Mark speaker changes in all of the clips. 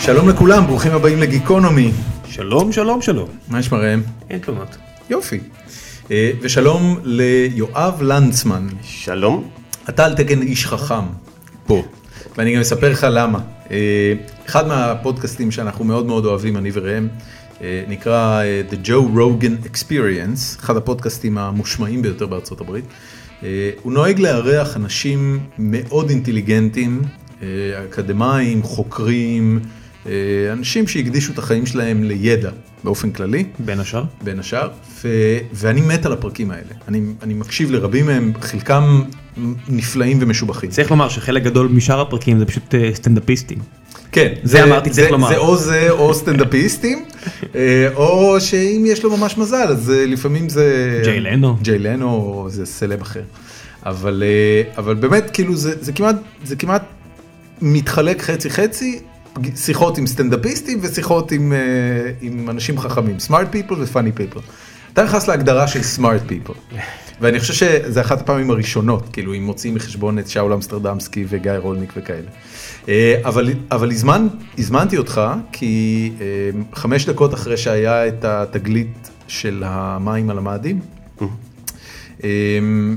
Speaker 1: שלום לכולם, ברוכים הבאים לגיקונומי.
Speaker 2: שלום, שלום, שלום.
Speaker 1: מה יש מראם?
Speaker 2: אין תלונות.
Speaker 1: יופי. אה, ושלום ליואב לנצמן.
Speaker 3: שלום.
Speaker 1: אתה על תקן איש חכם, פה. ואני גם אספר לך למה. אה, אחד מהפודקאסטים שאנחנו מאוד מאוד אוהבים, אני וראם, אה, נקרא אה, The Joe Rogan Experience, אחד הפודקאסטים המושמעים ביותר בארצות הברית. אה, הוא נוהג לארח אנשים מאוד אינטליגנטים, אה, אקדמאים, חוקרים, אה, אנשים שהקדישו את החיים שלהם לידע באופן כללי.
Speaker 2: בין השאר?
Speaker 1: בין השאר, ו- ואני מת על הפרקים האלה. אני, אני מקשיב לרבים מהם, חלקם נפלאים ומשובחים.
Speaker 2: צריך לומר שחלק גדול משאר הפרקים זה פשוט אה, סטנדאפיסטים.
Speaker 1: כן,
Speaker 2: זה אמרתי, צריך
Speaker 1: זה,
Speaker 2: לומר.
Speaker 1: זה או זה או סטנדאפיסטים, אה, או שאם יש לו ממש מזל, אז אה, לפעמים זה...
Speaker 2: ג'יי לנו.
Speaker 1: ג'יי לנו, או זה סלב אחר. אבל, אה, אבל באמת, כאילו, זה, זה, כמעט, זה כמעט מתחלק חצי-חצי, פג- שיחות עם סטנדאפיסטים ושיחות עם, אה, עם אנשים חכמים, smart people ו-funny people. אתה נכנס להגדרה של smart people, ואני חושב שזה אחת הפעמים הראשונות, כאילו, אם מוציאים מחשבון את שאול אמסטרדמסקי וגיא רולניק וכאלה. אה, אבל, אבל הזמן, הזמנתי אותך, כי אה, חמש דקות אחרי שהיה את התגלית של המים על המאדים, אמ,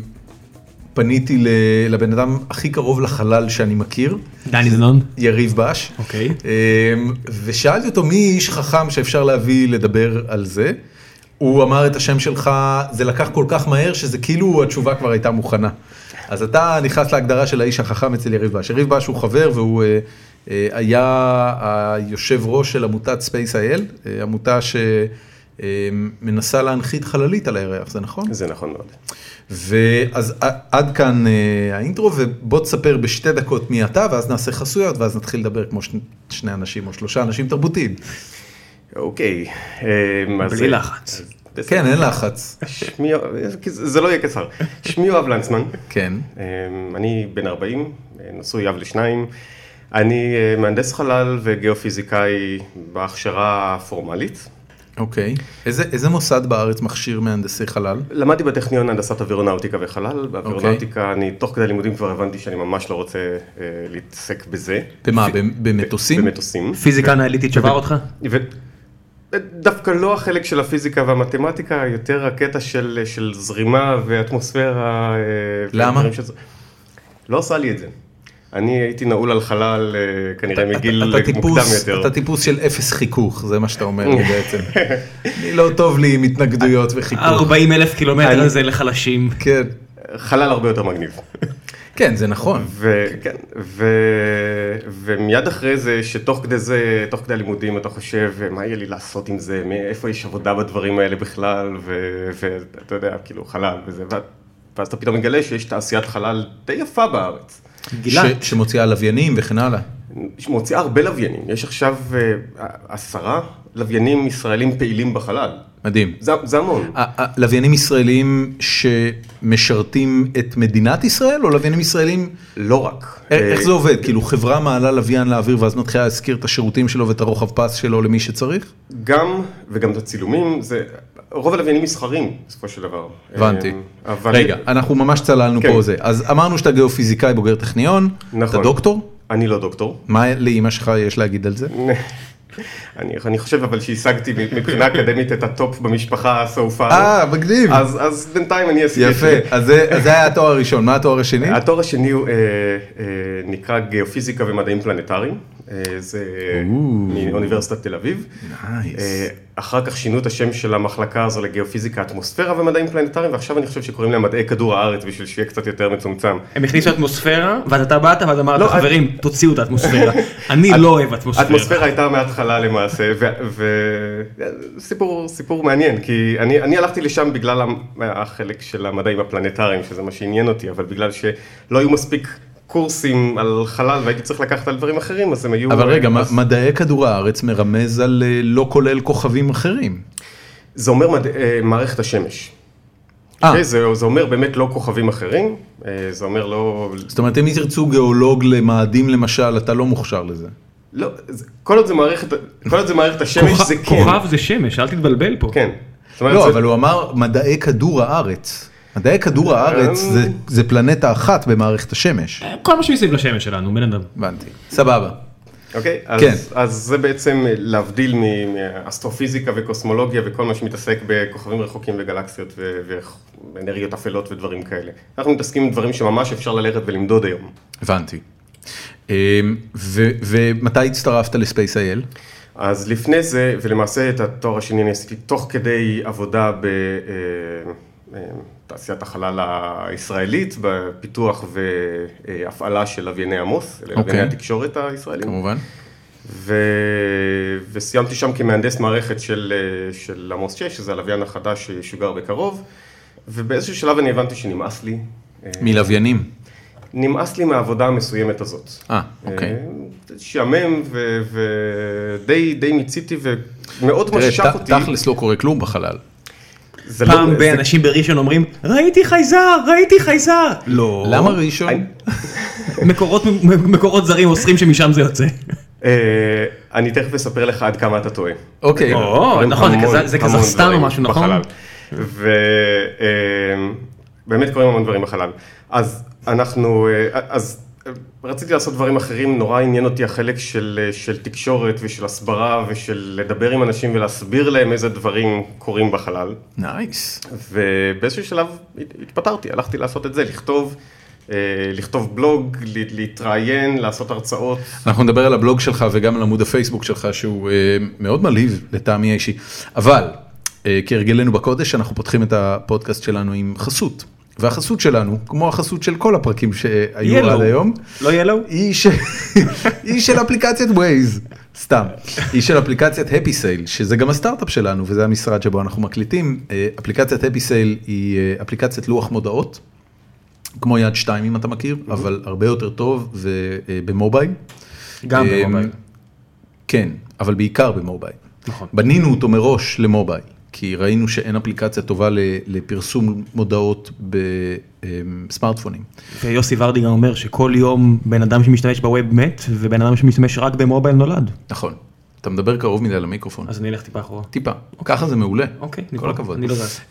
Speaker 1: פניתי ל- לבן אדם הכי קרוב לחלל שאני מכיר,
Speaker 2: דני דנון?
Speaker 1: יריב בש,
Speaker 2: אוקיי.
Speaker 1: אמ, ושאלתי אותו מי איש חכם שאפשר להביא לדבר על זה. הוא אמר את השם שלך, זה לקח כל כך מהר שזה כאילו התשובה כבר הייתה מוכנה. אז אתה נכנס להגדרה של האיש החכם אצל יריב בש. יריב בש הוא חבר והוא אה, אה, היה היושב ראש של עמותת Space.il, אה, עמותה שמנסה להנחית חללית על הירח, זה נכון?
Speaker 3: זה נכון מאוד.
Speaker 1: ואז ע- עד כאן אה, האינטרו, ובוא תספר בשתי דקות מי אתה, ואז נעשה חסויות, ואז נתחיל לדבר כמו שני- שני אנשים או שלושה אנשים תרבותיים.
Speaker 3: אוקיי. אמ, אז-
Speaker 2: בלי לחץ.
Speaker 3: אז בסדר.
Speaker 1: כן, אין לחץ.
Speaker 3: שמי, כי זה זה לא יהיה קצר. שמי יואב לנצמן,
Speaker 1: כן.
Speaker 3: אמ, אני בן 40, נשוי אב לשניים. אני אה, מהנדס חלל וגיאופיזיקאי בהכשרה הפורמלית.
Speaker 1: אוקיי. איזה איזה מוסד בארץ מכשיר מהנדסי חלל?
Speaker 3: למדתי בטכניון הנדסת אווירונאוטיקה וחלל. באווירונאוטיקה
Speaker 1: אוקיי.
Speaker 3: אני תוך כדי לימודים כבר הבנתי שאני ממש לא רוצה אה, להתעסק בזה.
Speaker 1: במה? במ- במטוסים?
Speaker 3: במטוסים.
Speaker 2: פיזיקה אנליטית שבר אותך?
Speaker 3: ו- דווקא לא החלק של הפיזיקה והמתמטיקה, יותר הקטע של, של זרימה ואטמוספירה. אה,
Speaker 1: למה?
Speaker 3: והדברים שזה- לא עשה לי את זה. אני הייתי נעול על חלל אה, כנראה
Speaker 1: אתה-
Speaker 3: מגיל
Speaker 1: אתה
Speaker 3: מוקדם
Speaker 1: טיפוס-
Speaker 3: יותר.
Speaker 1: אתה טיפוס של אפס חיכוך, זה מה שאתה אומר לי בעצם. אני לא טוב לי עם התנגדויות וחיכוך.
Speaker 2: 40 אלף קילומטר זה לחלשים.
Speaker 1: כן.
Speaker 3: חלל הרבה יותר מגניב.
Speaker 1: כן, זה נכון.
Speaker 3: וכן, ו... ומיד אחרי זה, שתוך כדי זה, תוך כדי הלימודים, אתה חושב, מה יהיה לי לעשות עם זה, מאיפה יש עבודה בדברים האלה בכלל, ו- ואתה יודע, כאילו, חלל וזה, ו... ואז אתה פתאום מגלה שיש תעשיית חלל די יפה בארץ.
Speaker 2: גלעד.
Speaker 1: ש- שמוציאה לוויינים וכן הלאה.
Speaker 3: שמוציאה הרבה לוויינים, יש עכשיו אה, עשרה לוויינים ישראלים פעילים בחלל.
Speaker 1: מדהים.
Speaker 3: זה, זה המון.
Speaker 1: ה- ה- לוויינים ישראלים שמשרתים את מדינת ישראל או לוויינים ישראלים
Speaker 3: לא רק.
Speaker 1: א- איך זה עובד כאילו חברה מעלה לוויין לאוויר ואז מתחילה להזכיר את השירותים שלו ואת הרוחב פס שלו למי שצריך
Speaker 3: גם, וגם את הצילומים, זה... רוב הלוויינים מסחרים, בסופו של דבר.
Speaker 1: הבנתי
Speaker 3: אה, אבל-
Speaker 1: רגע אנחנו ממש צללנו
Speaker 3: כן.
Speaker 1: פה זה אז אמרנו שאתה גיאופיזיקאי בוגר טכניון
Speaker 3: נכון.
Speaker 1: אתה דוקטור
Speaker 3: אני לא דוקטור.
Speaker 1: מה לאימא שלך יש להגיד על זה
Speaker 3: אני, אני חושב אבל שהשגתי מבחינה אקדמית את הטופ במשפחה so far.
Speaker 1: אה מגניב
Speaker 3: אז, אז בינתיים אני אעשה את זה.
Speaker 1: יפה אז זה אז זה היה התואר הראשון מה התואר השני
Speaker 3: התואר השני הוא אה, אה, נקרא גיאופיזיקה ומדעים פלנטריים, אה, זה מאוניברסיטת תל אביב.
Speaker 1: Nice.
Speaker 3: אה, אחר כך שינו את השם של המחלקה הזו לגיאופיזיקה אטמוספירה ומדעים פלנטריים, ועכשיו אני חושב שקוראים להם מדעי כדור הארץ בשביל שיהיה קצת יותר מצומצם.
Speaker 2: הם הכניסו אטמוספירה, ואז אתה באת ואז אמרת
Speaker 3: לא,
Speaker 2: חברים, תוציאו את האטמוספירה. אני לא אוהב אטמוספירה.
Speaker 3: האטמוספירה הייתה מההתחלה למעשה, וסיפור סיפור מעניין, כי אני, אני הלכתי לשם בגלל המ- החלק של המדעים הפלנטריים, שזה מה שעניין אותי, אבל בגלל שלא היו מספיק קורסים על חלל והייתי צריך לקחת על דברים אחרים, אז הם היו...
Speaker 1: אבל רגע מה-
Speaker 3: אז-
Speaker 1: מדעי כדור הארץ מרמז על אה, לא כולל כוכבים אחרים.
Speaker 3: זה אומר מד... אה, מערכת השמש.
Speaker 1: אה.
Speaker 3: אוקיי? זה, זה אומר באמת לא כוכבים אחרים, אה, זה אומר לא...
Speaker 1: זאת אומרת, אם תרצו גיאולוג למאדים למשל, אתה לא מוכשר לזה.
Speaker 3: לא זה, כל עוד זה מערכת, כל עוד זה מערכת השמש זה כן.
Speaker 2: כוכב זה שמש, אל תתבלבל פה.
Speaker 3: כן. זאת אומרת,
Speaker 1: לא,
Speaker 3: זה-
Speaker 1: אבל הוא אמר מדעי כדור הארץ. מדעי כדור הארץ זה- זה פלנטה אחת במערכת השמש.
Speaker 3: לא,
Speaker 2: כל מה שמסביב לשמש שלנו, בן אדם.
Speaker 1: הבנתי. סבבה.
Speaker 3: אוקיי? אז,
Speaker 1: כן.
Speaker 3: אז זה בעצם אה, להבדיל מ- מאסטרופיזיקה וקוסמולוגיה וכל מה שמתעסק בכוכבים רחוקים וגלקסיות ו- ואנרגיות אפלות ודברים כאלה. אנחנו מתעסקים עם דברים שממש אפשר ללכת ולמדוד היום.
Speaker 1: הבנתי. אמ, ו- ומתי הצטרפת לספייס.איי.אל?
Speaker 3: אז לפני זה, ולמעשה את התואר השני אני עשיתי תוך כדי עבודה בתעשיית החלל הישראלית, בפיתוח והפעלה של לווייני עמוס, okay. לווייני התקשורת הישראלים.
Speaker 1: אוקיי. כמובן.
Speaker 3: ו... וסיימתי שם כמהנדס מערכת של, אה, של עמוס 6, שזה הלוויין החדש שישוגר בקרוב, ובאיזשהו שלב אני הבנתי שנמאס לי. אה,
Speaker 1: מלוויינים.
Speaker 3: נמאס לי מהעבודה המסוימת הזאת.
Speaker 1: אה, אוקיי.
Speaker 3: אה, שעמם ודי די מיציתי ומאוד
Speaker 1: תראה,
Speaker 3: משך
Speaker 1: ת-
Speaker 3: אותי.
Speaker 1: תכלס לא קורה כלום בחלל.
Speaker 3: זה
Speaker 2: פעם
Speaker 3: לא- זה-
Speaker 2: באנשים בראשון אומרים ראיתי חייזר ראיתי חייזר לא
Speaker 1: למה ראשון?
Speaker 3: אני-
Speaker 2: מקורות מקורות זרים אוסרים שמשם זה יוצא.
Speaker 3: אה, אני תכף אספר לך עד כמה אתה טועה.
Speaker 1: אוקיי.
Speaker 2: או,
Speaker 3: קורים
Speaker 2: נכון, זה
Speaker 3: המון-
Speaker 2: כזה- זה
Speaker 3: המון
Speaker 2: קזחסטן או
Speaker 3: דברים
Speaker 2: משהו, נכון?
Speaker 3: בחלל. ובאמת קורים המון דברים בחלל. אז אנחנו, אה, אז אה, רציתי לעשות דברים אחרים, נורא עניין אותי החלק של, אה, של תקשורת ושל הסברה ושל לדבר עם אנשים ולהסביר להם איזה דברים קורים בחלל.
Speaker 1: נייס.
Speaker 3: ובאיזשהו שלב הת- התפטרתי, הלכתי לעשות את זה, לכתוב, אה, לכתוב בלוג, ל- להתראיין, לעשות הרצאות.
Speaker 1: אנחנו נדבר על הבלוג שלך וגם על עמוד הפייסבוק שלך שהוא אה, מאוד מלהיב לטעמי האישי. אבל אה, כהרגלנו בקודש אנחנו פותחים את הפודקאסט שלנו עם חסות. והחסות שלנו, כמו החסות של כל הפרקים שהיו עד היום,
Speaker 2: לא ילו?
Speaker 1: היא, ש... היא של אפליקציית ווייז, סתם, היא של אפליקציית הפי סייל, שזה גם הסטארט-אפ שלנו וזה המשרד שבו אנחנו מקליטים. אה, אפליקציית הפי סייל היא אה, אפליקציית לוח מודעות, כמו יד שתיים אם אתה מכיר, אבל הרבה יותר טוב ובמובייל.
Speaker 2: גם
Speaker 1: אה,
Speaker 2: במובייל.
Speaker 1: כן, אבל בעיקר במובייל.
Speaker 2: נכון.
Speaker 1: בנינו אותו מראש למובייל, כי ראינו שאין אפליקציה טובה ל- לפרסום מודעות אמ, בסמארטפונים.
Speaker 2: ויוסי ורדי גם אומר שכל יום בן אדם שמשתמש בווב מת ובן אדם שמשתמש רק במובייל נולד.
Speaker 1: נכון. אתה מדבר קרוב מדי למיקרופון.
Speaker 2: אז אני אלך טיפה אחורה.
Speaker 1: טיפה, ככה זה מעולה,
Speaker 2: אוקיי,
Speaker 1: כל
Speaker 2: נבדוק.
Speaker 1: הכבוד. אמ,
Speaker 2: אני לא זז.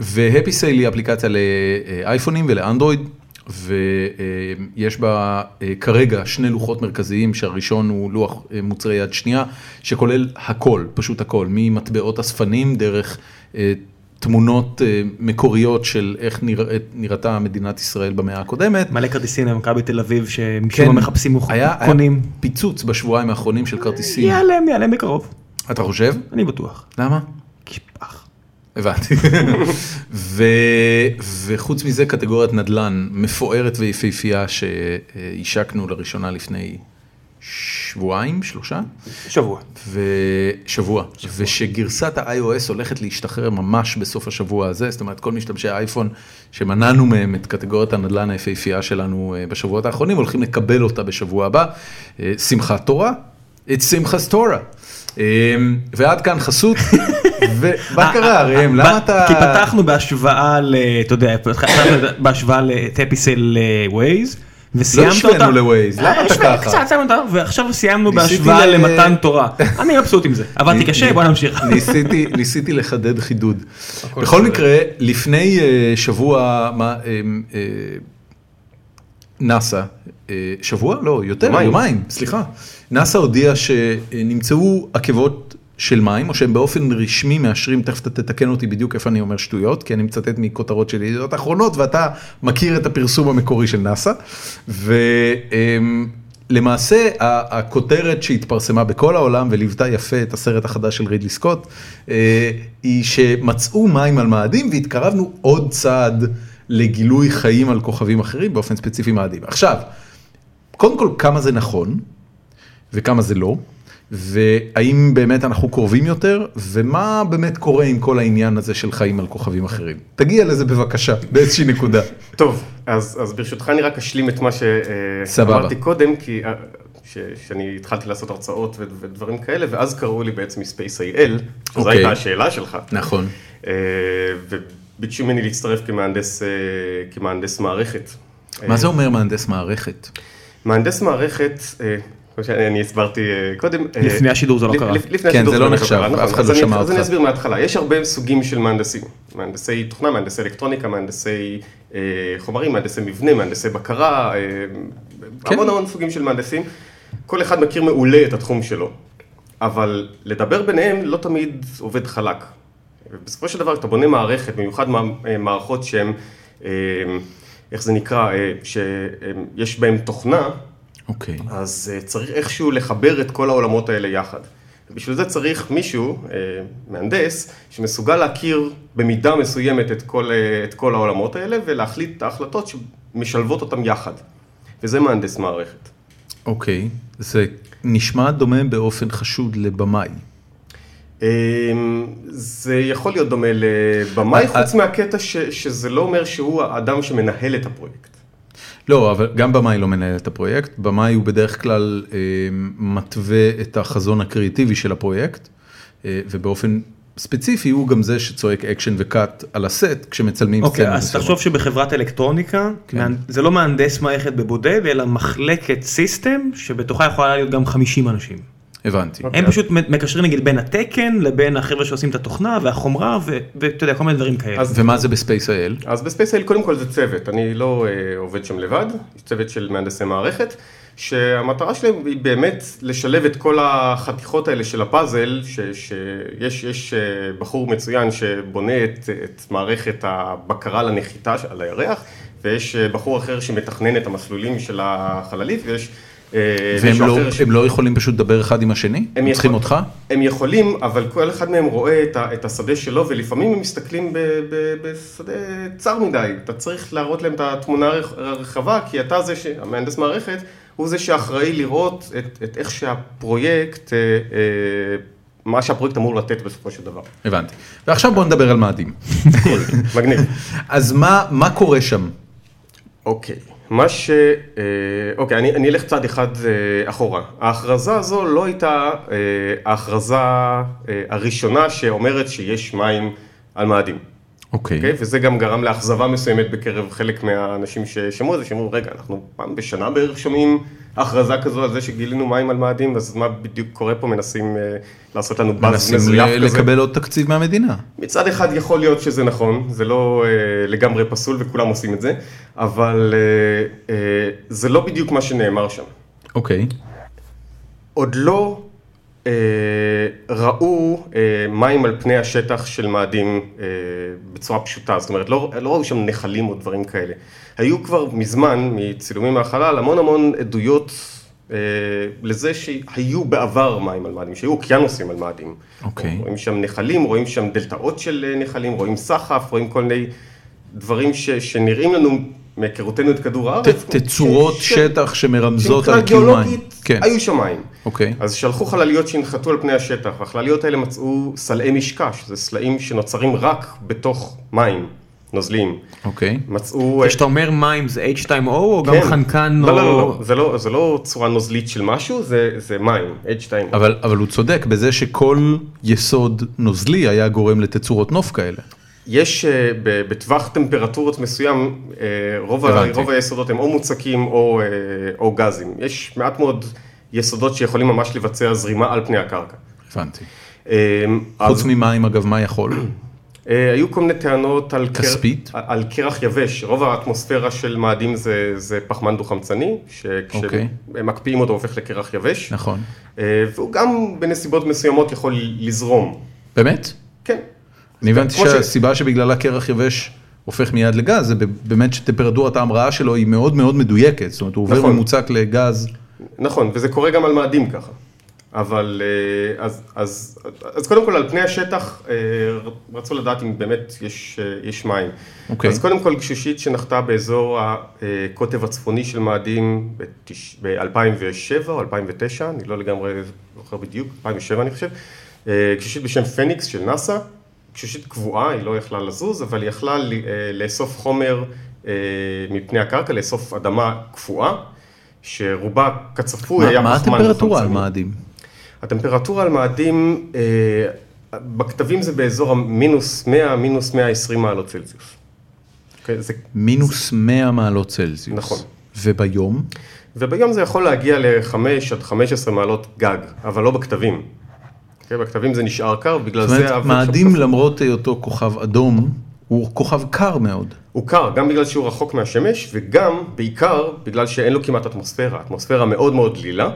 Speaker 1: והפי סייל היא אפליקציה לאייפונים ולאנדרואיד, ויש בה אה, כרגע שני לוחות מרכזיים, שהראשון הוא לוח אה, מוצרי יד שנייה, שכולל הכל, פשוט הכל, ממטבעות אספנים דרך אה, תמונות אה, מקוריות של איך נראית- נראתה מדינת ישראל במאה הקודמת.
Speaker 2: מלא כרטיסים למכבי תל אביב שמשום מה כן, מחפשים מוכ-
Speaker 1: כן. היה- היה
Speaker 2: קונים.
Speaker 1: פיצוץ בשבועיים האחרונים של כרטיסים.
Speaker 2: ייעלם, ייעלם בקרוב.
Speaker 1: אתה חושב?
Speaker 2: אני בטוח.
Speaker 1: למה?
Speaker 2: כי אח.
Speaker 1: הבנתי. ו, וחוץ מזה קטגוריית נדל"ן מפוארת ויפהפייה שהשקנו לראשונה לפני שבועיים, שלושה,
Speaker 2: שבוע.
Speaker 1: ושבוע, ושגרסת ה-iOS הולכת להשתחרר ממש בסוף השבוע הזה, זאת אומרת כל משתמשי האייפון שמנענו מהם את קטגוריית הנדל"ן היפהפייה שלנו אה, בשבועות האחרונים, הולכים לקבל אותה בשבוע הבא. אה, שמחת תורה, את שמחת תורה. אה, ועד כאן חסות,
Speaker 2: אה,
Speaker 1: ומה קרה ראם, למה אתה...
Speaker 2: כי פתחנו בהשוואה ל... אתה יודע, פתחנו בהשוואה לטפיסל ווייז,
Speaker 1: לא
Speaker 2: וסיימת אותה.
Speaker 1: השווינו לווייז,
Speaker 2: אה,
Speaker 1: למה אתה
Speaker 2: השווינו
Speaker 1: ככה?
Speaker 2: קצת, סיימת אותה, ועכשיו סיימנו
Speaker 1: ניסיתי
Speaker 2: בהשוואה
Speaker 1: ל-
Speaker 2: למתן תורה. אני מבסוט עם זה. עבדתי קשה, בוא נמשיך.
Speaker 1: ניסיתי, ניסיתי לחדד חידוד. בכל מקרה, לפני אה, שבוע, מה, אה, אה, נאסא, אה, שבוע? לא, יותר,
Speaker 3: יומיים.
Speaker 1: יומיים, סליחה. נאסא הודיע שנמצאו עקבות של מים, או שהם באופן רשמי מאשרים, תכף אתה תתקן אותי בדיוק איפה אני אומר שטויות, כי אני מצטט מכותרות של ידיעות אחרונות, ואתה מכיר את הפרסום המקורי של נאסא. ולמעשה, הכותרת שהתפרסמה בכל העולם וליוותה יפה את הסרט החדש של רידלי סקוט, אה, היא שמצאו מים על מאדים והתקרבנו עוד צעד לגילוי חיים על כוכבים אחרים, באופן ספציפי מאדים. עכשיו, קודם כל, כמה זה נכון, וכמה זה לא, והאם באמת אנחנו קרובים יותר, ומה באמת קורה עם כל העניין הזה של חיים על כוכבים אחרים. תגיע לזה בבקשה, באיזושהי נקודה.
Speaker 3: טוב, אז, אז ברשותך אני רק אשלים את מה
Speaker 1: סבבה.
Speaker 3: שאמרתי קודם, כי אה, ש, שאני התחלתי לעשות הרצאות ו, ודברים כאלה, ואז קראו לי בעצם מספייס אי-אל, זו
Speaker 1: אוקיי.
Speaker 3: הייתה השאלה שלך,
Speaker 1: נכון.
Speaker 3: אה, וביקשו ממני להצטרף כמהנדס, אה, כמהנדס מערכת. אה,
Speaker 1: מה זה אומר מהנדס מערכת?
Speaker 3: מהנדס מערכת, אה, כמו שאני הסברתי אה, קודם. אה,
Speaker 2: לפני השידור זה לא
Speaker 3: לפ-
Speaker 2: קרה.
Speaker 3: לפ- לפני
Speaker 1: כן,
Speaker 3: השידור
Speaker 1: זה לא
Speaker 3: באמת
Speaker 1: נחשב,
Speaker 3: קרה, נכון.
Speaker 1: אף אחד
Speaker 3: אז
Speaker 1: לא
Speaker 3: אני-
Speaker 1: שמע
Speaker 3: אז אני
Speaker 1: אותך.
Speaker 3: אסביר מההתחלה, יש הרבה סוגים של מהנדסים, מהנדסי תוכנה, מהנדסי אלקטרוניקה, מהנדסי אה, חומרים, מהנדסי מבנה, מהנדסי בקרה, אה,
Speaker 1: כן.
Speaker 3: המון המון סוגים של מהנדסים. כל אחד מכיר מעולה את התחום שלו, אבל לדבר ביניהם לא תמיד עובד חלק. בסופו של דבר אתה בונה מערכת, במיוחד מע- מערכות שהן, אה, איך זה נקרא, אה, שיש בהן תוכנה,
Speaker 1: אוקיי.
Speaker 3: אז אה, צריך איכשהו לחבר את כל העולמות האלה יחד. בשביל זה צריך מישהו, אה, מהנדס, שמסוגל להכיר במידה מסוימת את כל, אה, את כל העולמות האלה ולהחליט את ההחלטות שמשלבות אותם יחד. וזה מהנדס מערכת.
Speaker 1: אוקיי. זה נשמע דומה באופן חשוד לבמאי.
Speaker 3: אה, זה יכול להיות דומה לבמאי,
Speaker 1: אה,
Speaker 3: חוץ מהקטע ש, שזה לא אומר שהוא האדם שמנהל את הפרויקט.
Speaker 1: לא, אבל גם במאי לא מנהל את הפרויקט. במאי הוא בדרך כלל אה, מתווה את החזון הקריאיטיבי של הפרויקט, אה, ובאופן ספציפי הוא גם זה שצועק אקשן וקאט על הסט כשמצלמים
Speaker 2: אוקיי,
Speaker 1: סצנה
Speaker 2: אז
Speaker 1: מסוימת.
Speaker 2: תחשוב שבחברת אלקטרוניקה,
Speaker 1: כן.
Speaker 2: זה לא מהנדס מערכת בבודד, אלא מחלקת סיסטם, שבתוכה יכולה להיות גם 50 אנשים.
Speaker 1: הבנתי.
Speaker 3: אוקיי.
Speaker 2: הם פשוט מקשרים נגיד בין התקן לבין החבר'ה שעושים את התוכנה והחומרה ו- ואתה יודע כל מיני דברים כאלה.
Speaker 3: אז-
Speaker 1: ומה זה בספייס.איי.אל?
Speaker 3: אז בספייסל קודם כל זה צוות, אני לא אה, עובד שם לבד, יש צוות של מהנדסי מערכת, שהמטרה שלהם היא באמת לשלב את כל החתיכות האלה של הפאזל, שיש יש, אה, בחור מצוין שבונה את, את מערכת הבקרה לנחיתה ש- על הירח, ויש אה, בחור אחר שמתכנן את המסלולים של החללית, ויש אה,
Speaker 1: והם
Speaker 3: מישהו
Speaker 1: לא,
Speaker 3: אחר ש-
Speaker 1: הם לא יכולים פשוט לדבר אחד עם השני? הם
Speaker 3: יכול-
Speaker 1: צריכים אותך?
Speaker 3: הם יכולים, אבל כל אחד מהם רואה את, ה, את השדה שלו, ולפעמים הם מסתכלים ב, ב, בשדה צר מדי. אתה צריך להראות להם את התמונה הרח- הרחבה, כי אתה זה, ש- המהנדס מערכת, הוא זה שאחראי לראות את, את איך שהפרויקט, אה, אה, מה שהפרויקט אמור לתת בסופו של דבר.
Speaker 1: הבנתי. ועכשיו בוא נדבר על מאדים.
Speaker 3: מגניב.
Speaker 1: אז מה, מה קורה שם?
Speaker 3: אוקיי, מה ש... אה, אוקיי, אני, אני אלך צעד אחד אה, אחורה. ההכרזה הזו לא הייתה אה, ההכרזה אה, הראשונה שאומרת שיש מים על מאדים.
Speaker 1: אוקיי.
Speaker 3: אוקיי? וזה גם גרם לאכזבה מסוימת בקרב חלק מהאנשים ששמעו את זה, שאמרו, רגע, אנחנו פעם בשנה בערך שומעים הכרזה כזו על זה שגילינו מים על מאדים, אז מה בדיוק קורה פה? מנסים אה, לעשות לנו באז
Speaker 1: מנסים
Speaker 3: מזויף
Speaker 1: ל-
Speaker 3: כזה.
Speaker 1: לקבל עוד תקציב מהמדינה.
Speaker 3: מצד אחד יכול להיות שזה נכון, זה לא אה, לגמרי פסול וכולם עושים את זה, אבל אה, אה, זה לא בדיוק מה שנאמר שם.
Speaker 1: אוקיי.
Speaker 3: עוד לא אה, ראו אה, מים על פני השטח של מאדים אה, בצורה פשוטה, זאת אומרת, לא, לא ראו שם נחלים או דברים כאלה. היו כבר מזמן, מצילומים מהחלל, המון המון עדויות אה, לזה שהיו בעבר מים על מאדים, שהיו אוקיינוסים על מאדים.
Speaker 1: אוקיי.
Speaker 3: רואים שם נחלים, רואים שם דלתאות של אה, נחלים, רואים סחף, רואים כל מיני דברים ש, שנראים לנו מהיכרותנו את כדור
Speaker 1: ת-
Speaker 3: הארץ.
Speaker 1: תצורות
Speaker 3: ש- ש-
Speaker 1: שטח שמרמזות
Speaker 3: שמבחינה
Speaker 1: על קיום מים.
Speaker 3: כן, גיאולוגית,
Speaker 1: כן.
Speaker 3: היו שם מים.
Speaker 1: אוקיי.
Speaker 3: אז שלחו חלליות שהנחתו על פני השטח, והחלליות האלה מצאו סלעי משקע, שזה סלעים שנוצרים רק בתוך מים נוזליים.
Speaker 1: אוקיי.
Speaker 3: מצאו... אה,
Speaker 2: כשאתה אומר מים זה H2O או גם
Speaker 3: כן.
Speaker 2: חנקן
Speaker 3: לא,
Speaker 2: או...
Speaker 3: לא, לא, לא, זה לא, זה לא צורה נוזלית של משהו, זה, זה מים, H2O.
Speaker 1: אבל, אבל הוא צודק בזה שכל יסוד נוזלי היה גורם לתצורות נוף כאלה.
Speaker 3: יש אה, ב- בטווח טמפרטורות מסוים, אה, רוב, ה-
Speaker 1: הבנתי.
Speaker 3: רוב היסודות הם או מוצקים או, אה, או גזים. יש מעט מאוד יסודות שיכולים ממש לבצע זרימה על פני הקרקע.
Speaker 1: הבנתי.
Speaker 3: אה,
Speaker 1: חוץ
Speaker 3: אז-
Speaker 1: ממים אגב, מה יכול?
Speaker 3: אה, היו כל מיני טענות על, קר-
Speaker 1: כספית?
Speaker 3: על- על קרח יבש, רוב האטמוספירה של מאדים זה, זה פחמן דו-חמצני,
Speaker 1: אוקיי.
Speaker 3: שכשמקפיאים אותו הופך לקרח יבש,
Speaker 1: נכון.
Speaker 3: אה, והוא גם בנסיבות מסוימות יכול לזרום,
Speaker 1: באמת?
Speaker 3: כן,
Speaker 1: אני הבנתי
Speaker 3: כמו ש-
Speaker 1: שהסיבה שבגללה קרח יבש הופך מיד לגז, זה ב- באמת שטמפרטורת ההמראה שלו היא מאוד מאוד מדויקת, זאת אומרת הוא עובר
Speaker 3: נכון.
Speaker 1: ממוצק לגז.
Speaker 3: נכון, וזה קורה גם על מאדים ככה. אבל אה, אז, אז, אז קודם כל על פני השטח אה, רצו לדעת אם באמת יש, אה, יש מים.
Speaker 1: אוקיי.
Speaker 3: אז קודם כל גשושית שנחתה באזור הקוטב הצפוני של מאדים ב-2007 או 2009, אני לא לגמרי זוכר בדיוק, 2007 אני חושב, אה, גשושית בשם פניקס של נאסא, גשושית קבועה, היא לא יכלה לזוז, אבל היא יכלה ל- אה, לאסוף חומר אה, מפני הקרקע, לאסוף אדמה קפואה. שרובה כצפוי
Speaker 1: מה
Speaker 3: היה
Speaker 1: מה
Speaker 3: פחמן
Speaker 1: הטמפרטורה על
Speaker 3: וחמצנים.
Speaker 1: מאדים?
Speaker 3: הטמפרטורה על מאדים, אה, בכתבים זה באזור המינוס 100, מינוס 120 מעלות צלזיוס. אוקיי, זה,
Speaker 1: מינוס 100 מעלות צלזיוס.
Speaker 3: נכון.
Speaker 1: וביום?
Speaker 3: וביום זה יכול להגיע ל-5 עד 15 מעלות גג, אבל לא בכתבים. אוקיי, בכתבים זה נשאר קר, בגלל
Speaker 1: זאת
Speaker 3: זה...
Speaker 1: אומרת,
Speaker 3: האוויר
Speaker 1: מאדים
Speaker 3: שם-
Speaker 1: למרות היותו כוכב אדום, הוא כוכב קר מאוד.
Speaker 3: הוא קר, גם בגלל שהוא רחוק מהשמש, וגם, בעיקר, בגלל שאין לו כמעט אטמוספירה. אטמוספירה מאוד מאוד דלילה.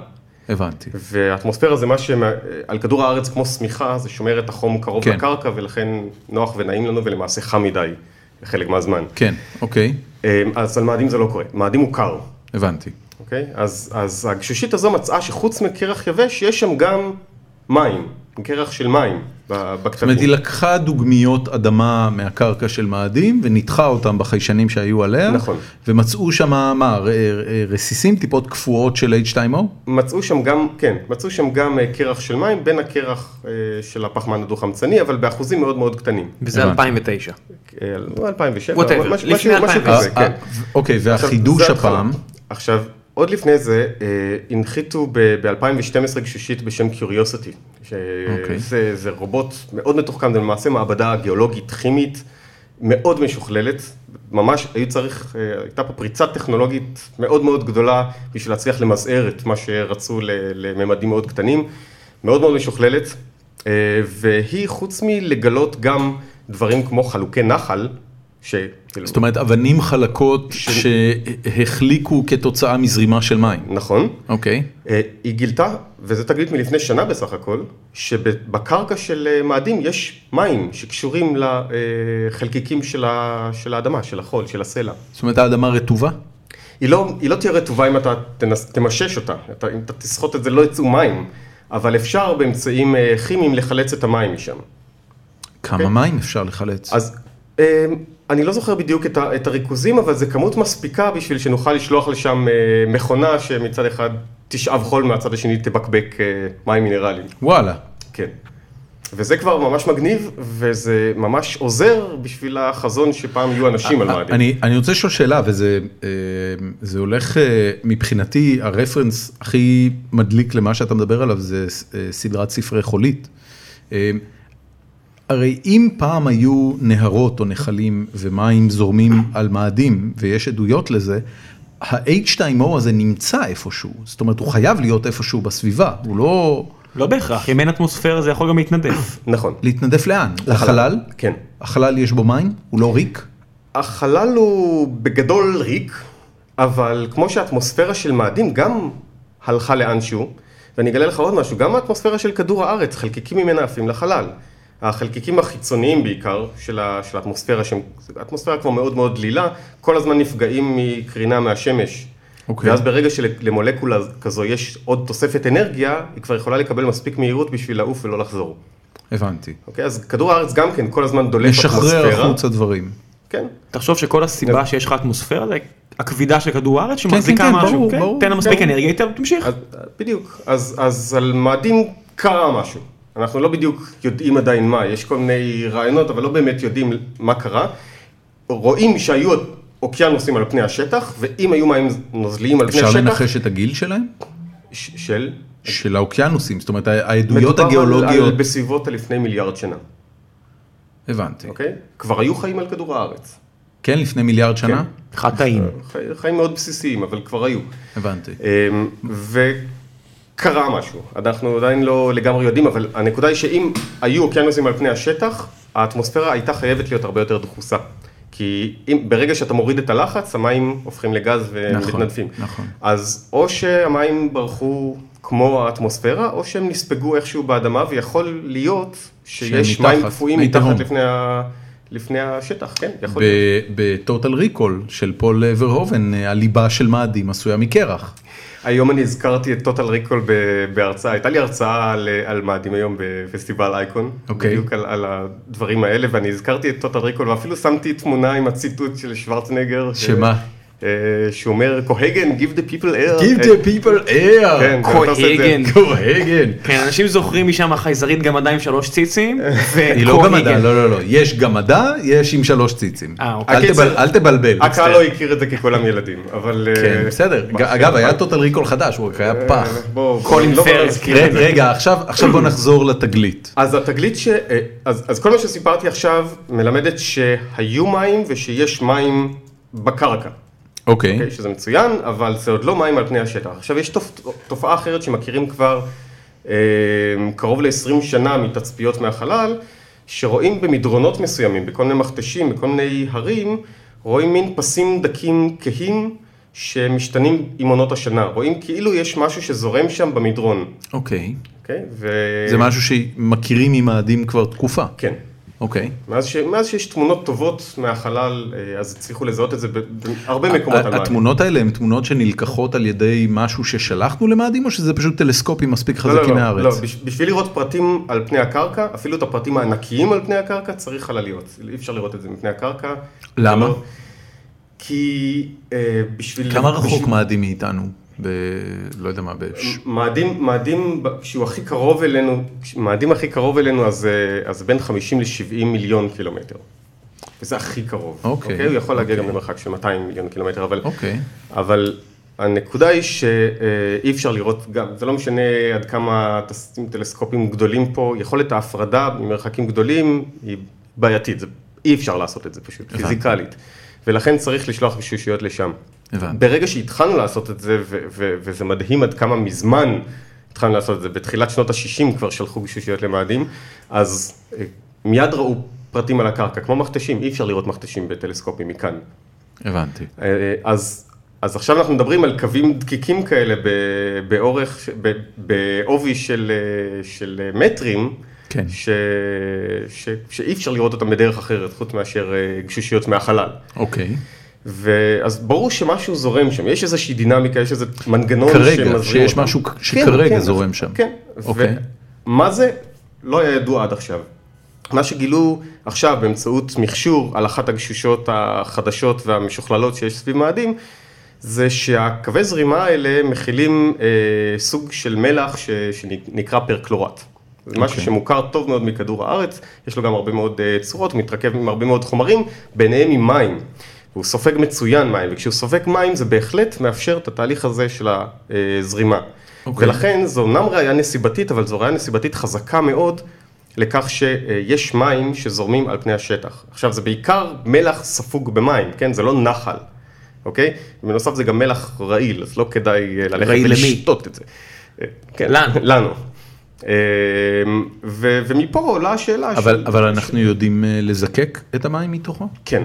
Speaker 1: הבנתי.
Speaker 3: והאטמוספירה זה מה שעל כדור הארץ כמו שמיכה, זה שומר את החום קרוב
Speaker 1: כן.
Speaker 3: לקרקע, ולכן נוח ונעים לנו, ולמעשה חם מדי חלק מהזמן.
Speaker 1: כן, אוקיי,
Speaker 3: אה, אז על מאדים זה לא קורה, מאדים הוא קר,
Speaker 1: הבנתי.
Speaker 3: אוקיי? אז, אז הגשושית הזו מצאה שחוץ מקרח יבש, יש שם גם מים, קרח של מים ב-
Speaker 1: זאת אומרת, היא לא-
Speaker 3: בקטנים.
Speaker 1: לקחה דוגמיות אדמה מהקרקע של מאדים וניתחה אותם בחיישנים שהיו עליה.
Speaker 3: נכון.
Speaker 1: ומצאו שם, מה, ר- ר- רסיסים, טיפות קפואות של H2O?
Speaker 3: אה, מצאו שם גם, כן, מצאו שם גם אה, קרח של מים בין הקרח אה, של הפחמן הדו-חמצני, אבל באחוזים מאוד מאוד קטנים.
Speaker 4: וזה
Speaker 1: הבנתי.
Speaker 4: 2009.
Speaker 3: אה, לא 2007,
Speaker 4: Whatever,
Speaker 3: אבל משהו-
Speaker 4: לפני
Speaker 3: משהו- משהו
Speaker 4: 2000.
Speaker 3: כזה,
Speaker 1: אה,
Speaker 3: כן.
Speaker 1: אה, אוקיי,
Speaker 3: עכשיו,
Speaker 1: והחידוש
Speaker 3: זה התחלה.
Speaker 1: הפעם,
Speaker 3: עכשיו, עוד לפני זה, אה, הנחיתו ב-2012 גשושית בשם קיוריוסיטי.
Speaker 1: אוקיי.
Speaker 3: שזה זה רובוט מאוד מתוחכם, זה למעשה מעבדה גיאולוגית, כימית, מאוד משוכללת. ממש היו צריך, אה, הייתה פה פריצה טכנולוגית מאוד מאוד גדולה בשביל להצליח למזער את מה שרצו ל- לממדים מאוד קטנים. מאוד מאוד משוכללת, אה, והיא חוץ מלגלות גם דברים כמו חלוקי נחל, שכאילו,
Speaker 1: זאת אומרת, אבנים חלקות שהחליקו כתוצאה מזרימה של מים.
Speaker 3: נכון,
Speaker 1: אוקיי,
Speaker 3: אה, היא גילתה, וזו תגלית מלפני שנה בסך הכל, שבקרקע של אה, מאדים יש מים שקשורים לחלקיקים של, ה, של האדמה, של החול, של הסלע.
Speaker 1: זאת אומרת, האדמה רטובה?
Speaker 3: היא לא, היא לא תהיה רטובה אם אתה תנס, תמשש אותה, אתה, אם אתה תסחוט את זה לא יצאו מים, אבל אפשר באמצעים אה, כימיים לחלץ את המים משם.
Speaker 1: כמה מים אפשר לחלץ?
Speaker 3: אוקיי. אז אה, אני לא זוכר בדיוק את, ה, את הריכוזים, אבל זה כמות מספיקה בשביל שנוכל לשלוח לשם אה, מכונה שמצד אחד תשאב חול, מהצד השני תבקבק אה, מים מינרליים.
Speaker 1: וואלה,
Speaker 3: כן. וזה כבר ממש מגניב, וזה ממש עוזר בשביל החזון שפעם יהיו אנשים על מאדים.
Speaker 1: אה, אני, אני רוצה לשאול שאלה, וזה אה, זה הולך, אה, מבחינתי, הרפרנס הכי מדליק למה שאתה מדבר עליו זה אה, סדרת ספרי חולית. אה, הרי אם פעם היו נהרות או נחלים ומים זורמים על מאדים, ויש עדויות לזה, ה-H2O הזה נמצא איפשהו, זאת אומרת, הוא חייב להיות איפשהו בסביבה, הוא לא...
Speaker 2: לא בהכרח, אם אין אטמוספירה זה יכול גם להתנדף.
Speaker 3: נכון.
Speaker 1: להתנדף לאן? לחלל?
Speaker 3: כן.
Speaker 1: החלל יש בו מים? הוא לא ריק?
Speaker 3: החלל הוא בגדול ריק, אבל כמו שהאטמוספירה של מאדים גם הלכה לאנשהו, ואני אגלה לך עוד משהו, גם האטמוספירה של כדור הארץ, חלקיקים ממנה עפים לחלל. החלקיקים החיצוניים בעיקר של, ה, של האטמוספירה, שהם- האטמוספירה כבר מאוד מאוד דלילה, כל הזמן נפגעים מקרינה מהשמש.
Speaker 1: אוקיי.
Speaker 3: ואז ברגע שלמולקולה כזו יש עוד תוספת אנרגיה, היא כבר יכולה לקבל מספיק מהירות בשביל לעוף ולא לחזור.
Speaker 1: הבנתי.
Speaker 3: אוקיי? אז כדור הארץ גם כן כל הזמן דולף
Speaker 1: לשחרר החוצה דברים.
Speaker 3: כן.
Speaker 2: תחשוב שכל הסיבה שיש לך אטמוספירה זה הכבידה של כדור הארץ
Speaker 1: כן,
Speaker 2: שמחזיקה
Speaker 1: כן,
Speaker 2: משהו,
Speaker 1: ברור,
Speaker 2: כן?
Speaker 1: ברור.
Speaker 2: תן לה מספיק
Speaker 3: כן.
Speaker 2: אנרגיה יותר, תמשיך.
Speaker 3: אז, בדיוק, אז, אז על מאדים קרה משהו. אנחנו לא בדיוק יודעים עדיין מה, יש כל מיני רעיונות, אבל לא באמת יודעים מה קרה. רואים שהיו אוקיינוסים על פני השטח, ואם היו מים נוזליים על פני
Speaker 1: אפשר
Speaker 3: השטח...
Speaker 1: לנחש את הגיל שלהם?
Speaker 3: ש- של?
Speaker 1: של האוקיינוסים, זאת אומרת העדויות
Speaker 3: מדובר על- על,
Speaker 1: הגיאולוגיות,
Speaker 3: בסביבות הלפני מיליארד שנה,
Speaker 1: הבנתי,
Speaker 3: אוקיי? כבר היו חיים על כדור הארץ.
Speaker 1: כן לפני מיליארד שנה,
Speaker 3: כן.
Speaker 2: חטאים.
Speaker 3: חי- חיים מאוד בסיסיים, אבל כבר היו.
Speaker 1: הבנתי,
Speaker 3: אמ, וקרה משהו, אנחנו עדיין לא לגמרי יודעים, אבל הנקודה היא שאם היו אוקיינוסים על פני השטח, האטמוספירה הייתה חייבת להיות הרבה יותר דחוסה. כי אם, ברגע שאתה מוריד את הלחץ, המים הופכים לגז ומתנדפים.
Speaker 1: נכון, נכון.
Speaker 3: אז או שהמים ברחו כמו האטמוספירה, או שהם נספגו איכשהו באדמה, ויכול להיות שיש
Speaker 1: שהם מתחת,
Speaker 3: מים קפואים
Speaker 1: מי תהום.
Speaker 3: מתחת לפני, ה, לפני השטח, כן, יכול להיות.
Speaker 1: בטוטל ריקול של פול ורהובן, אה, הליבה של מאדים עשויה מקרח,
Speaker 3: היום אני הזכרתי את טוטל ריקול בהרצאה, הייתה לי הרצאה על, על מאדים היום בפסטיבל אייקון,
Speaker 1: אוקיי.
Speaker 3: בדיוק על, על הדברים האלה, ואני הזכרתי את טוטל ריקול, ואפילו שמתי תמונה עם הציטוט של שוורצנגר, ש-
Speaker 1: שמה?
Speaker 3: אה, שהוא אומר, קוהגן, give the people air.
Speaker 1: people air,
Speaker 3: אה, כן, אתה עושה את זה.
Speaker 4: קוהגן.
Speaker 1: קוהגן,
Speaker 2: כן, אנשים זוכרים משם החייזרית גמדה עם שלוש ציצים,
Speaker 3: אה,
Speaker 1: היא לא גמדה, לא לא לא, יש גמדה, יש עם שלוש ציצים,
Speaker 2: אה, אוקיי.
Speaker 1: אל תבל-
Speaker 3: הקיצר-
Speaker 1: אל תבלבל,
Speaker 3: הקהל לא הכיר את זה ככולם ילדים, אבל...
Speaker 1: כן,
Speaker 3: אה,
Speaker 1: בסדר, ג-
Speaker 3: אה,
Speaker 1: אגב היה טוטל ריקול חדש, הוא רק היה פח,
Speaker 3: בואו,
Speaker 4: קולין
Speaker 3: לא בא
Speaker 4: פרס,
Speaker 3: להזכיר את
Speaker 1: רגע,
Speaker 3: זה.
Speaker 1: רגע, עכשיו עכשיו בוא נחזור לתגלית,
Speaker 3: אז התגלית ש... אה, אז, אז כל מה שסיפרתי עכשיו מלמדת שהיו מים ושיש מים בקרקע.
Speaker 1: אוקיי,
Speaker 3: אוקיי, שזה מצוין, אבל זה עוד לא מים על פני השטח. עכשיו, יש תופ... תופעה אחרת שמכירים כבר אה, קרוב ל-20 שנה מתצפיות מהחלל, שרואים במדרונות מסוימים, בכל מיני מכתשים, בכל מיני הרים, רואים מין פסים דקים כהים שמשתנים עם עונות השנה, רואים כאילו יש משהו שזורם שם במדרון,
Speaker 1: אוקיי.
Speaker 3: אוקיי? ו...
Speaker 1: זה משהו שמכירים ממאדים כבר תקופה.
Speaker 3: כן.
Speaker 1: אוקיי.
Speaker 3: מאז, ש... מאז שיש תמונות טובות מהחלל, אה, אז הצליחו לזהות את זה ב- בהרבה מקומות על מים.
Speaker 1: התמונות האלה הן תמונות שנלקחות על ידי משהו ששלחנו למאדים, או שזה פשוט טלסקופים מספיק חזקים
Speaker 3: לא, לא,
Speaker 1: מהארץ?
Speaker 3: בש- בשביל לראות פרטים על פני הקרקע, אפילו את הפרטים הענקיים על פני הקרקע, צריך חלליות. אי אפשר לראות את זה מפני הקרקע.
Speaker 1: למה?
Speaker 3: לא- כי אה, בשביל...
Speaker 1: כמה רחוק
Speaker 3: בשביל-
Speaker 1: מאדים מאיתנו? ב... לא יודע מה, בש...
Speaker 3: מאדים, מאדים, ב- כשהוא הכי קרוב אלינו, כש- מאדים הכי קרוב אלינו, אז, אה, אז בין 50 ל-70 מיליון קילומטר. וזה הכי קרוב.
Speaker 1: אוקיי.
Speaker 3: הוא יכול להגיע גם למרחק של 200 מיליון קילומטר, אבל...
Speaker 1: אוקיי.
Speaker 3: אבל הנקודה היא שאי אפשר לראות גם, זה לא משנה עד כמה תשים טלסקופים גדולים פה, יכולת ההפרדה ממרחקים גדולים היא בעייתית, זה, אי אפשר לעשות את זה פשוט, פיזיקלית. ולכן צריך לשלוח שישיות לשם.
Speaker 1: הבנתי.
Speaker 3: ברגע שהתחלנו לעשות את זה, ו- ו- וזה מדהים עד כמה מזמן התחלנו לעשות את זה, בתחילת שנות ה-60 כבר שלחו גשושיות למאדים, אז אה, מיד ראו פרטים על הקרקע, כמו מכתשים, אי אפשר לראות מכתשים בטלסקופים מכאן.
Speaker 1: הבנתי.
Speaker 3: אה, אז, אז עכשיו אנחנו מדברים על קווים דקיקים כאלה ב- באורך, ש- ב- בעובי של, אה, של אה, מטרים,
Speaker 1: כן.
Speaker 3: ש, ש, שאי אפשר לראות אותם בדרך אחרת, חוץ מאשר אה, גשושיות מהחלל.
Speaker 1: אוקיי.
Speaker 3: ואז ברור שמשהו זורם שם, יש איזושהי דינמיקה, יש איזה מנגנון
Speaker 1: כרגע,
Speaker 3: שמזרים
Speaker 1: שיש
Speaker 3: אותם.
Speaker 1: משהו שכרגע זורם
Speaker 3: אז-
Speaker 1: שם.
Speaker 3: כן,
Speaker 1: אוקיי.
Speaker 3: ומה זה? לא היה ידוע עד עכשיו. מה שגילו עכשיו באמצעות מכשור על אחת הגשושות החדשות והמשוכללות שיש סביב מאדים, זה שהקווי זרימה האלה מכילים אה, סוג של מלח ש, שנקרא פרקלורט. זה משהו
Speaker 1: אוקיי.
Speaker 3: שמוכר טוב מאוד מכדור הארץ, יש לו גם הרבה מאוד אה, צורות, הוא מתרכב עם הרבה מאוד חומרים, ביניהם עם מים. הוא סופג מצוין מים, וכשהוא סופג מים זה בהחלט מאפשר את התהליך הזה של הזרימה.
Speaker 1: אוקיי.
Speaker 3: ולכן זו אומנם ראייה נסיבתית, אבל זו ראייה נסיבתית חזקה מאוד לכך שיש מים שזורמים על פני השטח. עכשיו, זה בעיקר מלח ספוג במים, כן? זה לא נחל, אוקיי? בנוסף זה גם מלח רעיל, אז לא כדאי אה, ללכת
Speaker 2: רעיל למי?
Speaker 3: ולשתות את זה. אה, כן,
Speaker 2: לנו.
Speaker 3: לנו. אה, ו- ומפה עולה השאלה
Speaker 1: אבל, אבל אנחנו יודעים אה, לזקק את המים מתוכו?
Speaker 3: כן.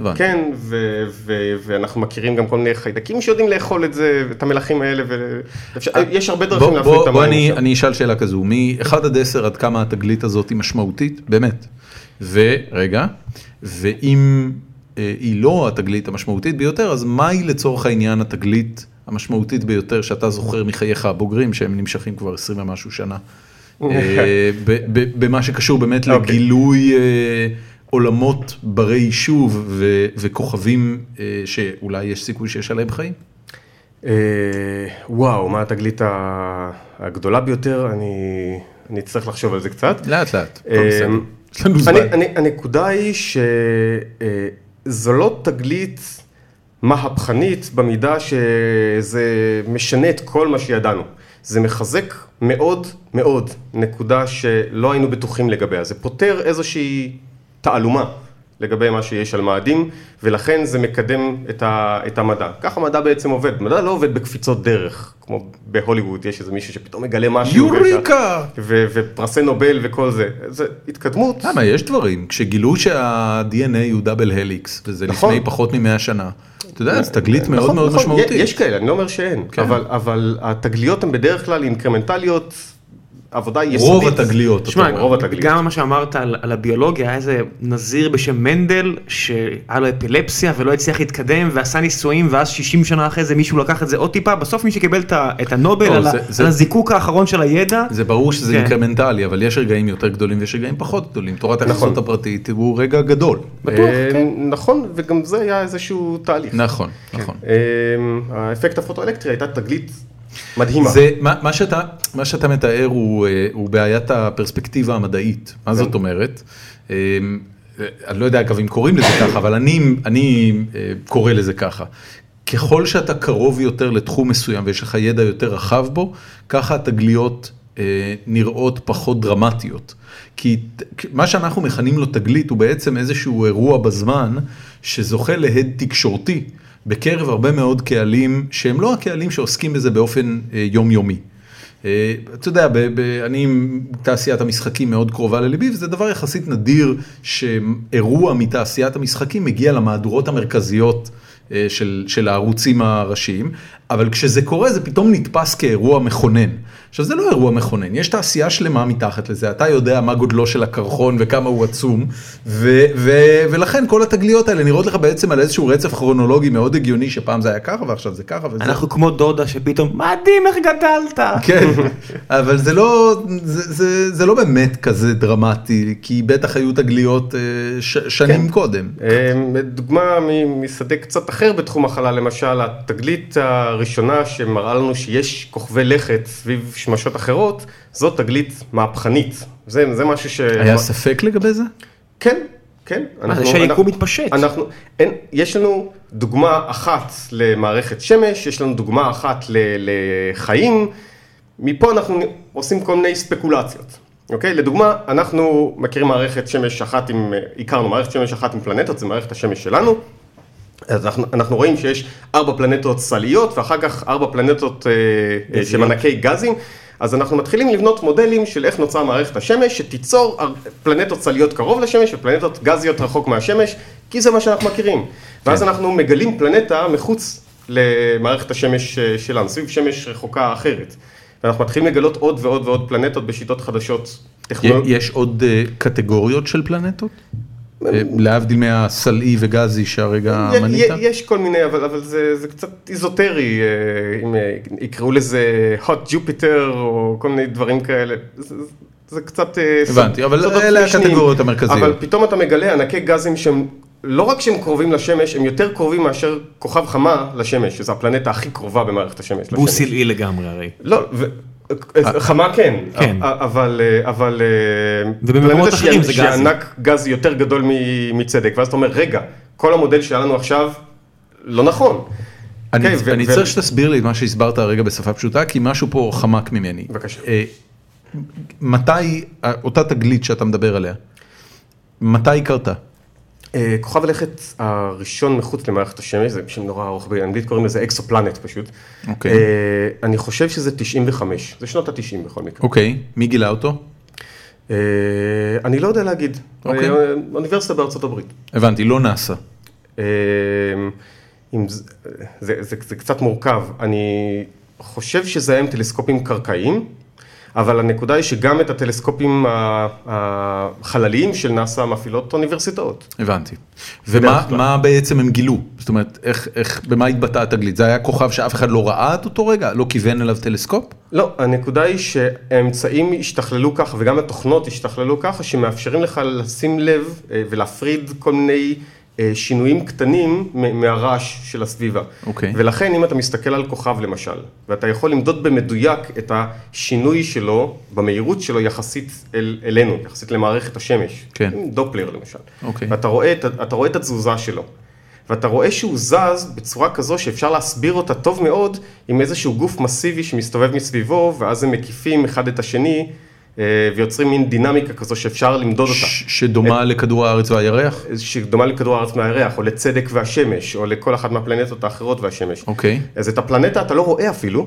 Speaker 1: הבנתי.
Speaker 3: כן, ו- ו- ואנחנו מכירים גם כל מיני חיידקים שיודעים לאכול את זה, את המלחים האלה, ו- אפשר- יש הרבה
Speaker 1: אה,
Speaker 3: דרכים
Speaker 1: בוא,
Speaker 3: להפריד את
Speaker 1: בוא,
Speaker 3: המים.
Speaker 1: בוא אני,
Speaker 3: עכשיו.
Speaker 1: אני אשאל שאלה כזו, מ-1 עד 10 עד כמה התגלית הזאת היא משמעותית, באמת. ורגע, ואם אה, היא לא התגלית המשמעותית ביותר, אז מהי לצורך העניין התגלית המשמעותית ביותר שאתה זוכר מחייך הבוגרים, שהם נמשכים כבר 20 ומשהו שנה, אה, ב- ב- במה שקשור באמת
Speaker 3: אוקיי.
Speaker 1: לגילוי אה, עולמות ברי יישוב ו- וכוכבים אה, שאולי יש סיכוי שיש עליהם חיים?
Speaker 3: אה, וואו, מה התגלית ה- הגדולה ביותר? אני, אני אצטרך לחשוב על זה קצת.
Speaker 1: לאט לאט, הכל
Speaker 3: אה,
Speaker 1: בסדר. יש לנו זמן.
Speaker 3: אני, אני, הנקודה היא שזו לא תגלית מהפכנית במידה שזה משנה את כל מה שידענו. זה מחזק מאוד מאוד נקודה שלא היינו בטוחים לגביה. זה פותר איזושהי תעלומה לגבי מה שיש על מאדים, ולכן זה מקדם את, ה, את המדע. ככה מדע בעצם עובד. מדע לא עובד בקפיצות דרך, כמו בהוליווד, יש איזה מישהו שפתאום מגלה משהו.
Speaker 1: יוריקה!
Speaker 3: ו- ופרסי נובל וכל זה, זה התקדמות.
Speaker 1: למה יש דברים כשגילו שה-DNA הוא דאבל הליקס וזה
Speaker 3: נכון.
Speaker 1: לפני פחות ממאה שנה. אתה יודע, זו תגלית מאוד
Speaker 3: נכון,
Speaker 1: מאוד
Speaker 3: נכון,
Speaker 1: משמעותית.
Speaker 3: יש כאלה, אני לא אומר שאין,
Speaker 1: כן.
Speaker 3: אבל, אבל התגליות הן בדרך כלל אינקרמנטליות, עבודה יסודית.
Speaker 1: רוב התגליות. אתה
Speaker 2: שמע,
Speaker 1: אומר.
Speaker 3: רוב התגליות.
Speaker 2: גם מה שאמרת על, על הביולוגיה, אוקיי, היה איזה נזיר בשם מנדל, שהיה לו אפילפסיה ולא הצליח להתקדם, ועשה ניסויים, ואז 60 שנה אחרי זה מישהו לקח את זה עוד טיפה, בסוף מי שקיבל את, ה- את הנובל
Speaker 1: לא,
Speaker 2: על,
Speaker 1: זה-
Speaker 2: ה,
Speaker 1: זה-
Speaker 2: על הזיקוק האחרון של הידע,
Speaker 1: זה ברור שזה
Speaker 2: כן.
Speaker 1: אינקרמנטלי, אבל יש רגעים יותר גדולים ויש רגעים פחות גדולים. תורת
Speaker 3: נכון.
Speaker 1: היחסות הפרטית הוא רגע גדול.
Speaker 2: בטוח,
Speaker 3: אה,
Speaker 2: כן.
Speaker 3: נכון, וגם זה היה איזשהו תהליך.
Speaker 1: נכון,
Speaker 3: כן.
Speaker 1: נכון.
Speaker 3: אה, האפקט הפוטואלקטרי הייתה תגלית מדהימה.
Speaker 1: זה, מה, מה, שאתה, מה שאתה מתאר הוא, אה, הוא בעיית הפרספקטיבה המדעית. מה זאת אומרת? אה, אה, אני לא יודע אגב אם קוראים לזה ככה, אבל אני, אני אה, קורא לזה ככה. ככל שאתה קרוב יותר לתחום מסוים ויש לך ידע יותר רחב בו, ככה התגליות אה, נראות פחות דרמטיות. כי ת- כ- מה שאנחנו מכנים לו תגלית הוא בעצם איזשהו אירוע בזמן שזוכה להד תקשורתי בקרב הרבה מאוד קהלים שהם לא הקהלים שעוסקים בזה באופן אה, יומיומי. אה, אתה יודע, ב, ב, אני עם תעשיית המשחקים מאוד קרובה לליבי, וזה דבר יחסית נדיר שאירוע מתעשיית המשחקים מגיע למהדורות המרכזיות. אה, של, של הערוצים הראשיים, אבל כשזה קורה זה פתאום נתפס כאירוע מכונן. עכשיו זה לא אירוע מכונן, יש תעשייה שלמה מתחת לזה, אתה יודע מה גודלו של הקרחון וכמה הוא עצום, ו- ו- ולכן כל התגליות האלה נראות לך בעצם על איזשהו רצף כרונולוגי מאוד הגיוני, שפעם זה היה ככה ועכשיו זה ככה וזה.
Speaker 2: אנחנו כמו דודה שפתאום, מדהים איך גדלת.
Speaker 1: כן, אבל זה לא, זה, זה, זה לא באמת כזה דרמטי, כי בטח היו תגליות אה, ש, שנים
Speaker 3: כן.
Speaker 1: קודם.
Speaker 3: אה, דוגמה מ- משדה קצת אחר בתחום החלל, למשל, התגלית הראשונה שמראה לנו שיש כוכבי לכת סביב שמשות אחרות, זאת תגלית מהפכנית. זה, זה משהו ש...
Speaker 1: היה ספק לגבי זה?
Speaker 3: כן, כן.
Speaker 2: מה, זה
Speaker 3: אנחנו-
Speaker 2: שהיקום
Speaker 3: אנחנו-
Speaker 2: מתפשט.
Speaker 3: אנחנו, אין, יש לנו דוגמה אחת למערכת שמש, יש לנו דוגמה אחת ל, לחיים, מפה אנחנו עושים כל מיני ספקולציות, אוקיי? לדוגמה, אנחנו מכירים מערכת שמש אחת עם, הכרנו מערכת שמש אחת עם פלנטות, זה מערכת השמש שלנו, אז אנחנו, אנחנו רואים שיש ארבע פלנטות סליות ואחר כך ארבע פלנטות אה, אה, של ענקי גזים. אז אנחנו מתחילים לבנות מודלים של איך נוצרה מערכת השמש, שתיצור הר- פלנטות סליות קרוב לשמש ופלנטות גזיות רחוק מהשמש, כי זה מה שאנחנו מכירים. ואז אנחנו מגלים פלנטה מחוץ למערכת השמש אה, שלנו, סביב שמש רחוקה אחרת. ואנחנו מתחילים לגלות עוד ועוד ועוד פלנטות בשיטות חדשות
Speaker 1: י-
Speaker 3: טכנולוגיות.
Speaker 1: יש עוד אה, קטגוריות של פלנטות? אה, להבדיל מהסלעי וגזי שהרגע
Speaker 3: י-
Speaker 1: מנית?
Speaker 3: י- יש כל מיני, אבל, אבל זה, זה קצת איזוטרי, אה, אם אה, יקראו לזה hot Jupiter או כל מיני דברים כאלה. זה, זה- זה קצת... אה, סוד-
Speaker 1: הבנתי, אבל
Speaker 3: סודות
Speaker 1: אלה
Speaker 3: משניים.
Speaker 1: הקטגוריות המרכזיות.
Speaker 3: אבל פתאום אתה מגלה ענקי גזים שהם, לא רק שהם קרובים לשמש, הם יותר קרובים מאשר כוכב חמה לשמש, שזו הפלנטה הכי קרובה במערכת השמש. לשמש.
Speaker 2: והוא סלעי לגמרי הרי.
Speaker 3: לא, ו... חמה כן,
Speaker 2: כן.
Speaker 3: א- א- אבל, אבל אה,
Speaker 2: ובמקומות
Speaker 3: פלנטה שהיא-
Speaker 2: אחרים זה
Speaker 3: שהיא
Speaker 2: גזים.
Speaker 3: ענק גז יותר גדול מ- מצדק, ואז אתה אומר, רגע, כל המודל שהיה לנו עכשיו לא נכון.
Speaker 1: אני,
Speaker 3: כן,
Speaker 1: okay,
Speaker 3: ו-
Speaker 1: אני
Speaker 3: ו-
Speaker 1: צריך שתסביר לי את מה שהסברת הרגע בשפה פשוטה, כי משהו פה חמק ממני.
Speaker 3: בבקשה.
Speaker 1: אה, מתי, אה, אותה תגלית שאתה מדבר עליה, מתי היא קרתה?
Speaker 3: אה, כוכב הלכת הראשון מחוץ למערכת השמש, זה שם נורא ארוך באנגלית, קוראים לזה אקסופלנט פשוט.
Speaker 1: אוקיי.
Speaker 3: אה, אני חושב שזה 95, זה שנות ה-90 בכל מקרה.
Speaker 1: אוקיי, מי גילה אותו?
Speaker 3: אה, אני לא יודע להגיד,
Speaker 1: אוקיי.
Speaker 3: אה, אוניברסיטה בארצות הברית.
Speaker 1: הבנתי, לא נאסא.
Speaker 3: אמ, אם זה, זה, זה, זה קצת מורכב, אני חושב שזה היה עם טלסקופים קרקעיים, אבל הנקודה היא שגם את הטלסקופים ה- החלליים של נאס"א מפעילות אוניברסיטאות.
Speaker 1: הבנתי.
Speaker 3: בדרך
Speaker 1: ומה
Speaker 3: כלל.
Speaker 1: מה בעצם הם גילו? זאת אומרת, איך, איך, במה התבטאה התגלית? זה היה כוכב שאף אחד לא ראה עד אותו רגע? לא כיוון אליו טלסקופ?
Speaker 3: לא, הנקודה היא שהאמצעים השתכללו ככה וגם התוכנות השתכללו ככה שמאפשרים לך לשים לב אה, ולהפריד כל מיני אה, שינויים קטנים מ- מהרעש של הסביבה.
Speaker 1: אוקיי.
Speaker 3: ולכן אם אתה מסתכל על כוכב למשל, ואתה יכול למדוד במדויק את השינוי שלו במהירות שלו יחסית אל, אלינו, יחסית למערכת השמש.
Speaker 1: כן.
Speaker 3: עם דופלר למשל.
Speaker 1: אוקיי.
Speaker 3: ואתה רואה, את- אתה רואה את התזוזה שלו. ואתה רואה שהוא זז בצורה כזו שאפשר להסביר אותה טוב מאוד עם איזשהו גוף מסיבי שמסתובב מסביבו, ואז הם מקיפים אחד את השני אה, ויוצרים מין דינמיקה כזו שאפשר למדוד אותה.
Speaker 1: ש-
Speaker 3: אה,
Speaker 1: שדומה לכדור הארץ והירח?
Speaker 3: שדומה לכדור הארץ מהירח, או לצדק והשמש, או לכל אחת מהפלנטות האחרות והשמש.
Speaker 1: אוקיי.
Speaker 3: אז את הפלנטה אתה לא רואה אפילו,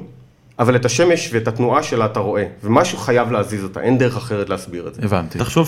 Speaker 3: אבל את השמש ואת התנועה שלה אתה רואה, ומשהו חייב להזיז אותה, אין דרך אחרת להסביר את זה.
Speaker 1: הבנתי.
Speaker 2: תחשוב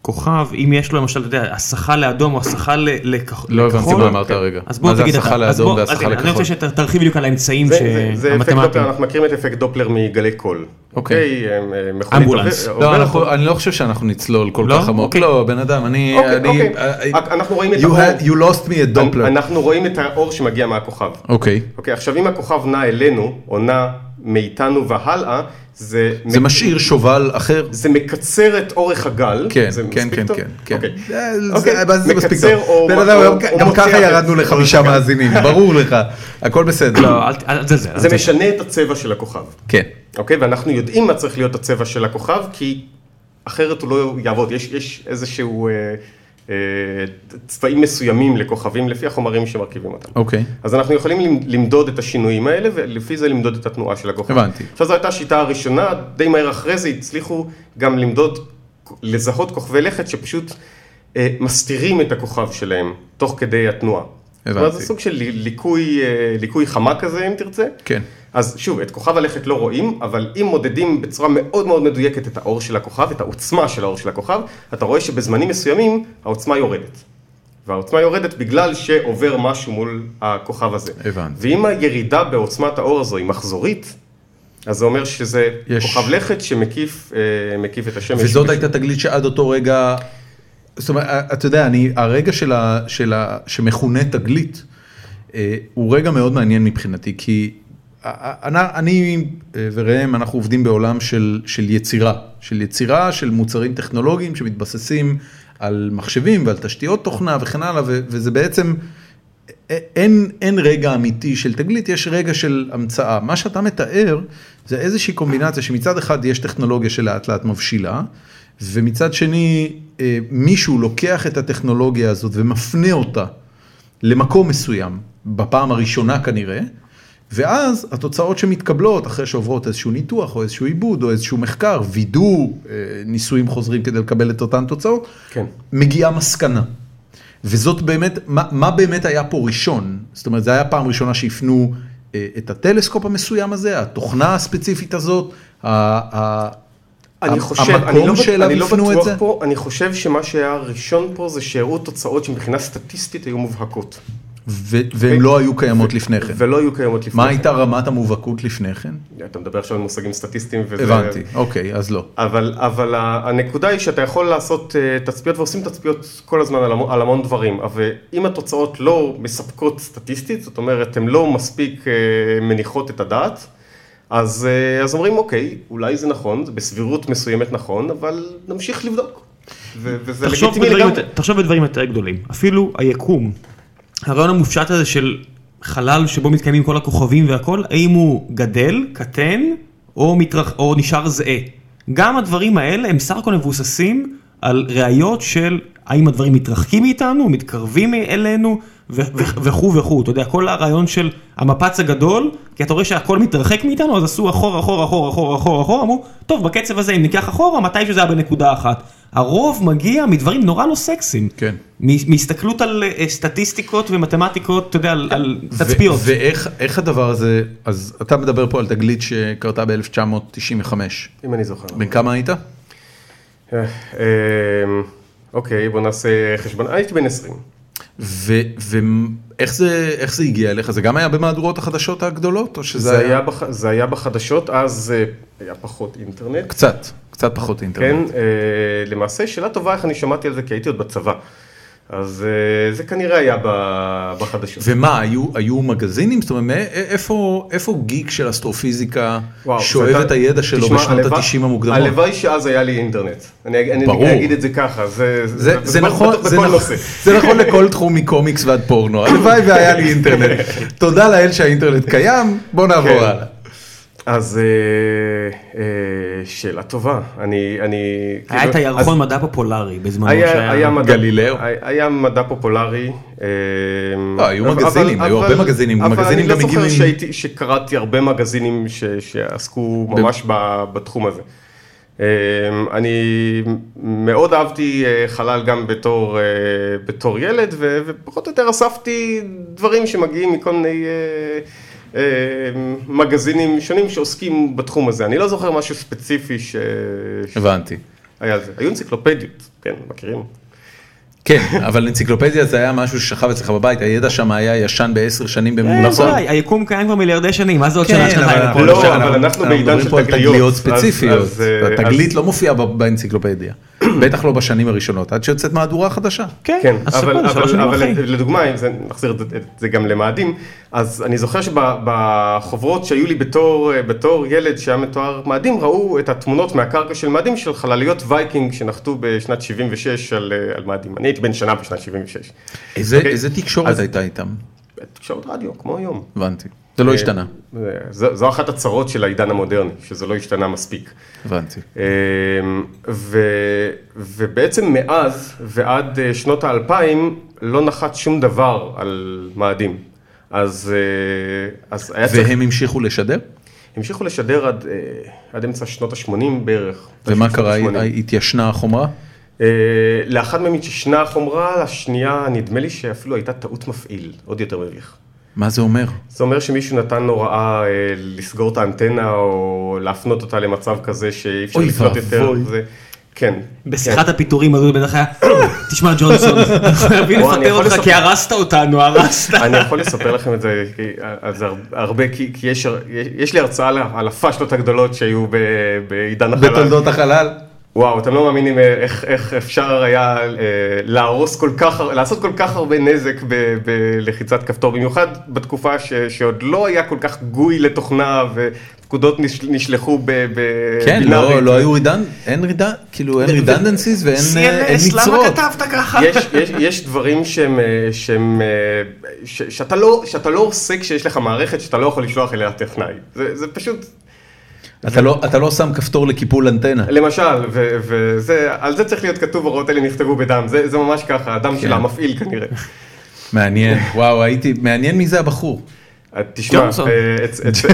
Speaker 2: שכוכב, אם יש לו למשל, אתה יודע, הסחה לאדום או הסחה ל- לכח- לכחול. כן.
Speaker 1: לא הבנתי מה אמרת הרגע.
Speaker 2: אז בוא
Speaker 1: מה זה
Speaker 2: תגיד
Speaker 1: הסחה
Speaker 2: אתה. אז
Speaker 1: לאדום
Speaker 2: בוא- אז
Speaker 1: והסחה
Speaker 2: הנה, אני
Speaker 1: לכחול?
Speaker 2: רוצה שתרחיב בדיוק על האמצעים
Speaker 3: זה, זה, זה אפקט דופלר,
Speaker 2: המתמטיים.
Speaker 3: אנחנו מכירים את אפקט דופלר מגלי קול.
Speaker 1: אוקיי.
Speaker 3: אוקיי, אה, מכונית
Speaker 2: אמבולנס.
Speaker 3: עובר-
Speaker 1: לא,
Speaker 3: עובר-
Speaker 1: אנחנו- אני לא חושב שאנחנו נצלול כל
Speaker 2: לא?
Speaker 1: כך עמוק.
Speaker 2: אוקיי.
Speaker 1: לא, בן אדם, אני...
Speaker 3: אוקיי,
Speaker 1: אני-
Speaker 3: אוקיי.
Speaker 1: I-
Speaker 3: רק אנחנו רואים את
Speaker 1: you
Speaker 3: האור.
Speaker 1: had- You lost me at דופלר.
Speaker 3: אנחנו רואים את האור שמגיע מהכוכב.
Speaker 1: אוקיי.
Speaker 3: אוקיי, עכשיו אם הכוכב נע אלינו, או נע מאיתנו והלאה, זה...
Speaker 1: זה משאיר שובל אחר.
Speaker 3: זה מקצר את אורך הגל.
Speaker 1: כן,
Speaker 3: זה
Speaker 1: כן,
Speaker 3: מספיק
Speaker 1: כן,
Speaker 3: טוב?
Speaker 1: כן, כן.
Speaker 3: אוקיי.
Speaker 1: זה-
Speaker 3: אוקיי,
Speaker 1: זה- זה מספיק
Speaker 3: מקצר
Speaker 1: טוב.
Speaker 3: או-
Speaker 1: בן
Speaker 3: או-
Speaker 1: אדם,
Speaker 3: או-
Speaker 1: גם-
Speaker 3: או
Speaker 1: גם
Speaker 3: מוציא
Speaker 1: ככה
Speaker 3: את- אוקיי.
Speaker 1: ירדנו לחמישה מאזינים, ברור לך. הכל בסדר.
Speaker 2: לא, אל ת- אל תזלזל. אל
Speaker 3: זה
Speaker 2: תזלזל.
Speaker 3: משנה את הצבע של הכוכב,
Speaker 1: כן.
Speaker 3: אוקיי? ואנחנו יודעים מה צריך להיות הצבע של הכוכב, כי אחרת הוא לא יעבוד. יש, יש איזשהו אה, אה, צבעים מסוימים לכוכבים לפי החומרים שמרכיבים אותם.
Speaker 1: אוקיי.
Speaker 3: אז אנחנו יכולים למ- למדוד את השינויים האלה, ולפי זה למדוד את התנועה של הכוכב.
Speaker 1: הבנתי.
Speaker 3: עכשיו זו הייתה השיטה הראשונה, די מהר אחרי זה הצליחו גם למדוד, לזהות כוכבי לכת שפשוט אה, מסתירים את הכוכב שלהם, תוך כדי התנועה.
Speaker 1: הבנתי.
Speaker 3: כלומר, זה סוג של ל- ליקוי, אה, ליקוי חמה כזה, אם תרצה.
Speaker 1: כן.
Speaker 3: אז שוב, את כוכב הלכת לא רואים, אבל אם מודדים בצורה מאוד מאוד מדויקת את האור של הכוכב, את העוצמה של האור של הכוכב, אתה רואה שבזמנים מסוימים העוצמה יורדת. והעוצמה יורדת בגלל שעובר משהו מול הכוכב הזה.
Speaker 1: הבנתי.
Speaker 3: ואם הירידה בעוצמת האור הזו היא מחזורית, אז זה אומר שזה
Speaker 1: יש.
Speaker 3: כוכב לכת שמקיף אה, מקיף את השמש.
Speaker 1: וזאת הייתה תגלית שעד אותו רגע, זאת אומרת, אתה יודע, אני, הרגע של ה, של ה, שמכונה תגלית, אה, הוא רגע מאוד מעניין מבחינתי, כי ה- ה- אני אה, וראם, אנחנו עובדים בעולם של, של יצירה, של יצירה של מוצרים טכנולוגיים שמתבססים על מחשבים ועל תשתיות תוכנה וכן הלאה, ו, וזה בעצם... א- אין, אין רגע אמיתי של תגלית, יש רגע של המצאה. מה שאתה מתאר זה איזושהי קומבינציה שמצד אחד יש טכנולוגיה שלאט לאט מבשילה, ומצד שני אה, מישהו לוקח את הטכנולוגיה הזאת ומפנה אותה למקום מסוים, בפעם הראשונה כנראה, ואז התוצאות שמתקבלות אחרי שעוברות איזשהו ניתוח או איזשהו עיבוד או איזשהו מחקר, וידוא אה, ניסויים חוזרים כדי לקבל את אותן תוצאות,
Speaker 3: כן.
Speaker 1: מגיעה מסקנה. וזאת באמת, מה, מה באמת היה פה ראשון? זאת אומרת, זו הייתה פעם ראשונה שהפנו אה, את הטלסקופ המסוים הזה, התוכנה הספציפית הזאת, ה, ה,
Speaker 3: אני
Speaker 1: ה-
Speaker 3: חושב, אני
Speaker 1: המקום
Speaker 3: לא, בט-
Speaker 1: שאליו
Speaker 3: אני לא
Speaker 1: הפנו את
Speaker 3: בטוח
Speaker 1: זה?
Speaker 3: פה, אני חושב שמה שהיה הראשון פה זה שהראו תוצאות שמבחינה סטטיסטית היו מובהקות.
Speaker 1: ו, והן לא היו קיימות לפני כן.
Speaker 3: ולא היו קיימות לפני
Speaker 1: מה
Speaker 3: כן.
Speaker 1: הייתה רמת המובהקות לפני כן?
Speaker 3: אתה מדבר עכשיו על מושגים סטטיסטיים וזה...
Speaker 1: הבנתי, אוקיי, אז לא.
Speaker 3: אבל, אבל ה- הנקודה היא שאתה יכול לעשות אה, תצפיות ועושים תצפיות כל הזמן על המון, על המון דברים, אבל אם התוצאות לא מספקות סטטיסטית, זאת אומרת, הן לא מספיק אה, מניחות את הדעת, אז, אה, אז אומרים, אוקיי, אולי זה נכון, זה בסבירות מסוימת נכון, אבל נמשיך לבדוק. ו- וזה
Speaker 2: תחשוב
Speaker 3: לגיטימי
Speaker 2: בדברים,
Speaker 3: לגמרי.
Speaker 2: יותר- תחשוב בדברים יותר גדולים, אפילו היקום. הרעיון המופשט הזה של חלל שבו מתקיימים כל הכוכבים והכל, האם הוא גדל, קטן או, מתרח... או נשאר זהה. גם הדברים האלה הם סך הכל מבוססים על ראיות של האם הדברים מתרחקים מאיתנו, מתקרבים אלינו ו- ו- וכו' וכו'. אתה יודע, כל הרעיון של המפץ הגדול, כי אתה רואה שהכל מתרחק מאיתנו, אז עשו אחורה, אחורה, אחורה, אחורה, אחורה, אחורה, אמרו, טוב, בקצב הזה אם ניקח אחורה, מתי שזה היה בנקודה אחת. הרוב מגיע מדברים נורא לא סקסיים.
Speaker 1: כן.
Speaker 2: מ- מהסתכלות על אה, סטטיסטיקות ומתמטיקות, אתה יודע, על, על תצפיות.
Speaker 1: ו- ואיך איך הדבר הזה, אז אתה מדבר פה על תגלית שקרתה ב-1995.
Speaker 3: אם אני זוכר.
Speaker 1: בן כמה היית?
Speaker 3: אה, אה, אוקיי, בוא נעשה חשבון. הייתי בן 20.
Speaker 1: ואיך זה, איך זה הגיע אליך? זה גם היה במהדורות החדשות הגדולות? או שזה
Speaker 3: זה היה, בח... זה היה בחדשות, אז אה, היה פחות אינטרנט.
Speaker 1: קצת, קצת פחות אינטרנט.
Speaker 3: כן, אה, למעשה, שאלה טובה איך אני שמעתי על זה, כי הייתי עוד בצבא. אז אה, זה כנראה היה ב- בחדשות.
Speaker 1: ומה, היו, היו מגזינים? זאת אומרת, מא- איפה, איפה גיק של אסטרופיזיקה
Speaker 3: וואו,
Speaker 1: שואב
Speaker 3: זה-
Speaker 1: את הידע שלו
Speaker 3: תשמע,
Speaker 1: בשנות
Speaker 3: הלוואי-
Speaker 1: ה-90 המוקדמות?
Speaker 3: הלוואי שאז היה לי אינטרנט. אני, אני,
Speaker 1: ברור.
Speaker 3: אני אגיד את זה ככה, זה,
Speaker 1: זה, זה,
Speaker 3: בטוח-
Speaker 1: נכון,
Speaker 3: בטוח
Speaker 1: זה,
Speaker 3: בכל
Speaker 1: נכון,
Speaker 3: נושא.
Speaker 1: זה נכון לכל תחום מקומיקס ועד פורנו, הלוואי והיה לי אינטרנט. תודה לאל שהאינטרנט קיים, בוא נעבור
Speaker 3: כן.
Speaker 1: הלאה.
Speaker 3: אז אה, אה, שאלה טובה. אני... אני
Speaker 2: היה
Speaker 3: כאילו-
Speaker 2: את הירחון מדע פופולרי בזמנו.
Speaker 3: היה, היה, מדע,
Speaker 1: גלילאו.
Speaker 3: היה- היה מדע פופולרי. אה,
Speaker 1: לא, היו
Speaker 3: אבל-
Speaker 1: מגזינים,
Speaker 3: אבל-
Speaker 1: היו הרבה
Speaker 3: אבל-
Speaker 1: מגזינים,
Speaker 3: אבל
Speaker 1: מגזינים
Speaker 3: אני לא
Speaker 1: גם הגיעו
Speaker 3: זוכר
Speaker 1: עם-
Speaker 3: שהייתי, שקראתי הרבה מגזינים ש, שעסקו ממש ב, בתחום הזה. אה, אני מאוד אהבתי אה, חלל גם בתור, אה, בתור ילד, ו, ופחות או יותר אספתי דברים שמגיעים מכל מיני... אה, אה, מגזינים שונים שעוסקים בתחום הזה, אני לא זוכר משהו ספציפי ש...
Speaker 1: הבנתי.
Speaker 3: היה זה. היו אנציקלופדיות, כן, מכירים?
Speaker 1: כן, אבל אנציקלופדיה זה היה משהו ששכב אצלך בבית, הידע שם היה ישן בעשר שנים
Speaker 2: נכון.
Speaker 1: בממוצע.
Speaker 2: היקום קיים כבר מיליארדי שנים, מה זה עוד
Speaker 1: כן,
Speaker 2: שנה שנתיים?
Speaker 1: אבל
Speaker 2: לפה?
Speaker 1: אנחנו-
Speaker 3: לא,
Speaker 1: עכשיו
Speaker 3: אבל אנחנו בעידן
Speaker 1: מדברים
Speaker 3: של
Speaker 1: פה על
Speaker 3: תגליות,
Speaker 1: תגליות
Speaker 3: אז-
Speaker 1: ספציפיות,
Speaker 3: אז, אה,
Speaker 1: התגלית
Speaker 3: אז-
Speaker 1: לא מופיעה ב- באנציקלופדיה, בטח לא בשנים הראשונות, עד שיוצאת מהדורה חדשה.
Speaker 3: כן,
Speaker 2: אז
Speaker 3: אבל,
Speaker 2: ספרו, שלוש
Speaker 3: אבל,
Speaker 2: שנים
Speaker 3: אבל כן.
Speaker 2: אחרי.
Speaker 3: לדוגמה, אם זה, נחזיר את זה- את זה גם למאדים, אז אני זוכר שבחוברות שהיו לי בתור, אה, בתור ילד שהיה מתואר מאדים, ראו את התמונות מהקרקע של מאדים של חלליות וייקינג שנחתו בשנת 76 על, אה, על מאדים. אני הייתי בן שנה בשנת 76.
Speaker 1: איזה
Speaker 3: אוקיי.
Speaker 1: איזה תקשורת הייתה איתם?
Speaker 3: תקשורת רדיו, כמו היום.
Speaker 1: הבנתי. זה לא השתנה,
Speaker 3: אה, זו, זו אחת הצרות של העידן המודרני, שזה לא השתנה מספיק.
Speaker 1: הבנתי.
Speaker 3: אמ, ו, ובעצם מאז ועד אה, שנות האלפיים לא נחת שום דבר על מאדים. אז, אה, אז היה צריך,
Speaker 1: והם המשיכו לשדר?
Speaker 3: המשיכו לשדר עד, אה, עד אמצע שנות ה-80 בערך.
Speaker 1: ומה
Speaker 3: שנות
Speaker 1: קרה,
Speaker 3: ה-שמונים.
Speaker 1: התיישנה החומרה?
Speaker 3: אה, לאחת מהם התיישנה החומרה, לשנייה נדמה לי שאפילו הייתה טעות מפעיל, עוד יותר מביך.
Speaker 1: מה זה אומר?
Speaker 3: זה אומר שמישהו נתן הוראה אה, לסגור את האנטנה או להפנות אותה למצב כזה שאי אפשר
Speaker 1: אוי
Speaker 3: לקלוט יותר.
Speaker 1: ואבוי.
Speaker 3: זה- כן.
Speaker 2: בשיחת הפיטורים הזו בטח היה, תשמע ג'ונסון, אנחנו חייבים
Speaker 3: וואו, אני
Speaker 2: לפטר
Speaker 3: יכול
Speaker 2: אותך
Speaker 3: לספר-
Speaker 2: כי הרסת אותנו, הרסת.
Speaker 3: אני יכול לספר לכם את זה, כי- על זה הר- הרבה, כי כי יש, יש לי הרצאה על ה- על הפאשלות הגדולות שהיו ב- בעידן החלל.
Speaker 1: בתולדות החלל?
Speaker 3: וואו, אתם לא מאמינים אה, איך, איך אפשר היה אה, להרוס כל כך, הר- לעשות כל כך הרבה נזק ב- בלחיצת כפתור, במיוחד בתקופה ש, שעוד לא היה כל כך גוי לתוכנה ופקודות נש, נשלחו ב- ב-
Speaker 1: כן,
Speaker 3: בינארית.
Speaker 1: לא, לא היו רידן, אין רידן, כאילו אין רידנדנסיס ואין אה, אין מצוות.
Speaker 2: ככה?
Speaker 3: יש, יש, יש דברים שהם, אה, שהם אה, ש, שאתה, לא, שאתה לא עושה כשיש לך מערכת שאתה לא יכול לשלוח אליה טכנאי. זה, זה פשוט,
Speaker 1: אתה לא- אתה לא שם כפתור לקיפול אנטנה.
Speaker 3: למשל, ו, וזה, על זה צריך להיות כתוב, הוראות אלה נכתבו בדם, זה, זה ממש ככה,
Speaker 1: כן.
Speaker 3: הדם של המפעיל כנראה.
Speaker 1: מעניין, וואו, הייתי, מעניין מי זה הבחור.
Speaker 3: תשמע,
Speaker 2: ג'ונסון.
Speaker 3: אה, אצ- אצ-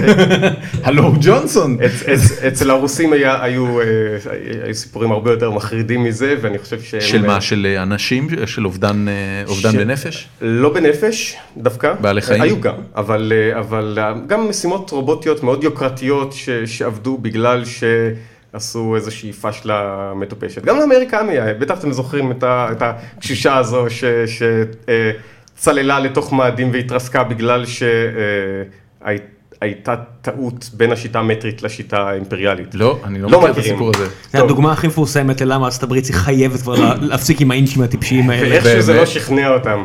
Speaker 1: הלו הוא ג'ונסון.
Speaker 3: אצ- אצ- אצל הרוסים היה- היו אה, היו סיפורים הרבה יותר מחרידים מזה, ואני חושב שהם...
Speaker 1: של
Speaker 3: אה,
Speaker 1: מה? של אה, אנשים? של אובדן אה, אובדן
Speaker 3: של-
Speaker 1: בנפש?
Speaker 3: לא בנפש, דווקא.
Speaker 1: בעלי חיים.
Speaker 3: היו גם, אבל, אה, אבל אה, גם משימות רובוטיות מאוד יוקרתיות ש, שעבדו בגלל שעשו איזושהי פשלה מטופשת. גם לאמריקני, היה, בטח אתם זוכרים את, ה, את הקשישה הזו ש- ש, אה, צללה לתוך מאדים והתרסקה בגלל שהייתה טעות בין השיטה המטרית לשיטה האימפריאלית.
Speaker 1: לא, אני לא
Speaker 3: לא
Speaker 1: מכיר את
Speaker 3: מכירים.
Speaker 1: הסיפור הזה.
Speaker 2: זה הדוגמה הכי מפורסמת ללמה ארצות הברית היא חייבת כבר לה- להפסיק עם האינצ'ים הטיפשיים האלה.
Speaker 3: ואיכשהו זה
Speaker 1: באמת?
Speaker 3: לא שכנע אותם.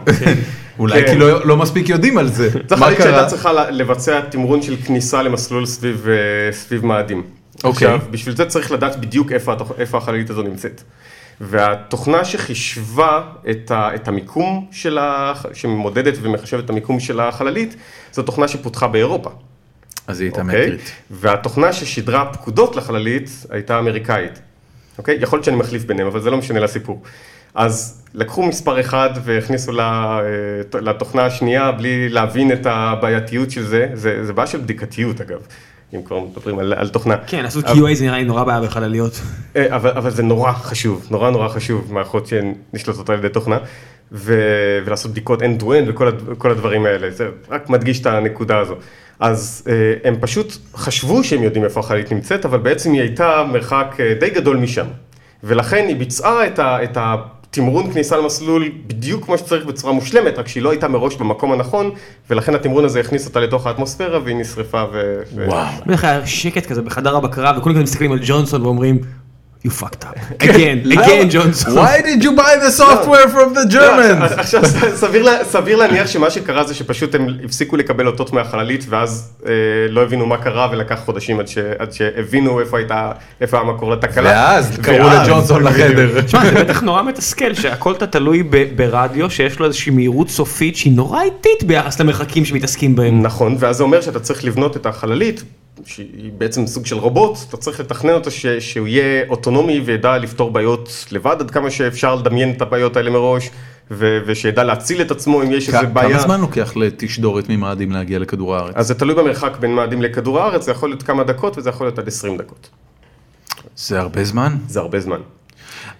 Speaker 1: אולי
Speaker 3: כן.
Speaker 1: כי לא לא מספיק יודעים על זה.
Speaker 3: צריך
Speaker 1: מה
Speaker 3: להגיד
Speaker 1: קרה?
Speaker 3: שהייתה צריכה ל- לבצע תמרון של כניסה למסלול סביב, אה, סביב מאדים.
Speaker 1: אוקיי.
Speaker 3: עכשיו, בשביל זה צריך לדעת בדיוק איפה, התוכ- איפה החללית הזו נמצאת. והתוכנה שחישבה את, ה, את המיקום של ה... שמודדת ומחשבת את המיקום של החללית, זו תוכנה שפותחה באירופה.
Speaker 1: אז היא הייתה
Speaker 3: אוקיי?
Speaker 1: מטרית.
Speaker 3: והתוכנה ששידרה פקודות לחללית הייתה אמריקאית. אוקיי? יכול להיות שאני מחליף ביניהם, אבל זה לא משנה לסיפור. אז לקחו מספר אחד והכניסו לה, אה, לתוכנה השנייה בלי להבין את הבעייתיות של זה. זה, זה בעיה של בדיקתיות אגב, אם כבר מדברים על, על תוכנה.
Speaker 2: כן, לעשות QA זה נראה לי נורא בעיה בחלליות.
Speaker 3: אה, אבל, אבל זה נורא חשוב, נורא נורא חשוב, מערכות שנשלטות על ידי תוכנה, ו, ולעשות בדיקות end to end וכל הד- כל הדברים האלה, זה רק מדגיש את הנקודה הזו. אז אה, הם פשוט חשבו שהם יודעים איפה החללית נמצאת, אבל בעצם היא הייתה מרחק אה, די גדול משם. ולכן היא ביצעה את, ה, את התמרון כניסה למסלול בדיוק כמו שצריך בצורה מושלמת, רק שהיא לא הייתה מראש במקום הנכון, ולכן התמרון הזה הכניס אותה לתוך האטמוספירה והיא נשרפה ו... ו-
Speaker 1: וואו.
Speaker 2: בדרך כלל היה שקט כזה בחדר הבקרה וכולם כזה מסתכלים על ג'ונסון ואומרים, you fucked up. again, again ג'ונסון.
Speaker 1: אה, Why did you buy the software from the Germans?
Speaker 3: לא, עכשיו, סביר לה- סביר להניח שמה שקרה זה שפשוט הם הפסיקו לקבל אותות מהחללית, ואז אה, לא הבינו מה קרה, ולקח חודשים עד ש- עד שהבינו איפה הייתה, איפה המקור לתקלה.
Speaker 1: ואז קראו
Speaker 3: ואז-
Speaker 1: לג'ונסון לחדר.
Speaker 2: תשמע, זה בטח נורא מתסכל שהכל אתה תלוי ב- ברדיו שיש לו איזושהי מהירות סופית שהיא נורא איטית ביחס למרחקים שמתעסקים בהם.
Speaker 3: נכון, ואז זה אומר שאתה צריך לבנות את החללית, שהיא בעצם סוג של רובוט, אתה צריך לתכנן אותו ש- שהוא יהיה אוטונומי וידע לפתור בעיות לבד, עד כמה שאפשר לדמיין את הבעיות האלה מראש, ו- ושידע להציל את עצמו אם יש איזה בעיה.
Speaker 1: כמה זמן לוקח לתשדורת ממאדים להגיע לכדור הארץ?
Speaker 3: אז זה תלוי במרחק בין מאדים לכדור הארץ, זה יכול להיות כמה דקות וזה יכול להיות עד 20 דקות.
Speaker 1: זה הרבה זמן.
Speaker 3: זה הרבה זמן.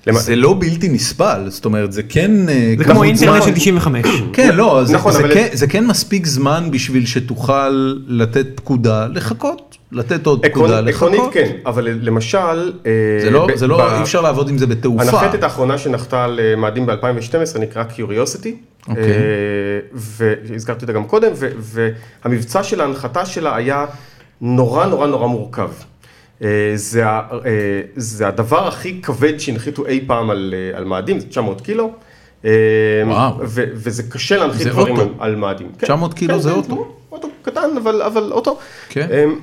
Speaker 3: למע-
Speaker 1: זה לא בלתי נסבל, זאת אומרת, זה כן... אה,
Speaker 2: זה
Speaker 1: כמות
Speaker 2: כמו אינטרנט
Speaker 1: זמן-
Speaker 2: של 95.
Speaker 1: כן, לא, זה,
Speaker 3: נכון,
Speaker 1: זה,
Speaker 3: אבל-
Speaker 1: כן, זה כן מספיק זמן בשביל שתוכל לתת פקודה לחכות, לתת עוד פקודה
Speaker 3: עקרונית-
Speaker 1: לחכות.
Speaker 3: עקרונית כן, אבל למשל...
Speaker 1: זה
Speaker 3: אה,
Speaker 1: לא,
Speaker 3: ב-
Speaker 1: זה לא,
Speaker 3: ב-
Speaker 1: אי אפשר לעבוד עם זה בתעופה.
Speaker 3: הנחתת האחרונה שנחתה על אה, מאדים ב-2012 נקרא Curiosity,
Speaker 1: אוקיי.
Speaker 3: אה, והזכרתי אותה גם קודם, ו- והמבצע של ההנחתה שלה היה נורא נורא נורא מורכב. אה, זה, ה- אה, זה הדבר הכי כבד שהנחיתו אי פעם על, אה, על מאדים, זה 900 קילו. אה,
Speaker 1: וואו.
Speaker 3: ו- וזה קשה להנחית
Speaker 1: זה
Speaker 3: דברים על,
Speaker 1: אוטו.
Speaker 3: על מאדים. כן,
Speaker 1: 900 קילו
Speaker 3: כן,
Speaker 1: זה
Speaker 3: כן,
Speaker 1: אוטו.
Speaker 3: ברור, אוטו קטן, אבל, אבל אוטו.
Speaker 1: כן.
Speaker 3: אמ,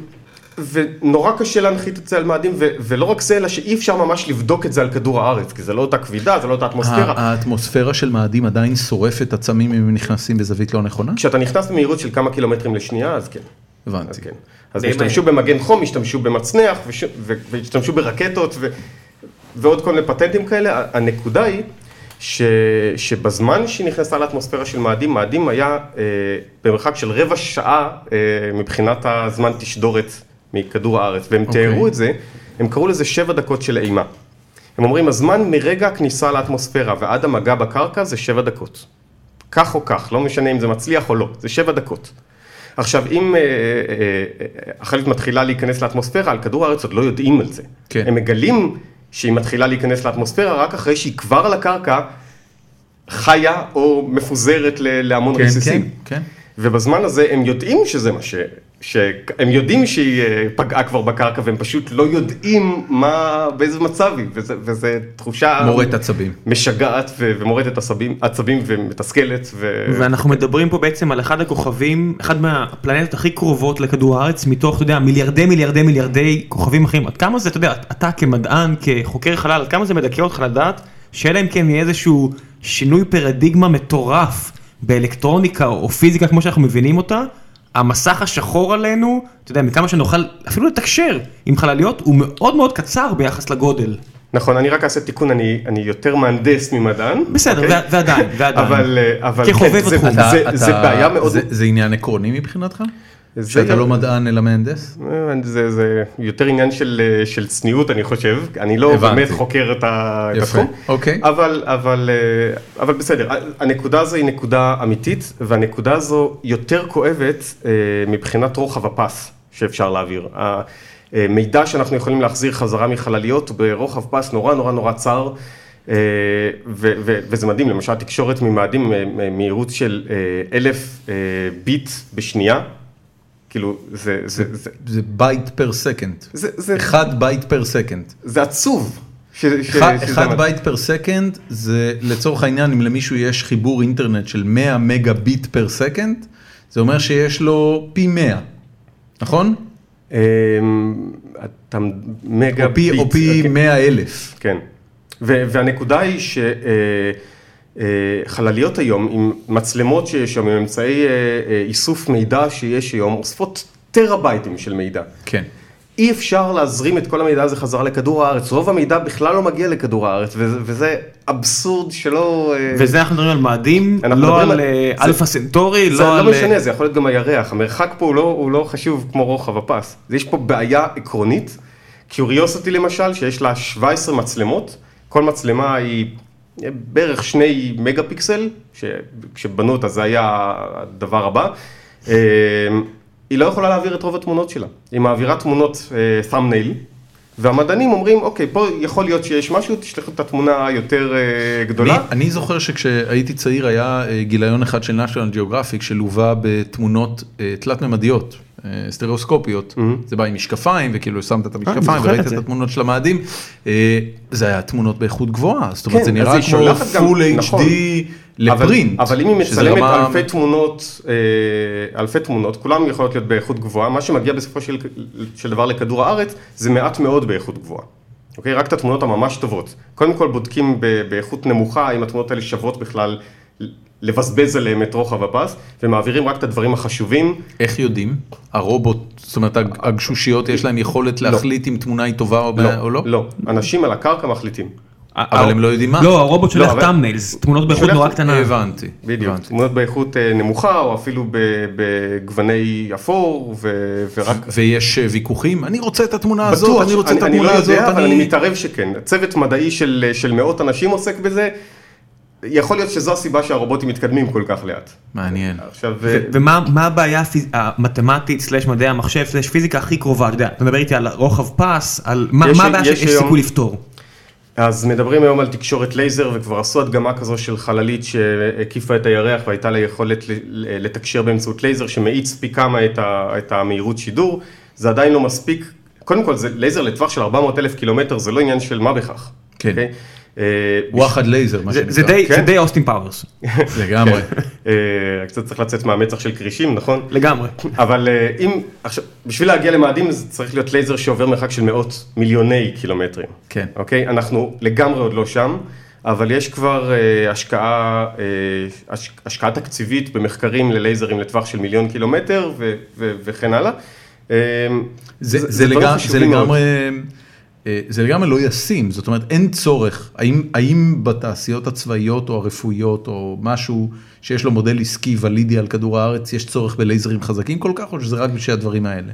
Speaker 3: ונורא קשה להנחית את זה על מאדים, ו- ולא רק זה, אלא שאי אפשר ממש לבדוק את זה על כדור הארץ, כי זה לא אותה כבידה, זה לא אותה
Speaker 1: ה-
Speaker 3: אטמוספירה.
Speaker 1: האטמוספירה של מאדים עדיין שורפת עצמים אם הם נכנסים בזווית לא נכונה?
Speaker 3: כשאתה נכנס במהירות של כמה קילומטרים לשנייה, אז כן. אז
Speaker 1: הבנתי.
Speaker 3: כן. אז
Speaker 2: די
Speaker 3: השתמשו במגן חום, השתמשו במצנח, וש- ו- והשתמשו ברקטות, ו- ועוד כל מיני פטנטים כאלה. ה- הנקודה היא ש- שבזמן שהיא נכנסה לאטמוספירה של מאדים, מאדים היה אה, במרחק של רבע שעה אה, מבחינת הזמן תשדורת מכדור הארץ, והם תיארו את זה, הם קראו לזה שבע דקות של אימה. הם אומרים, הזמן מרגע הכניסה לאטמוספירה ועד המגע בקרקע זה שבע דקות. כך או כך, לא משנה אם זה מצליח או לא, זה שבע דקות. עכשיו, אם אה, אה, אה, החללית מתחילה להיכנס לאטמוספירה, על כדור הארץ עוד לא יודעים על זה.
Speaker 1: כן.
Speaker 3: הם מגלים שהיא מתחילה להיכנס לאטמוספירה רק אחרי שהיא כבר על הקרקע חיה או מפוזרת ל- להמון
Speaker 1: כן,
Speaker 3: רסיסים.
Speaker 1: כן, כן.
Speaker 3: ובזמן הזה הם יודעים שזה מה ש... ש... הם יודעים שהיא אה, פגעה כבר בקרקע והם פשוט לא יודעים מה, באיזה מצב היא, וזה, וזה תחושה...
Speaker 1: מורט עצבים.
Speaker 3: משגעת ו- ומורטת עצבים, עצבים ומתסכלת. ו...
Speaker 2: ואנחנו מדברים פה בעצם על אחד הכוכבים, אחד מהפלנטות הכי קרובות לכדור הארץ, מתוך, אתה יודע, מיליארדי מיליארדי מיליארדי כוכבים אחרים. עד כמה זה, אתה יודע, אתה כמדען, כחוקר חלל, עד כמה זה מדכא אותך לדעת, שאלא אם כן יהיה איזשהו שינוי פרדיגמה מטורף באלקטרוניקה או פיזיקה כמו שאנחנו מבינים אותה, המסך השחור עלינו, אתה יודע, מכמה שנוכל אפילו לתקשר עם חלליות, הוא מאוד מאוד קצר ביחס לגודל.
Speaker 3: נכון, אני רק אעשה תיקון, אני, אני יותר מהנדס ממדען.
Speaker 2: בסדר,
Speaker 3: אוקיי?
Speaker 2: ו- ועדיין, ועדיין.
Speaker 3: אבל, אה, אבל
Speaker 2: כחובב
Speaker 3: כן, זה,
Speaker 2: התחום.
Speaker 1: אתה-
Speaker 3: זה,
Speaker 1: אתה-
Speaker 3: זה בעיה מאוד...
Speaker 1: זה- זה עניין עקרוני מבחינתך?
Speaker 3: זה-
Speaker 1: שאתה לא מדען אלא מהנדס?
Speaker 3: אה, זה, זה יותר עניין של, אה, של צניעות, אני חושב. אני לא
Speaker 1: הבנתי.
Speaker 3: באמת חוקר את, ה, את
Speaker 1: יפה,
Speaker 3: התחום.
Speaker 1: אוקיי.
Speaker 3: לא. אבל, אבל, אה, אבל בסדר, ה- הנקודה הזו היא נקודה אמיתית, והנקודה הזו יותר כואבת אה, מבחינת רוחב הפס שאפשר להעביר. המידע שאנחנו יכולים להחזיר חזרה מחלליות הוא ברוחב פס נורא נורא נורא צר. אה, ו- ו- וזה מדהים, למשל תקשורת ממאדים, אה, מ- מהירות של אה, אלף אה, ביט בשנייה, כאילו זה, זה, זה,
Speaker 1: זה בייט פר סקנד.
Speaker 3: זה, זה,
Speaker 1: אחד בייט פר סקנד.
Speaker 3: זה עצוב. ש, ש,
Speaker 1: אחד-
Speaker 3: שזה
Speaker 1: אחד
Speaker 3: מה-
Speaker 1: בייט פר סקנד זה לצורך העניין אם למישהו יש חיבור אינטרנט של 100 מגה ביט פר סקנד, זה אומר שיש לו פי 100, נכון?
Speaker 3: אמ, אתה מגה
Speaker 1: או פי-
Speaker 3: ביט.
Speaker 1: או פי
Speaker 3: אוקיי.
Speaker 1: 100 אלף.
Speaker 3: כן. ו- והנקודה היא שחלליות היום, עם מצלמות שיש היום, עם אמצעי אה, אה, איסוף מידע שיש היום, אוספות טראבייטים של מידע.
Speaker 1: כן.
Speaker 3: אי אפשר להזרים את כל המידע הזה חזרה לכדור הארץ, רוב המידע בכלל לא מגיע לכדור הארץ, וזה, וזה אבסורד שלא... אה,
Speaker 2: וזה אנחנו מדברים על מאדים,
Speaker 3: אנחנו
Speaker 2: לא
Speaker 3: מדברים
Speaker 2: על
Speaker 3: על-
Speaker 2: אה,
Speaker 3: זה-
Speaker 2: אלפא סנטורי,
Speaker 3: זה
Speaker 2: לא
Speaker 3: לא
Speaker 2: על...
Speaker 3: משנה, זה יכול להיות גם הירח, המרחק פה הוא לא, הוא לא חשוב כמו רוחב הפס. אז יש פה בעיה עקרונית, קיוריוסיטי למשל, שיש לה 17 מצלמות, כל מצלמה היא אה, בערך שני מגה פיקסל, ש- כשבנו אותה זה היה הדבר הבא. אה, היא לא יכולה להעביר את רוב התמונות שלה, היא מעבירה תמונות אה, thumbnail. והמדענים אומרים, אוקיי, פה יכול להיות שיש משהו, תשלחו את התמונה היותר אה,
Speaker 1: אני,
Speaker 3: גדולה.
Speaker 1: אני זוכר שכשהייתי צעיר היה אה, גיליון אחד של national geographic שלווה בתמונות אה, תלת-ממדיות, אה, סטריאוסקופיות. זה בא עם משקפיים, וכאילו שמת
Speaker 3: אה,
Speaker 1: את
Speaker 2: אני
Speaker 1: המשקפיים
Speaker 2: זוכר
Speaker 1: וראית
Speaker 2: את
Speaker 1: את
Speaker 2: זה.
Speaker 1: התמונות של המאדים. אה, זה היה תמונות באיכות גבוהה, זאת אומרת
Speaker 3: כן,
Speaker 1: זה
Speaker 3: אז
Speaker 1: נראה
Speaker 3: היא
Speaker 1: כמו
Speaker 3: שולחת גם-
Speaker 1: full
Speaker 3: נכון.
Speaker 1: HD לפרינט.
Speaker 3: אבל, אבל אם היא
Speaker 1: שזה
Speaker 3: מצלמת
Speaker 1: רמה-
Speaker 3: אלפי תמונות, אה, אלפי תמונות, כולן יכולות להיות באיכות גבוהה, מה שמגיע בסופו של, של דבר לכדור הארץ, זה מעט מאוד באיכות גבוהה. אוקיי? רק את התמונות הממש טובות. קודם כל בודקים ב, באיכות נמוכה, האם התמונות האלה שוות בכלל לבזבז עליהם את רוחב הפס, ומעבירים רק את הדברים החשובים.
Speaker 1: איך יודעים? הרובוט, זאת אומרת הג- הגשושיות יש להם יכולת להחליט אם תמונה היא טובה או מה- או לא?
Speaker 3: לא. אנשים על הקרקע מחליטים.
Speaker 1: אבל הם לא יודעים מה.
Speaker 2: אה, לא, הרובוט
Speaker 3: לא,
Speaker 2: שולח
Speaker 3: אבל-
Speaker 2: טאמניילס, תמונות באיכות
Speaker 3: שולח-
Speaker 2: נורא קטנה.
Speaker 1: הבנתי.
Speaker 3: בדיוק,
Speaker 1: הבנתי.
Speaker 3: תמונות באיכות אה, נמוכה, או אפילו ב- בגווני אפור, ו- ורק
Speaker 1: ויש אה, ויכוחים, אני רוצה את התמונה הזאת,
Speaker 3: בטוח,
Speaker 1: אני רוצה את
Speaker 3: אני
Speaker 1: התמונה
Speaker 3: לא
Speaker 1: הזאת,
Speaker 3: יודע, אבל אני מתערב שכן. צוות מדעי של, של מאות אנשים עוסק בזה. יכול להיות שזו הסיבה שהרובוטים מתקדמים כל כך לאט.
Speaker 1: מעניין.
Speaker 3: עכשיו,
Speaker 2: ו- ומה מה הבעיה הפיז- המתמטית, סלש מדעי המחשב, סלש פיזיקה הכי קרובה, אתה יודע, אתה מדבר איתי על רוחב פס, על מה
Speaker 3: יש-
Speaker 2: מה הבעיה
Speaker 3: יש
Speaker 2: שיש
Speaker 3: היום-
Speaker 2: סיכוי לפתור?
Speaker 3: אה, אז מדברים היום על תקשורת לייזר, וכבר עשו הדגמה כזו של חללית שהקיפה את הירח והייתה לה יכולת ל- ל- לתקשר באמצעות לייזר, שמאיץ פי כמה את, ה, את המהירות שידור. זה עדיין לא מספיק. קודם כל, זה לייזר לטווח של 400 אלף קילומטר, זה לא עניין של מה בכך.
Speaker 1: כן.
Speaker 3: אוקיי? אה,
Speaker 1: וואחד לייזר, מה
Speaker 2: זה- זה
Speaker 1: שנקרא.
Speaker 2: די- זה
Speaker 3: כן.
Speaker 2: די אוסטין פאוורס,
Speaker 1: לגמרי.
Speaker 3: אה, קצת צריך לצאת מהמצח של כרישים, נכון?
Speaker 2: לגמרי.
Speaker 3: אבל אה, אם, עכשיו, בשביל להגיע למאדים זה צריך להיות לייזר שעובר מרחק של מאות מיליוני קילומטרים.
Speaker 1: כן.
Speaker 3: אוקיי? אנחנו לגמרי עוד לא שם, אבל יש כבר אה, השקעה, אה, הש, השקעה תקציבית במחקרים ללייזרים לטווח של מיליון קילומטר ו, ו, וכן הלאה. אה,
Speaker 1: זה- זה
Speaker 3: זה דברים
Speaker 1: לגמרי- זה
Speaker 3: חשובים מאוד.
Speaker 1: לגמרי... אה, זה לגמרי לא ישים, זאת אומרת אין צורך, האם, האם בתעשיות הצבאיות או הרפואיות או משהו שיש לו מודל עסקי ולידי על כדור הארץ, יש צורך בלייזרים חזקים כל כך או שזה רק בשביל הדברים האלה?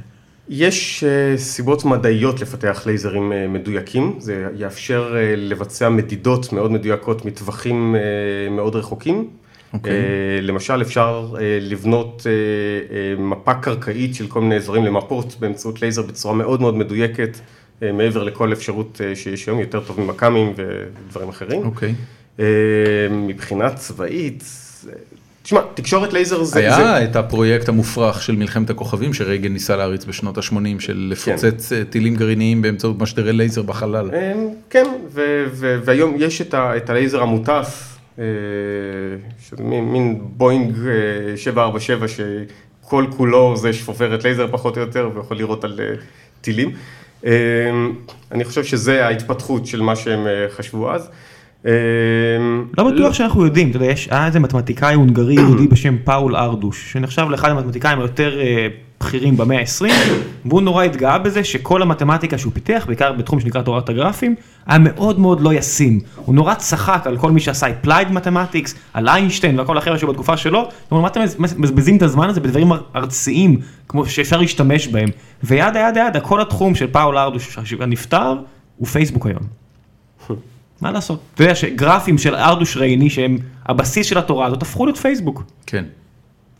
Speaker 3: יש אה, סיבות מדעיות לפתח לייזרים אה, מדויקים, זה יאפשר אה, לבצע מדידות מאוד מדויקות מטווחים אה, מאוד רחוקים.
Speaker 1: אוקיי.
Speaker 3: אה, למשל, אפשר אה, לבנות אה, אה, מפה קרקעית של כל מיני אזורים למפות באמצעות לייזר בצורה מאוד מאוד מדויקת, אה, מעבר לכל אפשרות אה, שיש היום, יותר טוב ממכ"מים ודברים אחרים.
Speaker 1: אוקיי.
Speaker 3: אה, מבחינה צבאית, אה, תשמע, תקשורת לייזר זה... זה...
Speaker 1: היה את הפרויקט המופרך של מלחמת הכוכבים שרייגן ניסה להריץ בשנות ה-80
Speaker 3: כן.
Speaker 1: של לפוצץ אה, טילים גרעיניים באמצעות משדרי לייזר בחלל.
Speaker 3: אמ, כן, ו- ו- והיום יש את, ה- את הלייזר המוטס, אה, שזה מין, מין בוינג אה, 747 שכל כולו זה שפופרת לייזר פחות או יותר ויכול לראות על אה, טילים. אמ, אני חושב שזה ההתפתחות של מה שהם אה, חשבו אז. אמ,
Speaker 2: לא בטוח שאנחנו יודעים, אתה יודע, יש, היה איזה מתמטיקאי הונגרי יהודי בשם פאול ארדוש, שנחשב לאחד המתמטיקאים היותר אה, בכירים במאה ה-20, והוא נורא התגאה בזה שכל המתמטיקה שהוא פיתח, בעיקר בתחום שנקרא תורת הגרפים, היה מאוד מאוד לא ישים. הוא נורא צחק על כל מי שעשה applied mathematics, על איינשטיין ועל כל החבר'ה שבתקופה שלו, הוא אמר, מה אתם מז- מבזבזים את הזמן הזה בדברים אר- ארציים, כמו שאפשר להשתמש בהם. ויד יד יד, כל התחום של פאול ארדוש הנפטר, הוא פייסבוק היום. מה לעשות? אתה יודע שגרפים של ארדוש רייני שהם הבסיס של התורה הזאת הפכו להיות פייסבוק.
Speaker 1: כן.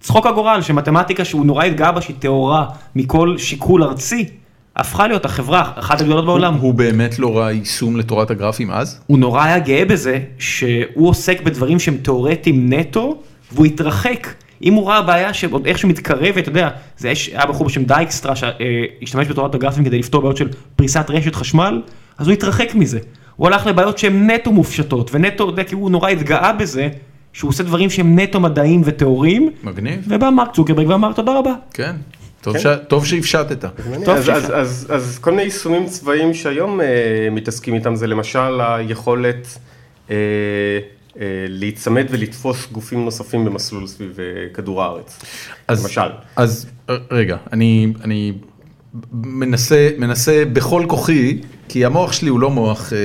Speaker 2: צחוק הגורל שמתמטיקה שהוא נורא התגאה בה שהיא טהורה מכל שיקול ארצי הפכה להיות החברה אחת הגדולות בעולם.
Speaker 1: הוא באמת לא ראה יישום לתורת הגרפים אז?
Speaker 2: הוא נורא היה גאה בזה שהוא עוסק בדברים שהם תיאורטיים נטו והוא התרחק. אם הוא ראה בעיה שעוד איכשהו מתקרבת, אתה יודע, זה יש- היה בחור בשם דייקסטרה שהשתמש בתורת הגרפים כדי לפתור בעיות של פריסת רשת חשמל, אז הוא התרחק מזה. הוא הלך לבעיות שהן נטו מופשטות, ונטו, אתה יודע, כי הוא נורא התגאה בזה שהוא עושה דברים שהם נטו מדעיים וטהוריים,
Speaker 1: מגניב.
Speaker 2: ובא מרק צוקרברג ואמר תודה רבה.
Speaker 1: כן. טוב ש- טוב שהפשטת.
Speaker 2: טוב
Speaker 3: אז,
Speaker 2: שאפשר.
Speaker 3: אז, אז, אז כל מיני יישומים צבאיים שהיום אה, מתעסקים איתם זה למשל היכולת אה, אה, להיצמד ולתפוס גופים נוספים במסלול סביב אה, כדור הארץ.
Speaker 1: אז-
Speaker 3: למשל.
Speaker 1: אז ר- רגע, אני, אני מנסה, מנסה בכל כוחי, כי המוח שלי הוא לא מוח אה,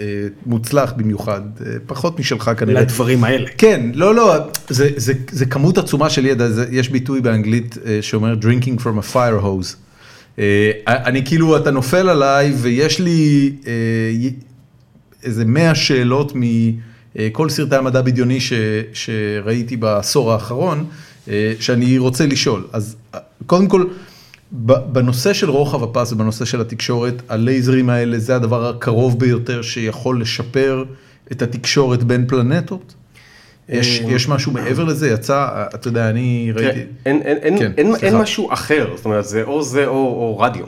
Speaker 1: אה, מוצלח במיוחד, אה, פחות משלך כנראה.
Speaker 2: לדברים האלה.
Speaker 1: כן, לא, לא, זה, זה, זה כמות עצומה של ידע, זה, יש ביטוי באנגלית אה, שאומר drinking from a fire hose. אה, אני כאילו, אתה נופל עליי ויש לי אה, י- איזה 100 שאלות מכל סרטי המדע בדיוני ש, שראיתי בעשור האחרון, אה, שאני רוצה לשאול. אז אה, קודם כל, ב- בנושא של רוחב הפס ובנושא של התקשורת, הלייזרים האלה זה הדבר הקרוב ביותר שיכול לשפר את התקשורת בין פלנטות? יש,
Speaker 3: אה,
Speaker 1: יש משהו מעבר לזה? יצא, אה, אתה יודע, אני
Speaker 3: תראה,
Speaker 1: ראיתי...
Speaker 3: כן, אין, אין, אין,
Speaker 1: כן,
Speaker 3: אין, אין
Speaker 1: סליחה.
Speaker 3: משהו אחר, זאת אומרת זה או זה או, או רדיו.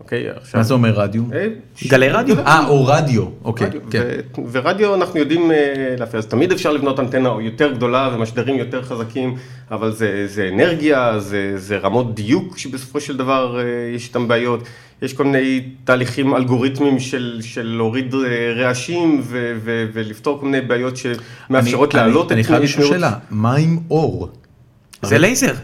Speaker 3: אוקיי, עכשיו...
Speaker 1: מה זה אומר רדיו?
Speaker 3: אה,
Speaker 2: גלי רדיו?
Speaker 1: אה, או רדיו, אוקיי,
Speaker 3: רדיו,
Speaker 1: כן.
Speaker 3: ו- ורדיו אנחנו יודעים אה, להפעיל, אז תמיד אפשר לבנות אנטנה יותר גדולה ומשדרים יותר חזקים, אבל זה, זה אנרגיה, זה, זה רמות דיוק שבסופו של דבר אה, יש איתן בעיות, יש כל מיני תהליכים אלגוריתמיים של, של להוריד אה, רעשים ו, ו, ולפתור כל מיני בעיות שמאפשרות
Speaker 1: אני-
Speaker 3: להעלות
Speaker 1: אני חייב לשאול
Speaker 3: מהירות.
Speaker 1: שאלה, מה עם אור?
Speaker 2: זה לייזר.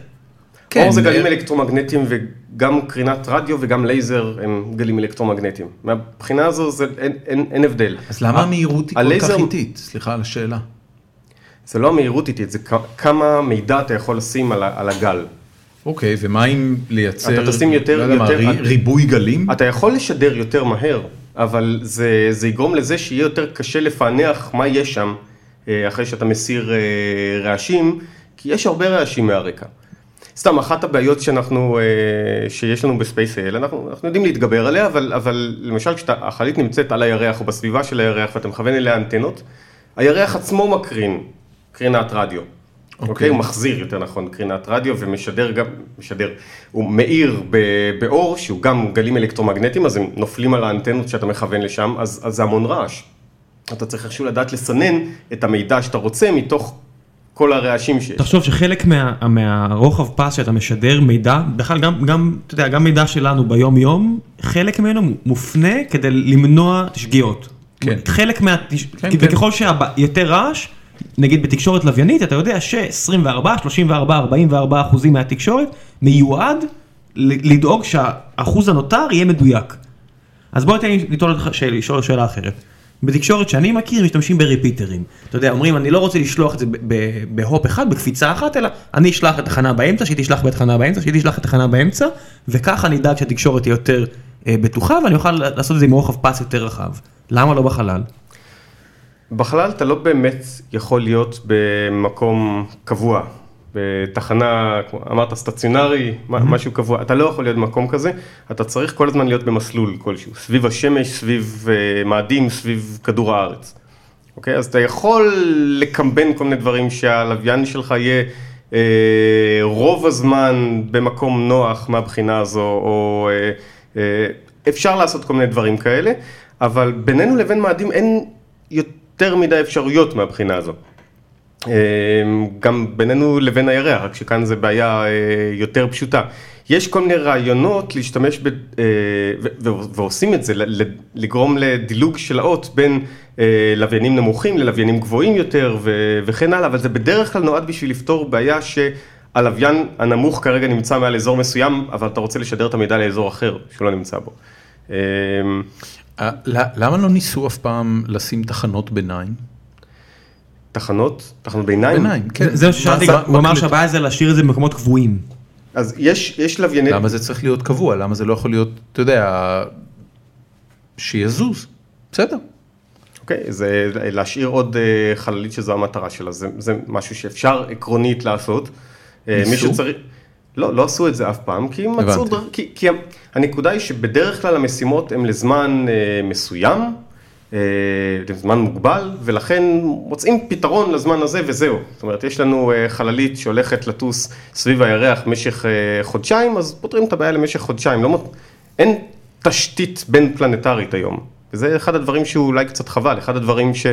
Speaker 1: כן,
Speaker 3: אור זה
Speaker 1: אה,
Speaker 3: גלים אלקטרומגנטיים וגם קרינת רדיו וגם לייזר הם גלים אלקטרומגנטיים. מהבחינה הזו זה, אין, אין, אין הבדל.
Speaker 1: אז למה המהירות היא כל כך
Speaker 3: אה, הלייזר-
Speaker 1: איטית? סליחה על השאלה.
Speaker 3: זה לא המהירות איטית, זה כ- כמה מידע אתה יכול לשים על, ה- על הגל.
Speaker 1: אוקיי, ומה אם לייצר,
Speaker 3: אתה תשים יותר-
Speaker 1: לא יודע מה,
Speaker 3: יותר- אה,
Speaker 1: רי- ריבוי גלים?
Speaker 3: אתה יכול לשדר יותר מהר, אבל זה, זה יגרום לזה שיהיה יותר קשה לפענח מה יש שם אה, אחרי שאתה מסיר אה, רעשים, כי יש הרבה רעשים מהרקע. סתם, אחת הבעיות שאנחנו, אה, שיש לנו בספייס-אל, אנחנו, אנחנו יודעים להתגבר עליה, אבל, אבל למשל כשהחללית נמצאת על הירח או בסביבה של הירח ואתה מכוון אליה אנטנות, הירח עצמו מקרין קרינת רדיו. אוקיי, okay. הוא מחזיר יותר נכון קרינת רדיו ומשדר גם, משדר, הוא מאיר ב, באור שהוא גם גלים אלקטרומגנטיים, אז הם נופלים על האנטנות שאתה מכוון לשם, אז, אז זה המון רעש. אתה צריך איכשהו לדעת לסנן את המידע שאתה רוצה מתוך כל הרעשים שיש.
Speaker 2: תחשוב שחלק מה, מהרוחב פס שאתה משדר מידע, בכלל גם, גם, אתה יודע, גם מידע שלנו ביום יום, חלק ממנו מופנה כדי למנוע שגיאות.
Speaker 1: כן.
Speaker 2: חלק מה...
Speaker 1: כן.
Speaker 2: כן, וככל שיותר רעש, נגיד בתקשורת לוויינית, אתה יודע ש-24, 34, 44 אחוזים מהתקשורת מיועד ל- לדאוג שהאחוז הנותר יהיה מדויק. אז בוא תן לי לטעון אותך שאל- לשאול שאלה אחרת. בתקשורת שאני מכיר משתמשים בריפיטרים. אתה יודע, אומרים אני לא רוצה לשלוח את זה ב- ב- בהופ אחד, בקפיצה אחת, אלא אני אשלח את התחנה באמצע, שהיא תשלח בתחנה באמצע, שהיא תשלח את התחנה באמצע, וככה אני אדאג שהתקשורת תהיה יותר אה, בטוחה ואני אוכל לעשות את זה עם רוחב פס יותר רחב. למה לא בחלל?
Speaker 3: בחלל אתה לא באמת יכול להיות במקום קבוע, בתחנה, כמו- אמרת סטציונרי, מה- משהו קבוע, אתה לא יכול להיות במקום כזה, אתה צריך כל הזמן להיות במסלול כלשהו, סביב השמש, סביב אה, מאדים, סביב כדור הארץ. אוקיי? אז אתה יכול לקמבן כל מיני דברים שהלוויין שלך יהיה אה, רוב הזמן במקום נוח מהבחינה הזו, או אה, אה, אפשר לעשות כל מיני דברים כאלה, אבל בינינו לבין מאדים אין יותר מדי אפשרויות מהבחינה הזו. אה, גם בינינו לבין הירח, רק שכאן זה בעיה אה, יותר פשוטה. יש כל מיני רעיונות להשתמש, ב, אה, ו- ו- ועושים את זה, ל- ל- לגרום לדילוג של האות בין אה, לוויינים נמוכים ללוויינים גבוהים יותר ו- וכן הלאה, אבל זה בדרך כלל נועד בשביל לפתור בעיה שהלוויין הנמוך כרגע נמצא מעל אזור מסוים, אבל אתה רוצה לשדר את המידע לאזור אחר שהוא לא נמצא בו. אה,
Speaker 1: אה, ל- למה לא ניסו אף פעם לשים תחנות ביניים?
Speaker 3: תחנות, תחנות ביניים.
Speaker 1: ביניים, כן.
Speaker 2: זה מה ששאלתי,
Speaker 1: מה-
Speaker 2: הוא
Speaker 1: מה-
Speaker 2: אמר
Speaker 1: מה-
Speaker 2: שהבעיה זה להשאיר את זה במקומות קבועים.
Speaker 3: אז יש, יש לווייני...
Speaker 1: למה זה צריך להיות קבוע? למה זה לא יכול להיות, אתה יודע, שיהיה זוז? בסדר.
Speaker 3: אוקיי, זה להשאיר עוד אה, חללית שזו המטרה שלה, זה, זה משהו שאפשר עקרונית לעשות. אה,
Speaker 1: ניסו?
Speaker 3: מישהו צריך... לא, לא עשו את זה אף פעם, כי הם מצאו
Speaker 1: הבנתי.
Speaker 3: דרך... כי, כי הנקודה היא שבדרך כלל המשימות הן לזמן אה, מסוים, אה, לזמן מוגבל, ולכן מוצאים פתרון לזמן הזה וזהו. זאת אומרת, יש לנו אה, חללית שהולכת לטוס סביב הירח במשך אה, חודשיים, אז פותרים את הבעיה למשך חודשיים. לא, מות- אין תשתית בין פלנטרית היום. וזה אחד הדברים שהוא אולי קצת חבל, אחד הדברים ש...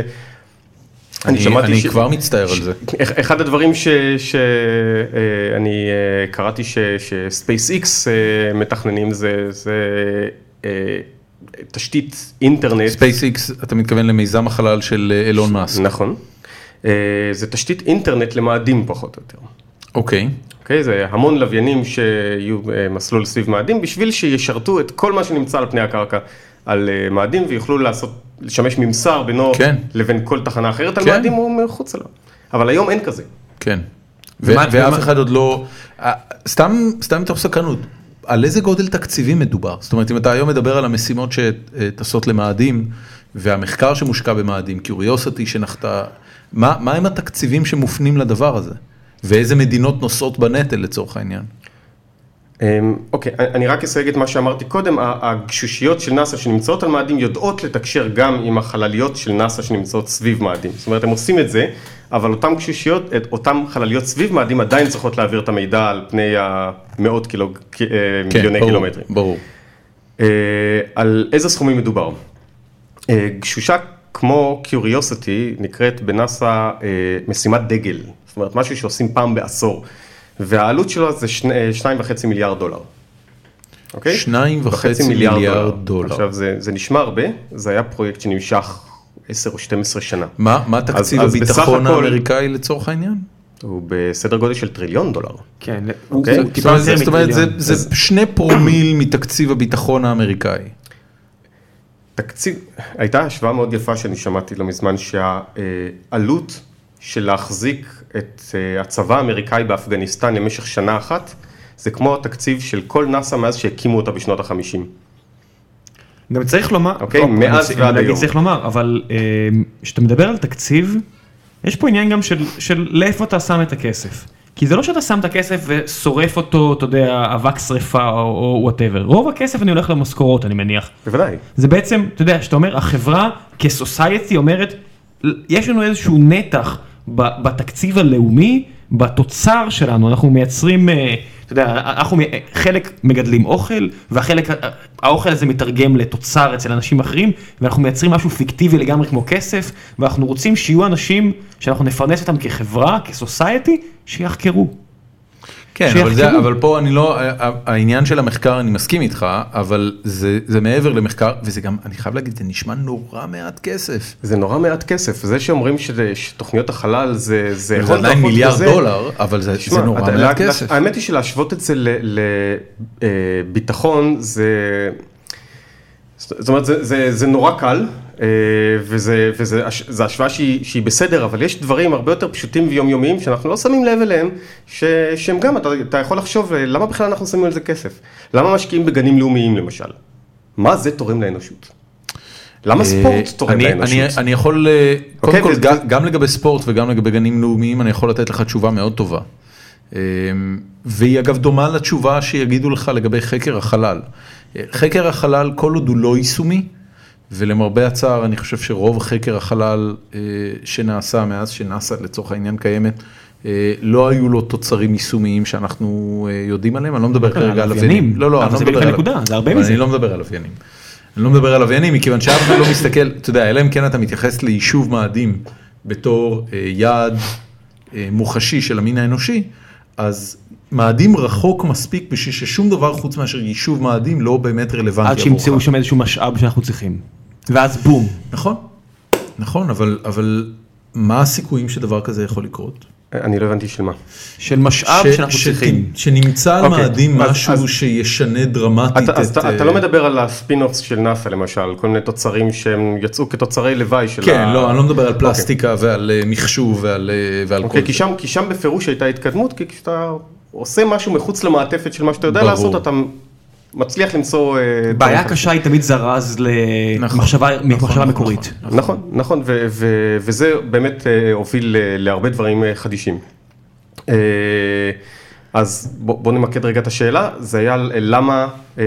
Speaker 1: אני אני
Speaker 3: ש-
Speaker 1: כבר מצטער על זה.
Speaker 3: אח- אה, אחד הדברים שאני אה, קראתי שספייסיקס אה, מתכננים זה, זה אה, תשתית אינטרנט.
Speaker 1: ספייסיקס, אתה מתכוון למיזם החלל של אה, אילון מאסק.
Speaker 3: נכון. אה, זה תשתית אינטרנט למאדים פחות או יותר.
Speaker 1: אוקיי.
Speaker 3: אוקיי? זה המון לוויינים שיהיו אה, מסלול סביב מאדים בשביל שישרתו את כל מה שנמצא על פני הקרקע על אה, מאדים ויוכלו לעשות, לשמש ממסר בינו
Speaker 1: כן.
Speaker 3: לבין כל תחנה אחרת על
Speaker 1: כן.
Speaker 3: מאדים או מחוץ אליו. אבל היום אין כזה.
Speaker 1: כן. ו-
Speaker 2: ומה-
Speaker 1: ואף
Speaker 2: ומה-
Speaker 1: אחד עוד לא, אה, סתם, סתם מתוך סקרנות, על איזה גודל תקציבי מדובר? זאת אומרת, אם אתה היום מדבר על המשימות שטסות למאדים, והמחקר שמושקע במאדים, קיוריוסיטי שנחתה, מה, מה הם התקציבים שמופנים לדבר הזה? ואיזה מדינות נושאות בנטל לצורך העניין?
Speaker 3: אמ, אוקיי, אני- אני רק אסייג את מה שאמרתי קודם, ה- הגשושיות של נאסא שנמצאות על מאדים יודעות לתקשר גם עם החלליות של נאסא שנמצאות סביב מאדים. זאת אומרת, הם עושים את זה, אבל אותן גשושיות, את אותן חלליות סביב מאדים עדיין צריכות להעביר את המידע על פני המאות קילו, קי- אה, מיליוני
Speaker 1: כן, ברור,
Speaker 3: קילומטרים.
Speaker 1: ברור.
Speaker 3: אה, על איזה סכומים מדובר. אה, גשושה כמו קיוריוסיטי נקראת בנאסא אה, משימת דגל, זאת אומרת משהו שעושים פעם בעשור, והעלות שלו זה שני- אה, שניים וחצי מיליארד דולר. אוקיי?
Speaker 1: שניים וחצי מיליארד דולר.
Speaker 3: עכשיו זה, זה נשמע הרבה, זה היה פרויקט שנמשך 10 או 12 שנה.
Speaker 1: מה, מה תקציב
Speaker 3: אז בסך
Speaker 1: הביטחון
Speaker 3: הכל-
Speaker 1: האמריקאי לצורך העניין?
Speaker 3: הוא בסדר גודל של טריליון דולר.
Speaker 2: כן,
Speaker 3: אוקיי.
Speaker 2: הוא
Speaker 1: זאת
Speaker 2: טיפה
Speaker 1: אומרת,
Speaker 2: יותר
Speaker 1: זאת אומרת, זה-
Speaker 2: מטריליון.
Speaker 1: זה שני פרומיל מתקציב הביטחון האמריקאי.
Speaker 3: תקציב, הייתה השוואה מאוד יפה שאני שמעתי לא מזמן, שהעלות של להחזיק את אה, הצבא האמריקאי באפגניסטן למשך שנה אחת, זה כמו התקציב של כל נאס"א מאז שהקימו אותה בשנות החמישים.
Speaker 2: גם צריך לומר,
Speaker 3: אוקיי,
Speaker 2: טוב,
Speaker 3: מאז
Speaker 2: אני-
Speaker 3: ועד
Speaker 2: אני אגיד
Speaker 3: היום.
Speaker 2: צריך לומר, אבל אה, כשאתה מדבר על תקציב, יש פה עניין גם של, של לאיפה אתה שם את הכסף. כי זה לא שאתה שם את הכסף ושורף אותו, אתה יודע, אבק שרפה או וואטאבר. רוב הכסף אני הולך למשכורות, אני מניח.
Speaker 3: בוודאי.
Speaker 2: זה בעצם, אתה יודע, שאתה אומר, החברה כסוסייטי אומרת, יש לנו איזשהו נתח ב- בתקציב הלאומי, בתוצר שלנו, אנחנו מייצרים, אה, אתה יודע, אנחנו מ- אה, חלק מגדלים אוכל, והחלק, ה- האוכל הזה מתרגם לתוצר אצל אנשים אחרים, ואנחנו מייצרים משהו פיקטיבי לגמרי כמו כסף, ואנחנו רוצים שיהיו אנשים שאנחנו נפרנס אותם כחברה, כסוסייטי, שיחקרו.
Speaker 1: כן,
Speaker 2: שיחקרו.
Speaker 1: אבל, זה, אבל פה אני לא, ה- ה- העניין של המחקר, אני מסכים איתך, אבל זה, זה מעבר למחקר, וזה גם, אני חייב להגיד, זה נשמע נורא מעט כסף.
Speaker 3: זה נורא מעט כסף, זה שאומרים שזה- שתוכניות החלל זה... זה
Speaker 1: זה
Speaker 3: הון
Speaker 1: עדיין
Speaker 3: תועפות
Speaker 1: מיליארד
Speaker 3: וזה-
Speaker 1: דולר, אבל זה,
Speaker 3: תשמע,
Speaker 1: זה נורא
Speaker 3: אתה-
Speaker 1: מעט
Speaker 3: לה- לה-
Speaker 1: כסף.
Speaker 3: האמת היא שלהשוות את זה לביטחון זה... זאת זאת אומרת, זה, זה, זה נורא קל, אה, וזה, וזה הש- זה השוואה שהיא, שהיא בסדר, אבל יש דברים הרבה יותר פשוטים ויומיומיים שאנחנו לא שמים לב אליהם, ש, שהם גם, אתה, אתה יכול לחשוב, אה, למה בכלל אנחנו שמים על זה כסף? למה משקיעים בגנים לאומיים למשל? מה זה תורם לאנושות? למה ספורט תורם
Speaker 1: אה, אני- אני-
Speaker 3: לאנושות?
Speaker 1: אני יכול, אה, קודם
Speaker 3: אוקיי,
Speaker 1: כל,
Speaker 3: וזה-
Speaker 1: ג- גם לגבי ספורט וגם לגבי גנים לאומיים, אני יכול לתת לך תשובה מאוד טובה. אה, והיא אגב דומה לתשובה שיגידו לך לגבי חקר החלל. אה, חקר החלל, כל עוד הוא לא יישומי, ולמרבה הצער, אני חושב שרוב חקר החלל אה, שנעשה מאז שנאס"א לצורך העניין קיימת, אה, לא היו לו תוצרים יישומיים שאנחנו אה, יודעים עליהם, אני לא מדבר כרגע על
Speaker 2: הלוויינים.
Speaker 1: לוויינים. לא, לא,
Speaker 2: אבל
Speaker 1: אני לא
Speaker 2: זה
Speaker 1: מדבר
Speaker 2: בדיוק
Speaker 1: על...
Speaker 2: הנקודה, זה הרבה
Speaker 1: אבל
Speaker 2: מזה.
Speaker 1: אני לא מדבר על לוויינים. אני לא מדבר על לוויינים, מכיוון שאף אחד לא מסתכל, אתה יודע, אלא אם כן אתה מתייחס ליישוב מאדים בתור אה, יעד אה, מוחשי של המין האנושי, אז מאדים רחוק מספיק בשביל ששום דבר חוץ מאשר יישוב מאדים לא באמת רלוונטי עבורך.
Speaker 2: עד שימצאו שם איזשהו משאב שאנחנו צריכים. ואז בום.
Speaker 1: נכון, נכון, אבל, אבל מה הסיכויים שדבר כזה יכול לקרות?
Speaker 3: אני לא הבנתי של מה.
Speaker 2: של משאב
Speaker 1: ש-
Speaker 2: שאנחנו
Speaker 1: ש-
Speaker 2: צריכים.
Speaker 1: שנמצא על
Speaker 3: אוקיי,
Speaker 1: מאדים
Speaker 3: אז-
Speaker 1: משהו
Speaker 3: אז-
Speaker 1: שישנה דרמטית
Speaker 3: אתה, אז
Speaker 1: את...
Speaker 3: אתה, אתה
Speaker 1: אה,
Speaker 3: לא מדבר על הספינופס של נאסא למשל, כל מיני תוצרים שהם יצאו כתוצרי לוואי של
Speaker 1: כן,
Speaker 3: ה...
Speaker 1: לא, אני לא מדבר על פלסטיקה ועל אה, מחשוב ועל אה, ועל כל
Speaker 3: אוקיי, כי
Speaker 1: זה.
Speaker 3: שם, כי שם בפירוש הייתה התקדמות, כי כשאתה עושה משהו מחוץ למעטפת של מה שאתה יודע
Speaker 1: ברור.
Speaker 3: לעשות, אתה מצליח למצוא... אה, דברים
Speaker 2: בעיה
Speaker 3: חדשים.
Speaker 2: קשה היא תמיד זרז
Speaker 1: נכון,
Speaker 2: למחשבה
Speaker 1: נכון,
Speaker 2: מחשבה
Speaker 1: נכון,
Speaker 2: מקורית.
Speaker 1: נכון.
Speaker 3: נכון, נכון, ו- ו- וזה באמת אה, הוביל אה, להרבה דברים אה, חדישים. אה, אז בוא בוא נמקד רגע את השאלה, זה היה על- אה, למה... אה,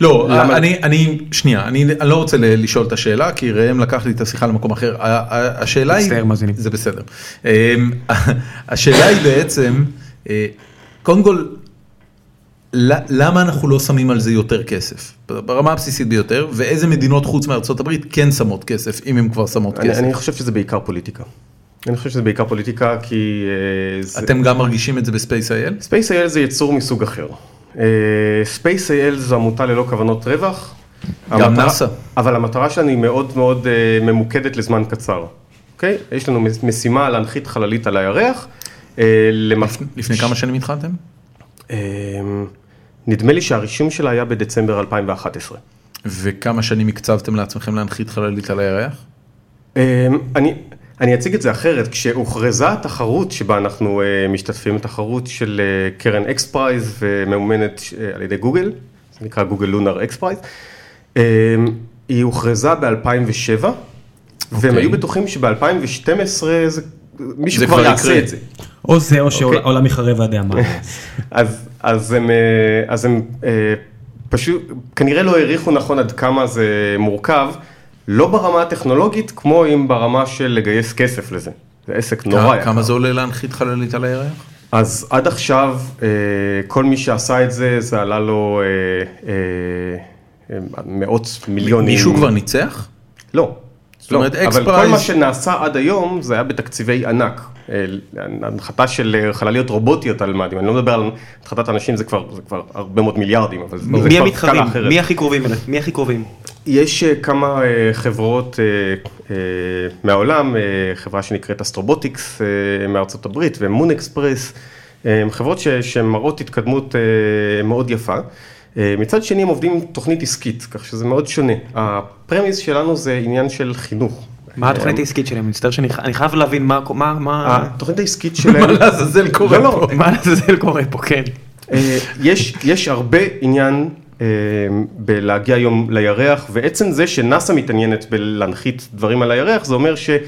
Speaker 1: לא,
Speaker 3: למה-
Speaker 1: אני, אני, שנייה, אני לא רוצה ל- לשאול את השאלה, כי ראם לקח לי את השיחה למקום אחר. ה- ה- השאלה היא...
Speaker 2: מצטער, מאזינים.
Speaker 1: זה בסדר. אמ, השאלה היא בעצם, אה, קודם כל, ל- למה אנחנו לא שמים על זה יותר כסף? ברמה הבסיסית ביותר, ואיזה מדינות חוץ מארצות הברית כן שמות כסף, אם הן כבר שמות
Speaker 3: אני,
Speaker 1: כסף.
Speaker 3: אני חושב שזה בעיקר פוליטיקה. אני חושב שזה בעיקר פוליטיקה כי... אה, זה...
Speaker 1: אתם גם מרגישים את זה ב-Space.il?
Speaker 3: SpaceIL זה יצור מסוג אחר. אה, SpaceIL זו עמותה ללא כוונות רווח.
Speaker 1: גם
Speaker 3: המטרה-
Speaker 1: נאסא.
Speaker 3: אבל המטרה שלנו היא מאוד מאוד אה, ממוקדת לזמן קצר. אוקיי? יש לנו מס- משימה להנחית חללית על הירח. אה, למפ...
Speaker 1: לפני כמה שנים התחלתם?
Speaker 3: אה, נדמה לי שהרישום שלה היה בדצמבר 2011.
Speaker 1: וכמה שנים הקצבתם לעצמכם להנחית חללית על הירח?
Speaker 3: אה, אני, אני אציג את זה אחרת, כשהוכרזה התחרות שבה אנחנו אה, משתתפים, תחרות של אה, קרן אקס פרייז וממומנת אה, על ידי גוגל, זה נקרא גוגל לונר אקס פרייז, אה, היא הוכרזה ב-2007, והם
Speaker 1: אוקיי.
Speaker 3: היו בטוחים שב-2012 זה... מישהו
Speaker 1: זה
Speaker 3: כבר
Speaker 1: כבר
Speaker 3: יעשה
Speaker 1: יקרה.
Speaker 3: את זה.
Speaker 2: או זה או שהעולם יחרב ועדי המים.
Speaker 3: אז, אז הם, אה, אז הם אה, פשוט, כנראה לא העריכו נכון עד כמה זה מורכב, לא ברמה הטכנולוגית, כמו אם ברמה של לגייס כסף לזה. זה עסק נורא
Speaker 1: כמה-
Speaker 3: יקר.
Speaker 1: כמה זה עולה להנחית חללית על הירח?
Speaker 3: אז עד עכשיו, אה, כל מי שעשה את זה, זה עלה לו אה, אה, אה, מאות מיליונים.
Speaker 1: מישהו כבר ניצח?
Speaker 3: לא.
Speaker 1: זאת
Speaker 3: לא,
Speaker 1: אומרת,
Speaker 3: אבל כל
Speaker 1: X-Prize-
Speaker 3: מה שנעשה עד היום זה היה בתקציבי ענק. אה, הנחתה של אה, חלליות רובוטיות על מאדים, אני לא מדבר על הנחתת אנשים, זה כבר, זה כבר הרבה מאוד מיליארדים, אבל זה, זה
Speaker 2: מי
Speaker 3: כבר
Speaker 2: המתחרים?
Speaker 3: אחרת.
Speaker 2: מי הכי קרובים אליי? מי הכי קרובים?
Speaker 3: יש אה, כמה אה, חברות אה, אה, מהעולם, אה, חברה שנקראת אסטרובוטיקס אה, מארצות הברית ומון אקספרס, אה, הם חברות ש- שמראות התקדמות אה, מאוד יפה. אה, מצד שני הם עובדים עם תוכנית עסקית, כך שזה מאוד שונה. הפרמיס שלנו זה עניין של חינוך.
Speaker 2: מה התוכנית העסקית שלהם? אני מצטער שאני אני חייב להבין מה... מה- מה...
Speaker 3: אה, התוכנית העסקית שלהם...
Speaker 1: מה לעזאזל קורה
Speaker 3: לא, לא,
Speaker 1: פה?
Speaker 2: מה לעזאזל קורה פה, כן.
Speaker 3: אה, יש, יש הרבה עניין אה, בלהגיע היום לירח, ועצם זה שנאסא מתעניינת בלהנחית דברים על הירח, זה אומר שהיא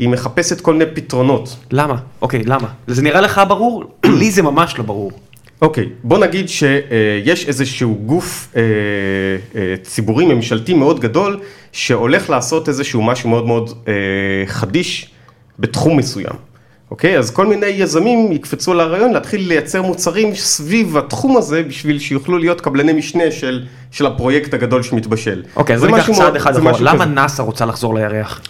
Speaker 3: מחפשת כל מיני פתרונות.
Speaker 2: למה? אוקיי, למה? זה נראה לך ברור? לי זה ממש לא ברור.
Speaker 3: אוקיי, בוא נגיד שיש איזשהו גוף אה, אה, ציבורי ממשלתי מאוד גדול, שהולך לעשות איזשהו משהו מאוד מאוד אה, חדיש בתחום מסוים. אוקיי, אז כל מיני יזמים יקפצו על הרעיון להתחיל לייצר מוצרים סביב התחום הזה, בשביל שיוכלו להיות קבלני משנה של, של הפרויקט הגדול שמתבשל.
Speaker 2: אוקיי, אז
Speaker 3: זה
Speaker 2: בוא ניקח
Speaker 3: משהו
Speaker 2: צעד
Speaker 3: מאוד-
Speaker 2: אחד
Speaker 3: זה
Speaker 2: אחורה.
Speaker 3: משהו
Speaker 2: למה
Speaker 3: כזה.
Speaker 2: נאסא רוצה לחזור לירח?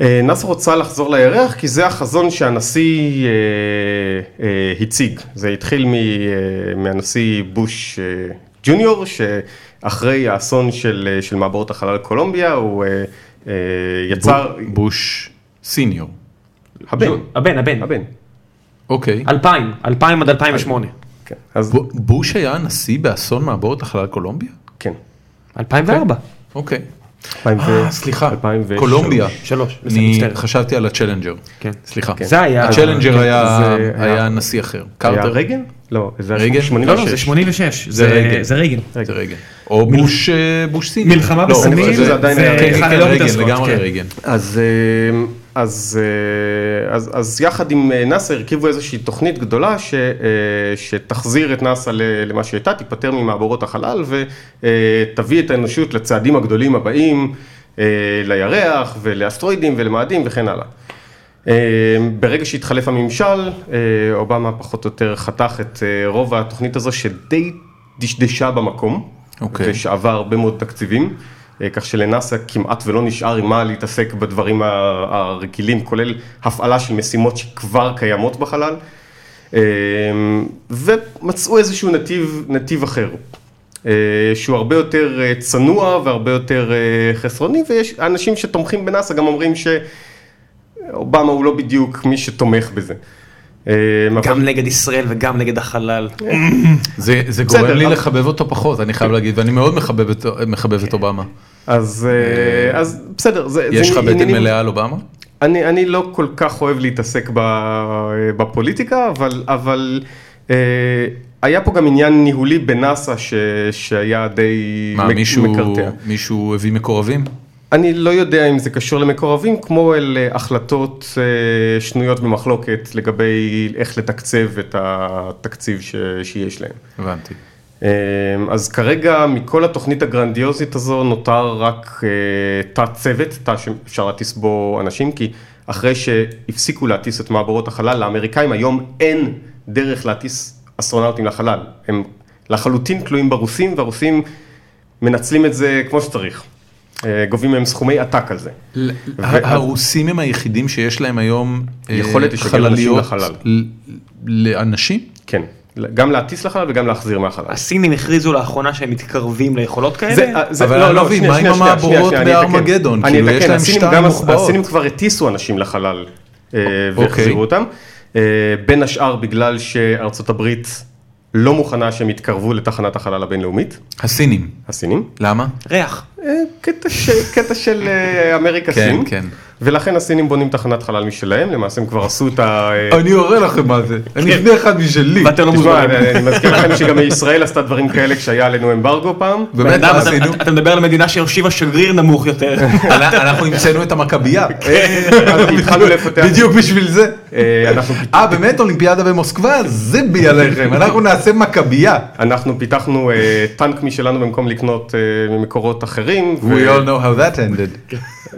Speaker 3: אה, נאס"א רוצה לחזור לירח כי זה החזון שהנשיא אה, אה, הציג. זה התחיל מ, אה, מהנשיא בוש אה, ג'וניור, שאחרי האסון של, אה, של מעברות החלל קולומביה, הוא אה, אה, יצר...
Speaker 1: ב- בוש סיניור.
Speaker 3: הבן,
Speaker 2: הבן, הבן.
Speaker 3: הבן.
Speaker 1: אוקיי.
Speaker 2: 2000, 2000 עד 2008.
Speaker 3: כן. אז
Speaker 1: ב- בוש היה הנשיא באסון מעבורת החלל קולומביה?
Speaker 3: כן.
Speaker 2: 2004.
Speaker 1: אוקיי.
Speaker 3: אלפיים ו-
Speaker 1: אה, סליחה,
Speaker 3: 2003.
Speaker 1: קולומביה.
Speaker 2: שלוש. בסדר,
Speaker 1: אני
Speaker 2: מצטער.
Speaker 1: חשבתי על הצ'לנג'ר.
Speaker 2: כן.
Speaker 1: סליחה.
Speaker 2: זה היה-
Speaker 1: הצ'לנג'ר
Speaker 3: כן,
Speaker 1: היה
Speaker 3: זה היה-
Speaker 1: היה נשיא אחר.
Speaker 3: היה
Speaker 1: קרטר.
Speaker 3: רגן? לא, זה
Speaker 1: רייגן?
Speaker 2: לא, לא, זה 86, זה
Speaker 1: רייגן.
Speaker 2: זה רייגן.
Speaker 1: זה רייגן. או בוש, אה, בוש סיני.
Speaker 2: מלחמה
Speaker 1: לא,
Speaker 2: בסמים,
Speaker 1: אני חושב שזה
Speaker 3: זה-
Speaker 1: עדיין
Speaker 3: זה-
Speaker 1: היה רייגן,
Speaker 3: כן,
Speaker 1: כן,
Speaker 2: חלום
Speaker 1: רייגן,
Speaker 2: מתעסקות,
Speaker 1: לגמרי
Speaker 2: כן.
Speaker 1: רייגן.
Speaker 3: אז, אה, אז, אה, אז, אז יחד עם אה, נאסא הרכיבו איזושהי תוכנית גדולה ש, אה, שתחזיר את נאסא ל- למה שהייתה, תיפטר ממעבורות החלל ותביא את האנושות לצעדים הגדולים הבאים, אה, לירח ולאסטרואידים ולמאדים וכן הלאה. אה, ברגע שהתחלף הממשל, אה, אובמה פחות או יותר חתך את אה, רוב התוכנית הזו שדי דשדשה במקום,
Speaker 1: אוקיי.
Speaker 3: ושעבר הרבה מאוד תקציבים, אה, כך שלנאסא כמעט ולא נשאר עם מה להתעסק בדברים ה- הרגילים, כולל הפעלה של משימות שכבר קיימות בחלל, אה, ומצאו איזשהו נתיב, נתיב אחר. אה, שהוא הרבה יותר אה, צנוע והרבה יותר אה, חסרוני, ויש אנשים שתומכים בנאסא גם אומרים ש... אובמה הוא לא בדיוק מי שתומך בזה. אה, אבל-
Speaker 2: גם נגד ישראל וגם נגד החלל.
Speaker 1: זה זה גורם
Speaker 3: בסדר,
Speaker 1: לי
Speaker 3: אבל-
Speaker 1: לחבב אותו פחות, אני חייב להגיד, ואני מאוד מחבב את- מחבב את אובמה.
Speaker 3: אז אה, אז בסדר, זה...
Speaker 1: יש
Speaker 3: זה
Speaker 1: לך בטן
Speaker 3: עניינים-
Speaker 1: מלאה על אובמה?
Speaker 3: אני אני לא כל כך אוהב להתעסק ב- בפוליטיקה, אבל- אבל אה, היה פה גם עניין ניהולי בנאסא ש- שהיה די
Speaker 1: מה,
Speaker 3: מק-
Speaker 1: מישהו-
Speaker 3: מקרטע.
Speaker 1: מישהו הביא מקורבים?
Speaker 3: אני לא יודע אם זה קשור למקורבים, כמו אל אה, החלטות אה, שנויות במחלוקת לגבי איך לתקצב את התקציב ש- שיש להם.
Speaker 1: הבנתי.
Speaker 3: אמ, אז כרגע מכל התוכנית הגרנדיוזית הזו נותר רק אה, תא צוות, תא שאפשר להטיס בו אנשים, כי אחרי שהפסיקו להטיס את מעברות החלל, לאמריקאים היום אין דרך להטיס אסטרונאוטים לחלל. הם לחלוטין תלויים ברוסים, והרוסים מנצלים את זה כמו שצריך. אה, גובים מהם סכומי עתק על זה.
Speaker 1: ל-
Speaker 3: ואז-
Speaker 1: הרוסים הם היחידים שיש להם היום אה,
Speaker 3: יכולת לשגר אנשים
Speaker 1: חלליות
Speaker 3: לחלל.
Speaker 1: ל- לאנשים?
Speaker 3: כן, גם להטיס לחלל וגם להחזיר מהחלל.
Speaker 2: הסינים הכריזו לאחרונה שהם מתקרבים ליכולות
Speaker 3: זה,
Speaker 2: כאלה.
Speaker 3: זה,
Speaker 1: אבל
Speaker 3: לא,
Speaker 1: אני
Speaker 3: לא,
Speaker 1: לא מבין,
Speaker 3: שנייה,
Speaker 1: מה עם
Speaker 3: שנייה, שנייה,
Speaker 1: המעבורות
Speaker 3: שנייה, שנייה, אני אתקן.
Speaker 1: בארמגדון?
Speaker 3: אני
Speaker 1: כאילו, יש
Speaker 3: אתקן,
Speaker 1: להם
Speaker 3: הסינים
Speaker 1: שתיים
Speaker 3: גם-
Speaker 1: מוחבאות.
Speaker 3: הסינים כבר הטיסו אנשים לחלל אה,
Speaker 1: אוקיי.
Speaker 3: והחזירו אותם, אה, בין השאר בגלל שארצות הברית לא מוכנה שהם יתקרבו לתחנת החלל הבינלאומית,
Speaker 1: הסינים.
Speaker 3: הסינים.
Speaker 1: למה?
Speaker 2: ריח.
Speaker 3: אה, קטע ש- קטע של אה, אמריקה
Speaker 1: כן,
Speaker 3: סין,
Speaker 1: כן.
Speaker 3: ולכן הסינים בונים תחנת חלל משלהם, למעשה הם כבר עשו את ה... אה,
Speaker 1: אני אראה לכם מה זה, אני
Speaker 3: כן.
Speaker 1: לפני אחד משלי.
Speaker 2: ואתם לא
Speaker 3: תשמע,
Speaker 2: מוזמנים.
Speaker 3: אני אני מזכיר לכם שגם ישראל עשתה דברים כאלה כשהיה עלינו אמברגו פעם.
Speaker 2: בן
Speaker 1: באמת,
Speaker 2: אדם,
Speaker 3: אה,
Speaker 1: מה
Speaker 2: אתה-
Speaker 1: עשינו?
Speaker 2: אתה- אתה מדבר על מדינה שהושיבה שגריר נמוך יותר.
Speaker 1: אנ- אנחנו המצאנו את המכבייה.
Speaker 3: אה, אז התחלנו לפתח,
Speaker 1: בדיוק בשביל זה.
Speaker 3: אה, אנחנו
Speaker 1: אה, באמת, אולימפיאדה במוסקבה? זה בי עליכם, אנחנו נעשה מכבייה.
Speaker 3: אנחנו פיתחנו אה, טנק משלנו במקום לקנות אה, ממקורות אחרים. אה,
Speaker 1: We all know how that
Speaker 3: כן,
Speaker 1: ended.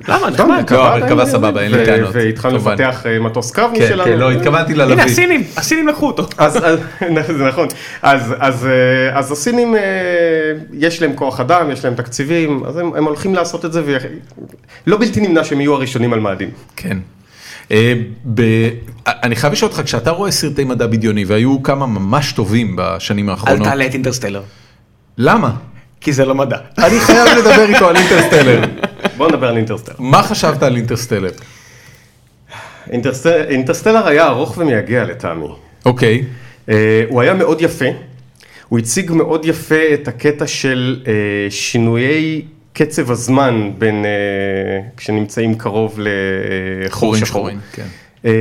Speaker 2: למה? נחמד.
Speaker 1: לא, אבל קבע סבבה, אין לי טענות,
Speaker 3: והתחלנו
Speaker 1: כמובן.
Speaker 3: לפתח אה, מטוס קרב
Speaker 1: כן,
Speaker 3: משלנו.
Speaker 1: כן, לא, התכוונתי
Speaker 2: הנה
Speaker 1: ללפיד.
Speaker 2: הסינים, הסינים לקחו אותו.
Speaker 1: נכון.
Speaker 3: אז, אז- זה נכון, אז, אז, אה, אז הסינים אה, יש להם כוח אדם, יש להם תקציבים, אז הם, הם הולכים לעשות את זה, ולא בלתי נמנע שהם יהיו הראשונים על מאדים.
Speaker 1: כן. אה, ב... אני חייב לשאול אותך, כשאתה רואה סרטי מדע בדיוני, והיו כמה ממש טובים בשנים
Speaker 2: אל
Speaker 1: האחרונות,
Speaker 2: תעלה את
Speaker 3: אה,
Speaker 2: אינטרסטלר.
Speaker 1: למה?
Speaker 2: כי זה לא מדע.
Speaker 1: אני חייב לדבר איתו על אינטרסטלר.
Speaker 3: בואו נדבר על אינטרסטלר.
Speaker 1: מה חשבת על אינטרסטלר?
Speaker 3: אינטרסטלר, אינטרסטלר היה ארוך ומייגע לטעמי.
Speaker 1: אוקיי,
Speaker 3: אה, הוא היה מאוד יפה, הוא הציג מאוד יפה את הקטע של אה, שינויי קצב הזמן בין, אה, כשנמצאים קרוב לחור
Speaker 1: חורים
Speaker 3: שחור.
Speaker 1: שחורים. כן.
Speaker 3: אה,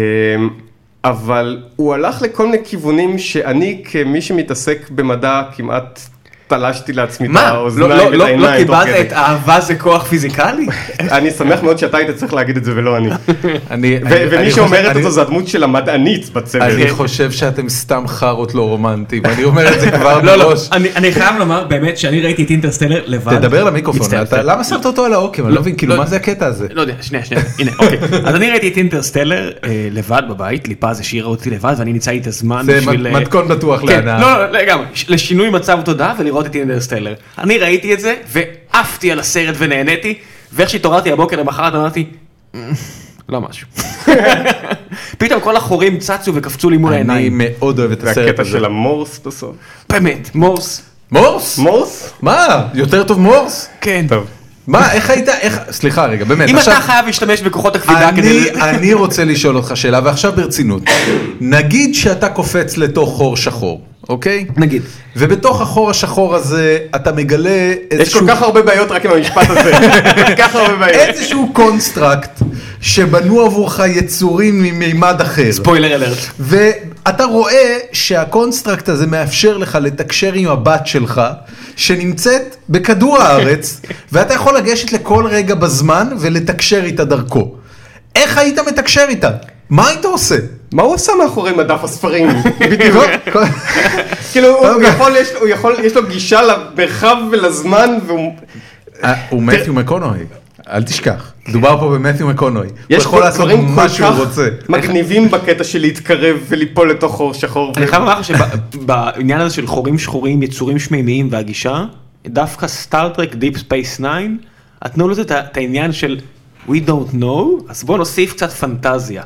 Speaker 3: אבל הוא הלך לכל מיני כיוונים שאני כמי שמתעסק במדע כמעט תלשתי לעצמי את
Speaker 2: מה? לא-
Speaker 3: האוזניים
Speaker 2: לא-
Speaker 3: ואת
Speaker 2: לא
Speaker 3: העיניים.
Speaker 2: לא
Speaker 3: תוך
Speaker 2: קיבלת
Speaker 3: כדי.
Speaker 2: את אהבה זה כוח פיזיקלי?
Speaker 3: אני שמח מאוד שאתה היית צריך להגיד את זה ולא אני.
Speaker 1: אני,
Speaker 3: ו-
Speaker 1: אני- אני
Speaker 3: ומי
Speaker 1: חושב-
Speaker 3: שאומרת את
Speaker 1: אני-
Speaker 3: זה זה הדמות של המדענית בצוות.
Speaker 2: כן.
Speaker 1: אני חושב שאתם סתם חארות לא רומנטיים, אני אומר את זה כבר
Speaker 2: לא, לא.
Speaker 1: מראש.
Speaker 4: אני אני חייב לומר באמת שאני ראיתי את אינטרסטלר לבד.
Speaker 1: תדבר למיקרופון,
Speaker 2: מצטער,
Speaker 1: אתה-
Speaker 2: מצטער.
Speaker 1: למה שמת אותו על העוקם? אני לא מבין, כאילו,
Speaker 2: לא.
Speaker 1: מה זה הקטע הזה?
Speaker 2: לא יודע, שנייה, שנייה, הנה, אוקיי. אז אני ראיתי את אינטרסטלר אה, לבד בבית, ליפז השאירה אותי לבד ואני ניצלתי את הזמן
Speaker 1: זה
Speaker 2: בשביל...
Speaker 1: מ-
Speaker 2: אה,
Speaker 1: מתכון בטוח
Speaker 2: כן,
Speaker 1: להנאה.
Speaker 2: לא, לא, לגמרי, ש- לשינוי מצב תודעה ולראות את אינטרסטלר. אני ראיתי את זה, ועפתי על הסרט ונהניתי, ואיך שהתעוררתי הבוקר למחרת אמרתי, "אמ, לא משהו. פתאום כל החורים צצו וקפצו לי מול
Speaker 1: אני
Speaker 2: העיניים.
Speaker 1: מאוד אוהב את
Speaker 3: זה
Speaker 1: הסרט
Speaker 3: הקטע
Speaker 1: הזה.
Speaker 3: של המורס בסוף.
Speaker 2: באמת, מורס,
Speaker 1: מורס?
Speaker 3: מורס?
Speaker 1: מה? יותר טוב מורס?
Speaker 2: כן.
Speaker 3: טוב.
Speaker 1: מה, איך היית, איך, סליחה רגע, באמת,
Speaker 2: אם אתה חייב להשתמש בכוחות הכבידה כדי...
Speaker 1: אני, אני רוצה לשאול אותך שאלה, ועכשיו ברצינות. נגיד שאתה קופץ לתוך חור שחור, אוקיי?
Speaker 2: נגיד.
Speaker 1: ובתוך החור השחור הזה אתה מגלה
Speaker 3: יש כל
Speaker 1: איזשהו,
Speaker 3: כך הרבה בעיות רק עם המשפט הזה. כל כך הרבה בעיות.
Speaker 1: איזשהו קונסטרקט שבנו עבורך יצורים ממימד אחר.
Speaker 2: ספוילר אלרט.
Speaker 1: אתה רואה שהקונסטרקט הזה מאפשר לך לתקשר עם הבת שלך, שנמצאת בכדור הארץ, ואתה יכול לגשת לכל רגע בזמן ולתקשר איתה דרכו. איך היית מתקשר איתה? מה היית עושה? אה,
Speaker 3: מה הוא עשה מאחורי מדף הספרים?
Speaker 1: כל-
Speaker 3: בדיוק.
Speaker 1: כל-
Speaker 3: כאילו, הוא
Speaker 1: אוקיי.
Speaker 3: יכול, יש לו- הוא יכול, יש לו גישה למרחב ולזמן, והוא...
Speaker 1: אה, הוא מתיו מקונוי, אל תשכח. מדובר פה במתיו מקונוי. הוא
Speaker 3: יש
Speaker 1: יכול
Speaker 3: פה
Speaker 1: לעשות
Speaker 3: דברים כל
Speaker 1: מה שהוא
Speaker 3: כך
Speaker 1: רוצה.
Speaker 3: מגניבים בקטע של להתקרב וליפול לתוך חור שחור.
Speaker 2: אני חייב לומר לך שבעניין הזה של חורים שחורים, יצורים שמימיים והגישה, דווקא סטארטרק דיפ ספייס 9, נתנו לזה את ה- את העניין של We don't know, אז בואו נוסיף קצת פנטזיה.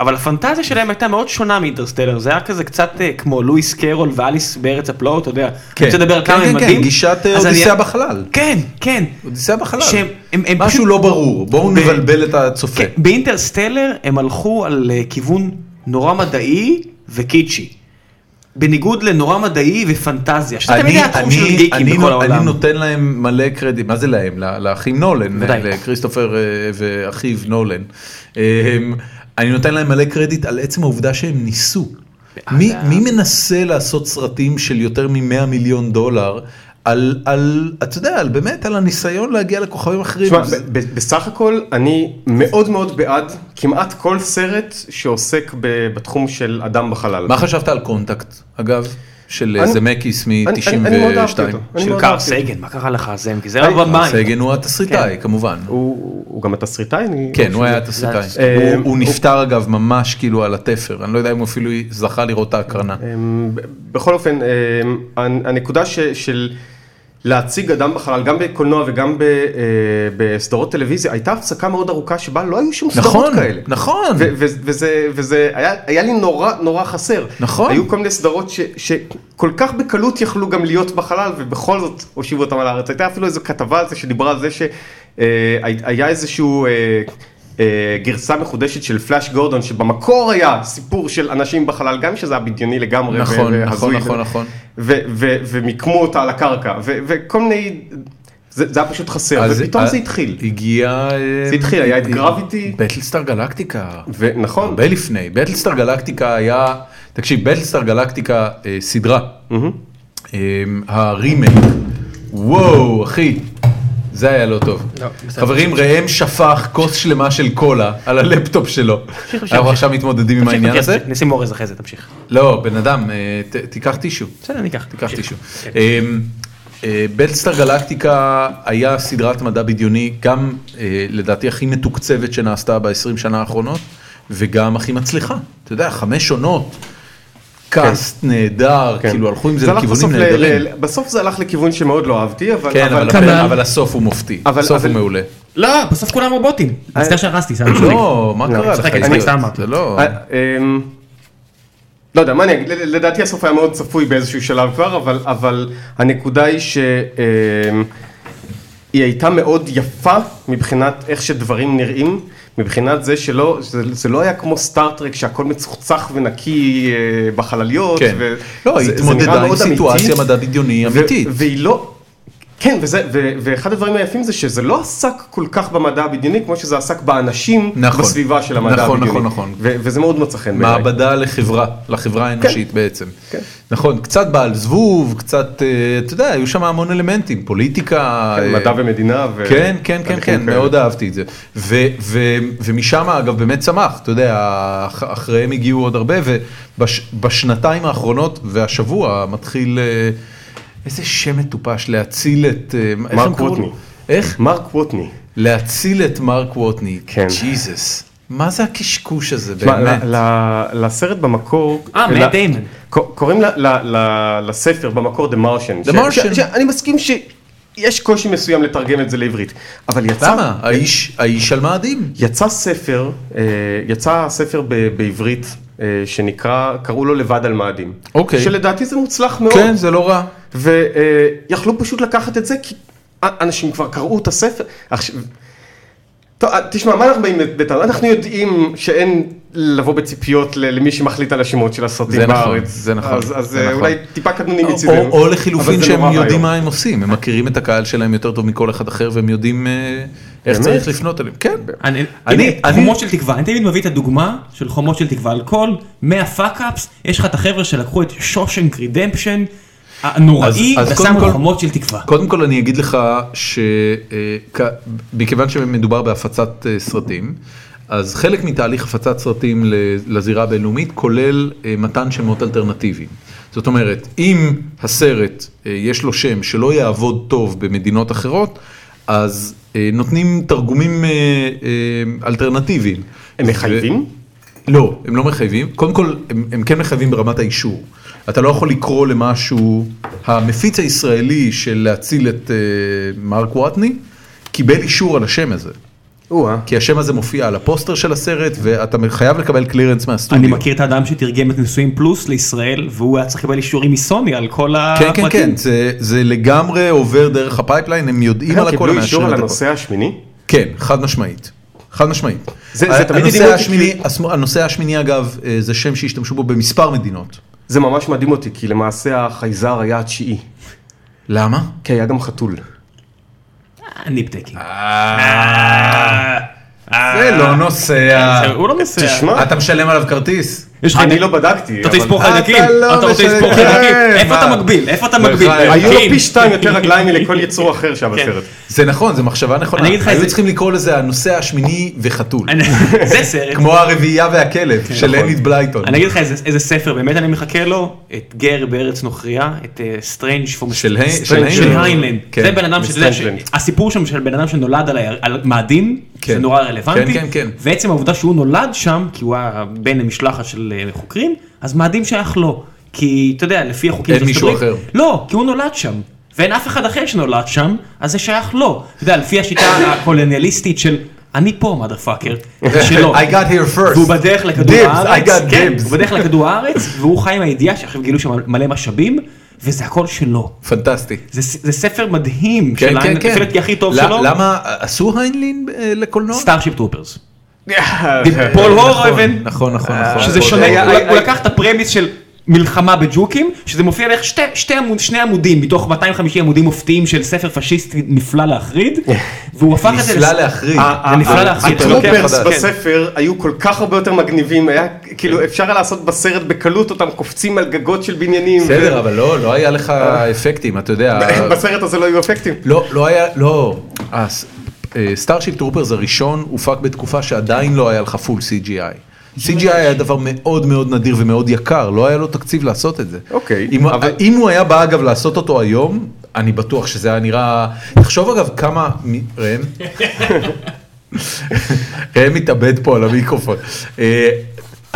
Speaker 2: אבל הפנטזיה שלהם הייתה מאוד שונה מאינטרסטלר, זה היה כזה קצת אה, כמו לואיס קרול ואליס בארץ הפלאות, אתה יודע, אני רוצה לדבר על
Speaker 1: כן,
Speaker 2: כמה
Speaker 1: כן,
Speaker 2: הם
Speaker 1: כן,
Speaker 2: מדהים.
Speaker 1: גישת אה,
Speaker 2: אז אני-
Speaker 1: אודיסאה בחלל.
Speaker 2: כן, כן.
Speaker 1: אודיסאה בחלל.
Speaker 2: שהם- הם- הם
Speaker 1: משהו
Speaker 2: פשוט-
Speaker 1: לא ברור, בואו
Speaker 2: ב-
Speaker 1: נבלבל את הצופה.
Speaker 2: כן, באינטרסטלר הם הלכו על אה, כיוון נורא מדעי וקיצ'י. בניגוד לנורא מדעי ופנטזיה, שזה תמיד היה התחום של גיקים
Speaker 1: אני,
Speaker 2: בכל
Speaker 1: נו- אני
Speaker 2: העולם.
Speaker 1: נותן להם מלא קרדיט, מה זה להם? ל- לאחים נולן,
Speaker 2: ודאי.
Speaker 1: לכריסטופר אה, ואחיו נולן. אה, הם- אני נותן להם מלא קרדיט על עצם העובדה שהם ניסו. מי, מי מנסה לעשות סרטים של יותר מ-100 מיליון דולר על, על, אתה יודע, על באמת, על הניסיון להגיע לכוכבים אחרים?
Speaker 3: תשמע,
Speaker 1: זה-
Speaker 3: ב- ב- בסך הכל אני מאוד מאוד בעד כמעט כל סרט שעוסק ב- בתחום של אדם בחלל.
Speaker 1: מה חשבת על קונטקט, אגב? של אה,
Speaker 3: אני-
Speaker 1: זמקיס
Speaker 3: אני- אני- אני מאוד אהבתי
Speaker 1: מ-92?
Speaker 3: אותו. אני
Speaker 2: של
Speaker 3: מאוד
Speaker 2: קארל
Speaker 3: אהבתי אותו.
Speaker 2: סייגן, מה קרה לך זם? כי זה
Speaker 3: אה,
Speaker 2: היה במים.
Speaker 1: סייגן הוא התסריטאי
Speaker 2: כן.
Speaker 1: כמובן.
Speaker 3: הוא הוא גם התסריטאי? אני-
Speaker 1: כן, הוא היה
Speaker 2: זה
Speaker 1: תסריטאי.
Speaker 3: היה-
Speaker 1: הוא- הוא נפטר אגב ממש כאילו על התפר, אני לא יודע אם הוא אפילו זכה לראות את ההקרנה.
Speaker 3: אמ, ב- בכל אופן, אמ, הנ- הנקודה ש- של להציג אדם בחלל, גם בקולנוע וגם ב- אה, בסדרות טלוויזיה, הייתה הפסקה מאוד ארוכה שבה לא היו שום סדרות
Speaker 1: נכון,
Speaker 3: כאלה.
Speaker 1: נכון.
Speaker 3: ו- ו- וזה, וזה היה, היה לי נורא נורא חסר.
Speaker 1: נכון.
Speaker 3: היו כל מיני סדרות ש, שכל כך בקלות יכלו גם להיות בחלל ובכל זאת הושיבו אותם על הארץ. הייתה אפילו איזו כתבה על זה שדיברה על זה שהיה איזשהו אה, אה, גרסה מחודשת של פלאש גורדון שבמקור היה סיפור של אנשים בחלל גם שזה היה בדיוני לגמרי.
Speaker 1: נכון,
Speaker 3: והזוי.
Speaker 1: נכון, נכון, נכון.
Speaker 3: ו- ו- ומיקמו אותה על הקרקע ו- וכל מיני, זה, זה היה פשוט חסר
Speaker 1: אז-
Speaker 3: ופתאום
Speaker 1: אה,
Speaker 3: זה התחיל.
Speaker 1: הגיע... אה,
Speaker 3: זה התחיל, היה את נכון. גרביטי.
Speaker 1: בטלסטאר גלקטיקה.
Speaker 3: ונכון,
Speaker 1: הרבה לפני. בטלסטאר גלקטיקה היה... תקשיב, בטלסטאר גלקטיקה אה, סדרה.
Speaker 3: Mm-hmm.
Speaker 1: אה, הרימייק. וואו, אחי. זה היה לא טוב. חברים, ראם שפך כוס שלמה של קולה על הלפטופ שלו.
Speaker 2: תמשיך.
Speaker 1: אנחנו עכשיו מתמודדים עם
Speaker 2: תמשיך,
Speaker 1: העניין
Speaker 2: תמשיך,
Speaker 1: הזה.
Speaker 2: נשים אורז אחרי זה, תמשיך.
Speaker 1: לא, בן אדם, אה, ת- תיקח טישו.
Speaker 2: בסדר, אני אקח.
Speaker 1: תיקח
Speaker 2: תמשיך.
Speaker 1: טישו.
Speaker 3: כן.
Speaker 1: אמ, אה, בלסטאר גלקטיקה היה סדרת מדע בדיוני, גם אה, לדעתי הכי מתוקצבת שנעשתה ב-20 שנה האחרונות, וגם הכי מצליחה. אתה יודע, חמש עונות, קאסט נהדר,
Speaker 3: כן.
Speaker 1: כאילו הלכו עם זה
Speaker 3: הלך
Speaker 1: לכיוונים
Speaker 3: בסוף ל-
Speaker 1: נהדרים.
Speaker 3: ל- בסוף זה הלך לכיוון שמאוד לא אהבתי, אבל...
Speaker 1: כן, אבל
Speaker 4: כנ"ל.
Speaker 1: הפרק- אבל הסוף הוא מופתי,
Speaker 3: אבל-
Speaker 1: הסוף הוא
Speaker 3: אבל-
Speaker 1: מעולה.
Speaker 4: לא, בסוף כולם רובוטים. מצטער שהרסתי, סתם.
Speaker 1: לא, מה קרה לך?
Speaker 4: צחק, אני
Speaker 1: אידיוט?
Speaker 4: סתם אמרתי.
Speaker 1: זה לא...
Speaker 3: אה, אמ, לא יודע, מה אני אגיד, ל- לדעתי הסוף היה מאוד צפוי באיזשהו שלב כבר, אבל, אבל הנקודה היא שהיא הייתה מאוד יפה מבחינת איך שדברים נראים, מבחינת זה שלא, זה, זה לא היה כמו סטארט-טרק שהכל מצוחצח ונקי אה, בחלליות.
Speaker 1: כן.
Speaker 3: ו-
Speaker 1: לא,
Speaker 3: זה-
Speaker 1: היא
Speaker 3: זה
Speaker 1: התמודדה
Speaker 3: נראה
Speaker 1: עם
Speaker 3: מאוד אמיתי.
Speaker 1: סיטואציה מדע בדיוני
Speaker 3: ו-
Speaker 1: אמיתית.
Speaker 3: והיא לא... כן, וזה, ו, ואחד הדברים היפים זה שזה לא עסק כל כך במדע הבדיוני, כמו שזה עסק באנשים
Speaker 1: נכון.
Speaker 3: בסביבה של המדע
Speaker 1: נכון,
Speaker 3: הבדיוני.
Speaker 1: נכון, נכון.
Speaker 3: ו- וזה מאוד מצא חן בעיניי.
Speaker 1: מעבדה לחברה, לחברה האנושית בעצם.
Speaker 3: כן.
Speaker 1: נכון, קצת בעל זבוב, קצת, אה, אתה יודע, היו שם המון אלמנטים, פוליטיקה.
Speaker 3: כן,
Speaker 1: אה,
Speaker 3: מדע ומדינה. ו-
Speaker 1: כן, כן, כן,
Speaker 3: תהליכים
Speaker 1: כן,
Speaker 3: כאלה.
Speaker 1: מאוד אהבתי את זה. ו- ו- ומשם, אגב, באמת צמח, אתה יודע, אח- אחריהם הגיעו עוד הרבה, ובשנתיים האחרונות, והשבוע מתחיל, אה, איזה שם מטופש, להציל את... אה, איך
Speaker 3: מרק
Speaker 1: הם קראו לו?
Speaker 3: ווטני.
Speaker 1: איך?
Speaker 3: מרק ווטני.
Speaker 1: להציל את מרק ווטני.
Speaker 3: כן.
Speaker 1: ג'יזוס. מה זה הקשקוש הזה,
Speaker 3: תשמע,
Speaker 1: באמת?
Speaker 3: ל- ל- לסרט במקור...
Speaker 4: אה, מאט
Speaker 3: ל-
Speaker 4: דיימון.
Speaker 3: ק- קוראים ל- ל- ל- לספר במקור The Martian.
Speaker 1: The
Speaker 3: ש-
Speaker 1: Martian.
Speaker 3: ש- שאני מסכים שיש קושי מסוים לתרגם את זה לעברית, אבל יצא...
Speaker 1: למה? כן. האיש, האיש על מאדים.
Speaker 3: יצא ספר, אה, יצא ספר ב- בעברית אה, שנקרא, קראו לו לבד על מאדים.
Speaker 1: אוקיי.
Speaker 3: שלדעתי זה מוצלח מאוד.
Speaker 1: כן, זה לא רע.
Speaker 3: ויכלו פשוט לקחת את זה כי אה, אנשים כבר קראו את הספר. עכשיו, טוב, אה, תשמע, מה אנחנו באים בטענות? אנחנו יודעים שאין לבוא בציפיות ל- למי שמחליט על השמות של
Speaker 1: זה
Speaker 3: הסרטים
Speaker 1: נכון,
Speaker 3: בארץ.
Speaker 1: זה נכון,
Speaker 3: אז, אז
Speaker 1: זה
Speaker 3: אה,
Speaker 1: נכון.
Speaker 3: אולי טיפה קטנוני מצידנו.
Speaker 1: או, או
Speaker 3: אבל
Speaker 1: לחילופין
Speaker 3: זה
Speaker 1: שהם
Speaker 3: נורא
Speaker 1: יודעים
Speaker 3: ואיום.
Speaker 1: מה הם עושים, הם מכירים את הקהל שלהם יותר טוב מכל אחד אחר והם יודעים אה, איך
Speaker 3: באמת?
Speaker 1: צריך לפנות אליהם, כן.
Speaker 2: אני,
Speaker 1: אני-
Speaker 2: אני,
Speaker 1: אני-
Speaker 2: חומות של תקווה, אני תמיד מביא את הדוגמה של חומות של תקווה, על כל 100 פאק-אפס, יש לך את החבר'ה שלקחו את שושנק רידמפשן הנוראי,
Speaker 1: אז- אז
Speaker 2: ושמו
Speaker 1: קודם כל-
Speaker 2: חומות של תקווה.
Speaker 1: קודם כל אני אגיד לך שמכיוון שמדובר בהפצת אה, סרטים, אז חלק מתהליך הפצת סרטים ל- לזירה הבינלאומית כולל אה, מתן שמות אלטרנטיביים. זאת אומרת, אם הסרט אה, יש לו שם שלא יעבוד טוב במדינות אחרות, אז אה, נותנים תרגומים אה, אה, אלטרנטיביים.
Speaker 3: הם מחייבים?
Speaker 1: לא, הם לא מחייבים. קודם כל, הם, הם כן מחייבים ברמת האישור. אתה לא יכול לקרוא למשהו, המפיץ הישראלי של להציל את uh, מרק וואטני, קיבל אישור על השם הזה.
Speaker 3: או-אה. כן,
Speaker 1: כי השם הזה מופיע על הפוסטר של הסרט, ואתה חייב לקבל קלירנס מהסטודיו.
Speaker 2: אני מכיר את האדם שתרגם את נישואים פלוס לישראל, והוא היה צריך לקבל אישורים מסוני על כל
Speaker 1: כן,
Speaker 2: הפרטים.
Speaker 1: כן, כן, זה, זה לגמרי עובר דרך הפייפליין, הם יודעים כן, על
Speaker 3: הם
Speaker 1: הכל.
Speaker 3: קיבלו
Speaker 1: הם מאשרים
Speaker 3: אישור לא על
Speaker 1: את הכל.
Speaker 3: הנושא השמיני?
Speaker 1: כן, חד משמעית. חד משמעית.
Speaker 3: זה- זה תמיד
Speaker 1: הנושא
Speaker 3: מדהים אותי,
Speaker 1: השמיני,
Speaker 3: כי-
Speaker 1: הסמו- הנושא השמיני אגב, אה, זה שם שהשתמשו בו במספר מדינות.
Speaker 3: זה ממש מדהים אותי, כי למעשה החייזר היה התשיעי,
Speaker 1: למה?
Speaker 3: כי היה גם חתול.
Speaker 2: ניפטקים.
Speaker 1: זה לא נוסע.
Speaker 2: הוא לא נוסע.
Speaker 3: תשמע,
Speaker 1: אתה משלם עליו כרטיס?
Speaker 2: יש לך-
Speaker 3: אני לא בדקתי,
Speaker 2: אתה רוצה
Speaker 3: אבל-
Speaker 2: לספור
Speaker 1: אתה
Speaker 2: חיידקים?
Speaker 1: לא
Speaker 2: אתה רוצה
Speaker 1: משלם.
Speaker 2: לספור
Speaker 1: כן,
Speaker 2: חיידקים? איפה
Speaker 1: מה? לא
Speaker 2: אתה מגביל? איפה אתה מגביל? אה, כאילו.
Speaker 3: היו לו
Speaker 2: חיידקים.
Speaker 3: פי שתיים יותר רגליים מלכל יצור אחר שהיה בסרט.
Speaker 1: זה נכון, זו מחשבה נכונה.
Speaker 2: אני אגיד לך
Speaker 1: היו
Speaker 2: איזה-
Speaker 1: צריכים לקרוא לזה הנוסע השמיני וחתול.
Speaker 2: אני- זה סרט.
Speaker 1: כמו הרביעייה והכלב של
Speaker 3: נכון.
Speaker 1: לניד בלייטון.
Speaker 2: אני אגיד לך איזה, איזה ספר, באמת אני מחכה לו, את גר בארץ נוכריה, את אה, סטרנג' פום
Speaker 1: של היי- של
Speaker 2: של
Speaker 1: היינלנד.
Speaker 2: היינלנד.
Speaker 1: כן,
Speaker 2: זה בן אדם שאתה יודע,
Speaker 3: מסטרנג'לנד.
Speaker 2: שהסיפור שם של בן אדם שנולד על, היר- על מאדים,
Speaker 1: כן.
Speaker 2: זה נורא רלוונטי,
Speaker 1: כן, כן, כן.
Speaker 2: ועצם העובדה שהוא נולד שם, כי הוא היה בן למשלחת של אה, חוקרים, אז מאדים שייך לו, כי אתה יודע, לפי החוקים
Speaker 1: אין
Speaker 2: של ארצות
Speaker 1: מישהו
Speaker 2: הברית-
Speaker 1: אחר.
Speaker 2: לא, כי הוא נולד שם. ואין אף אחד אחר שנולד שם, אז זה שייך לו. אתה יודע, לפי השיטה הקולוניאליסטית של אני פה, מה פאקר, זה שלו.
Speaker 1: I got here first.
Speaker 2: והוא בדרך לכדור
Speaker 1: Dibs, I
Speaker 2: הארץ,
Speaker 1: got
Speaker 2: כן,
Speaker 1: dibs.
Speaker 2: הוא בדרך לכדור הארץ, והוא חי עם הידיעה שעכשיו גילו שם מלא משאבים, וזה הכל שלו.
Speaker 1: כן. פנטסטי.
Speaker 2: זה ס- זה ספר מדהים,
Speaker 1: כן,
Speaker 2: של
Speaker 1: כן,
Speaker 2: האנ-
Speaker 1: כן.
Speaker 2: החלק הכי טוב
Speaker 1: ל-
Speaker 2: שלו,
Speaker 1: למה עשו היינלין אה, לקולנוע?
Speaker 2: סטארשיפ טרופרס.
Speaker 3: אה,
Speaker 2: פול
Speaker 1: נכון,
Speaker 2: הורהבן,
Speaker 1: נכון, נכון, נכון.
Speaker 2: שזה
Speaker 1: נכון.
Speaker 2: שונה, אה,
Speaker 3: היה-
Speaker 2: הוא-
Speaker 3: היה-
Speaker 2: הוא
Speaker 3: היה-
Speaker 2: לקח את הפרמיס של מלחמה בג'וקים, שזה מופיע בערך שתי- שתי עמוד- שני עמודים מתוך 250 עמודים מופתיים של ספר פשיסטי נפלא להחריד, והוא הפך את זה...
Speaker 1: אה, נפלא
Speaker 2: לס-
Speaker 1: להחריד.
Speaker 3: אה,
Speaker 2: נפלא
Speaker 3: אה,
Speaker 2: להחזיק.
Speaker 3: הטרופרס
Speaker 1: כן.
Speaker 3: בספר היו כל כך הרבה יותר מגניבים, היה כאילו אפשר היה לעשות בסרט בקלות אותם קופצים על גגות של בניינים.
Speaker 1: בסדר,
Speaker 3: ו-
Speaker 1: אבל לא, לא היה לך אפקטים, אתה יודע.
Speaker 3: בסרט הזה לא היו אפקטים.
Speaker 1: לא, לא היה, לא. סטארשיפ טרופרס הראשון הופק בתקופה שעדיין לא היה לך פול CGI. CGI היה דבר מאוד מאוד נדיר ומאוד יקר, לא היה לו תקציב לעשות את זה.
Speaker 3: אוקיי,
Speaker 1: אם,
Speaker 3: אבל-
Speaker 1: אם הוא היה בא אגב לעשות אותו היום, אני בטוח שזה היה נראה... תחשוב אגב כמה... מ- ראם? ראם מתאבד פה על המיקרופון. אה,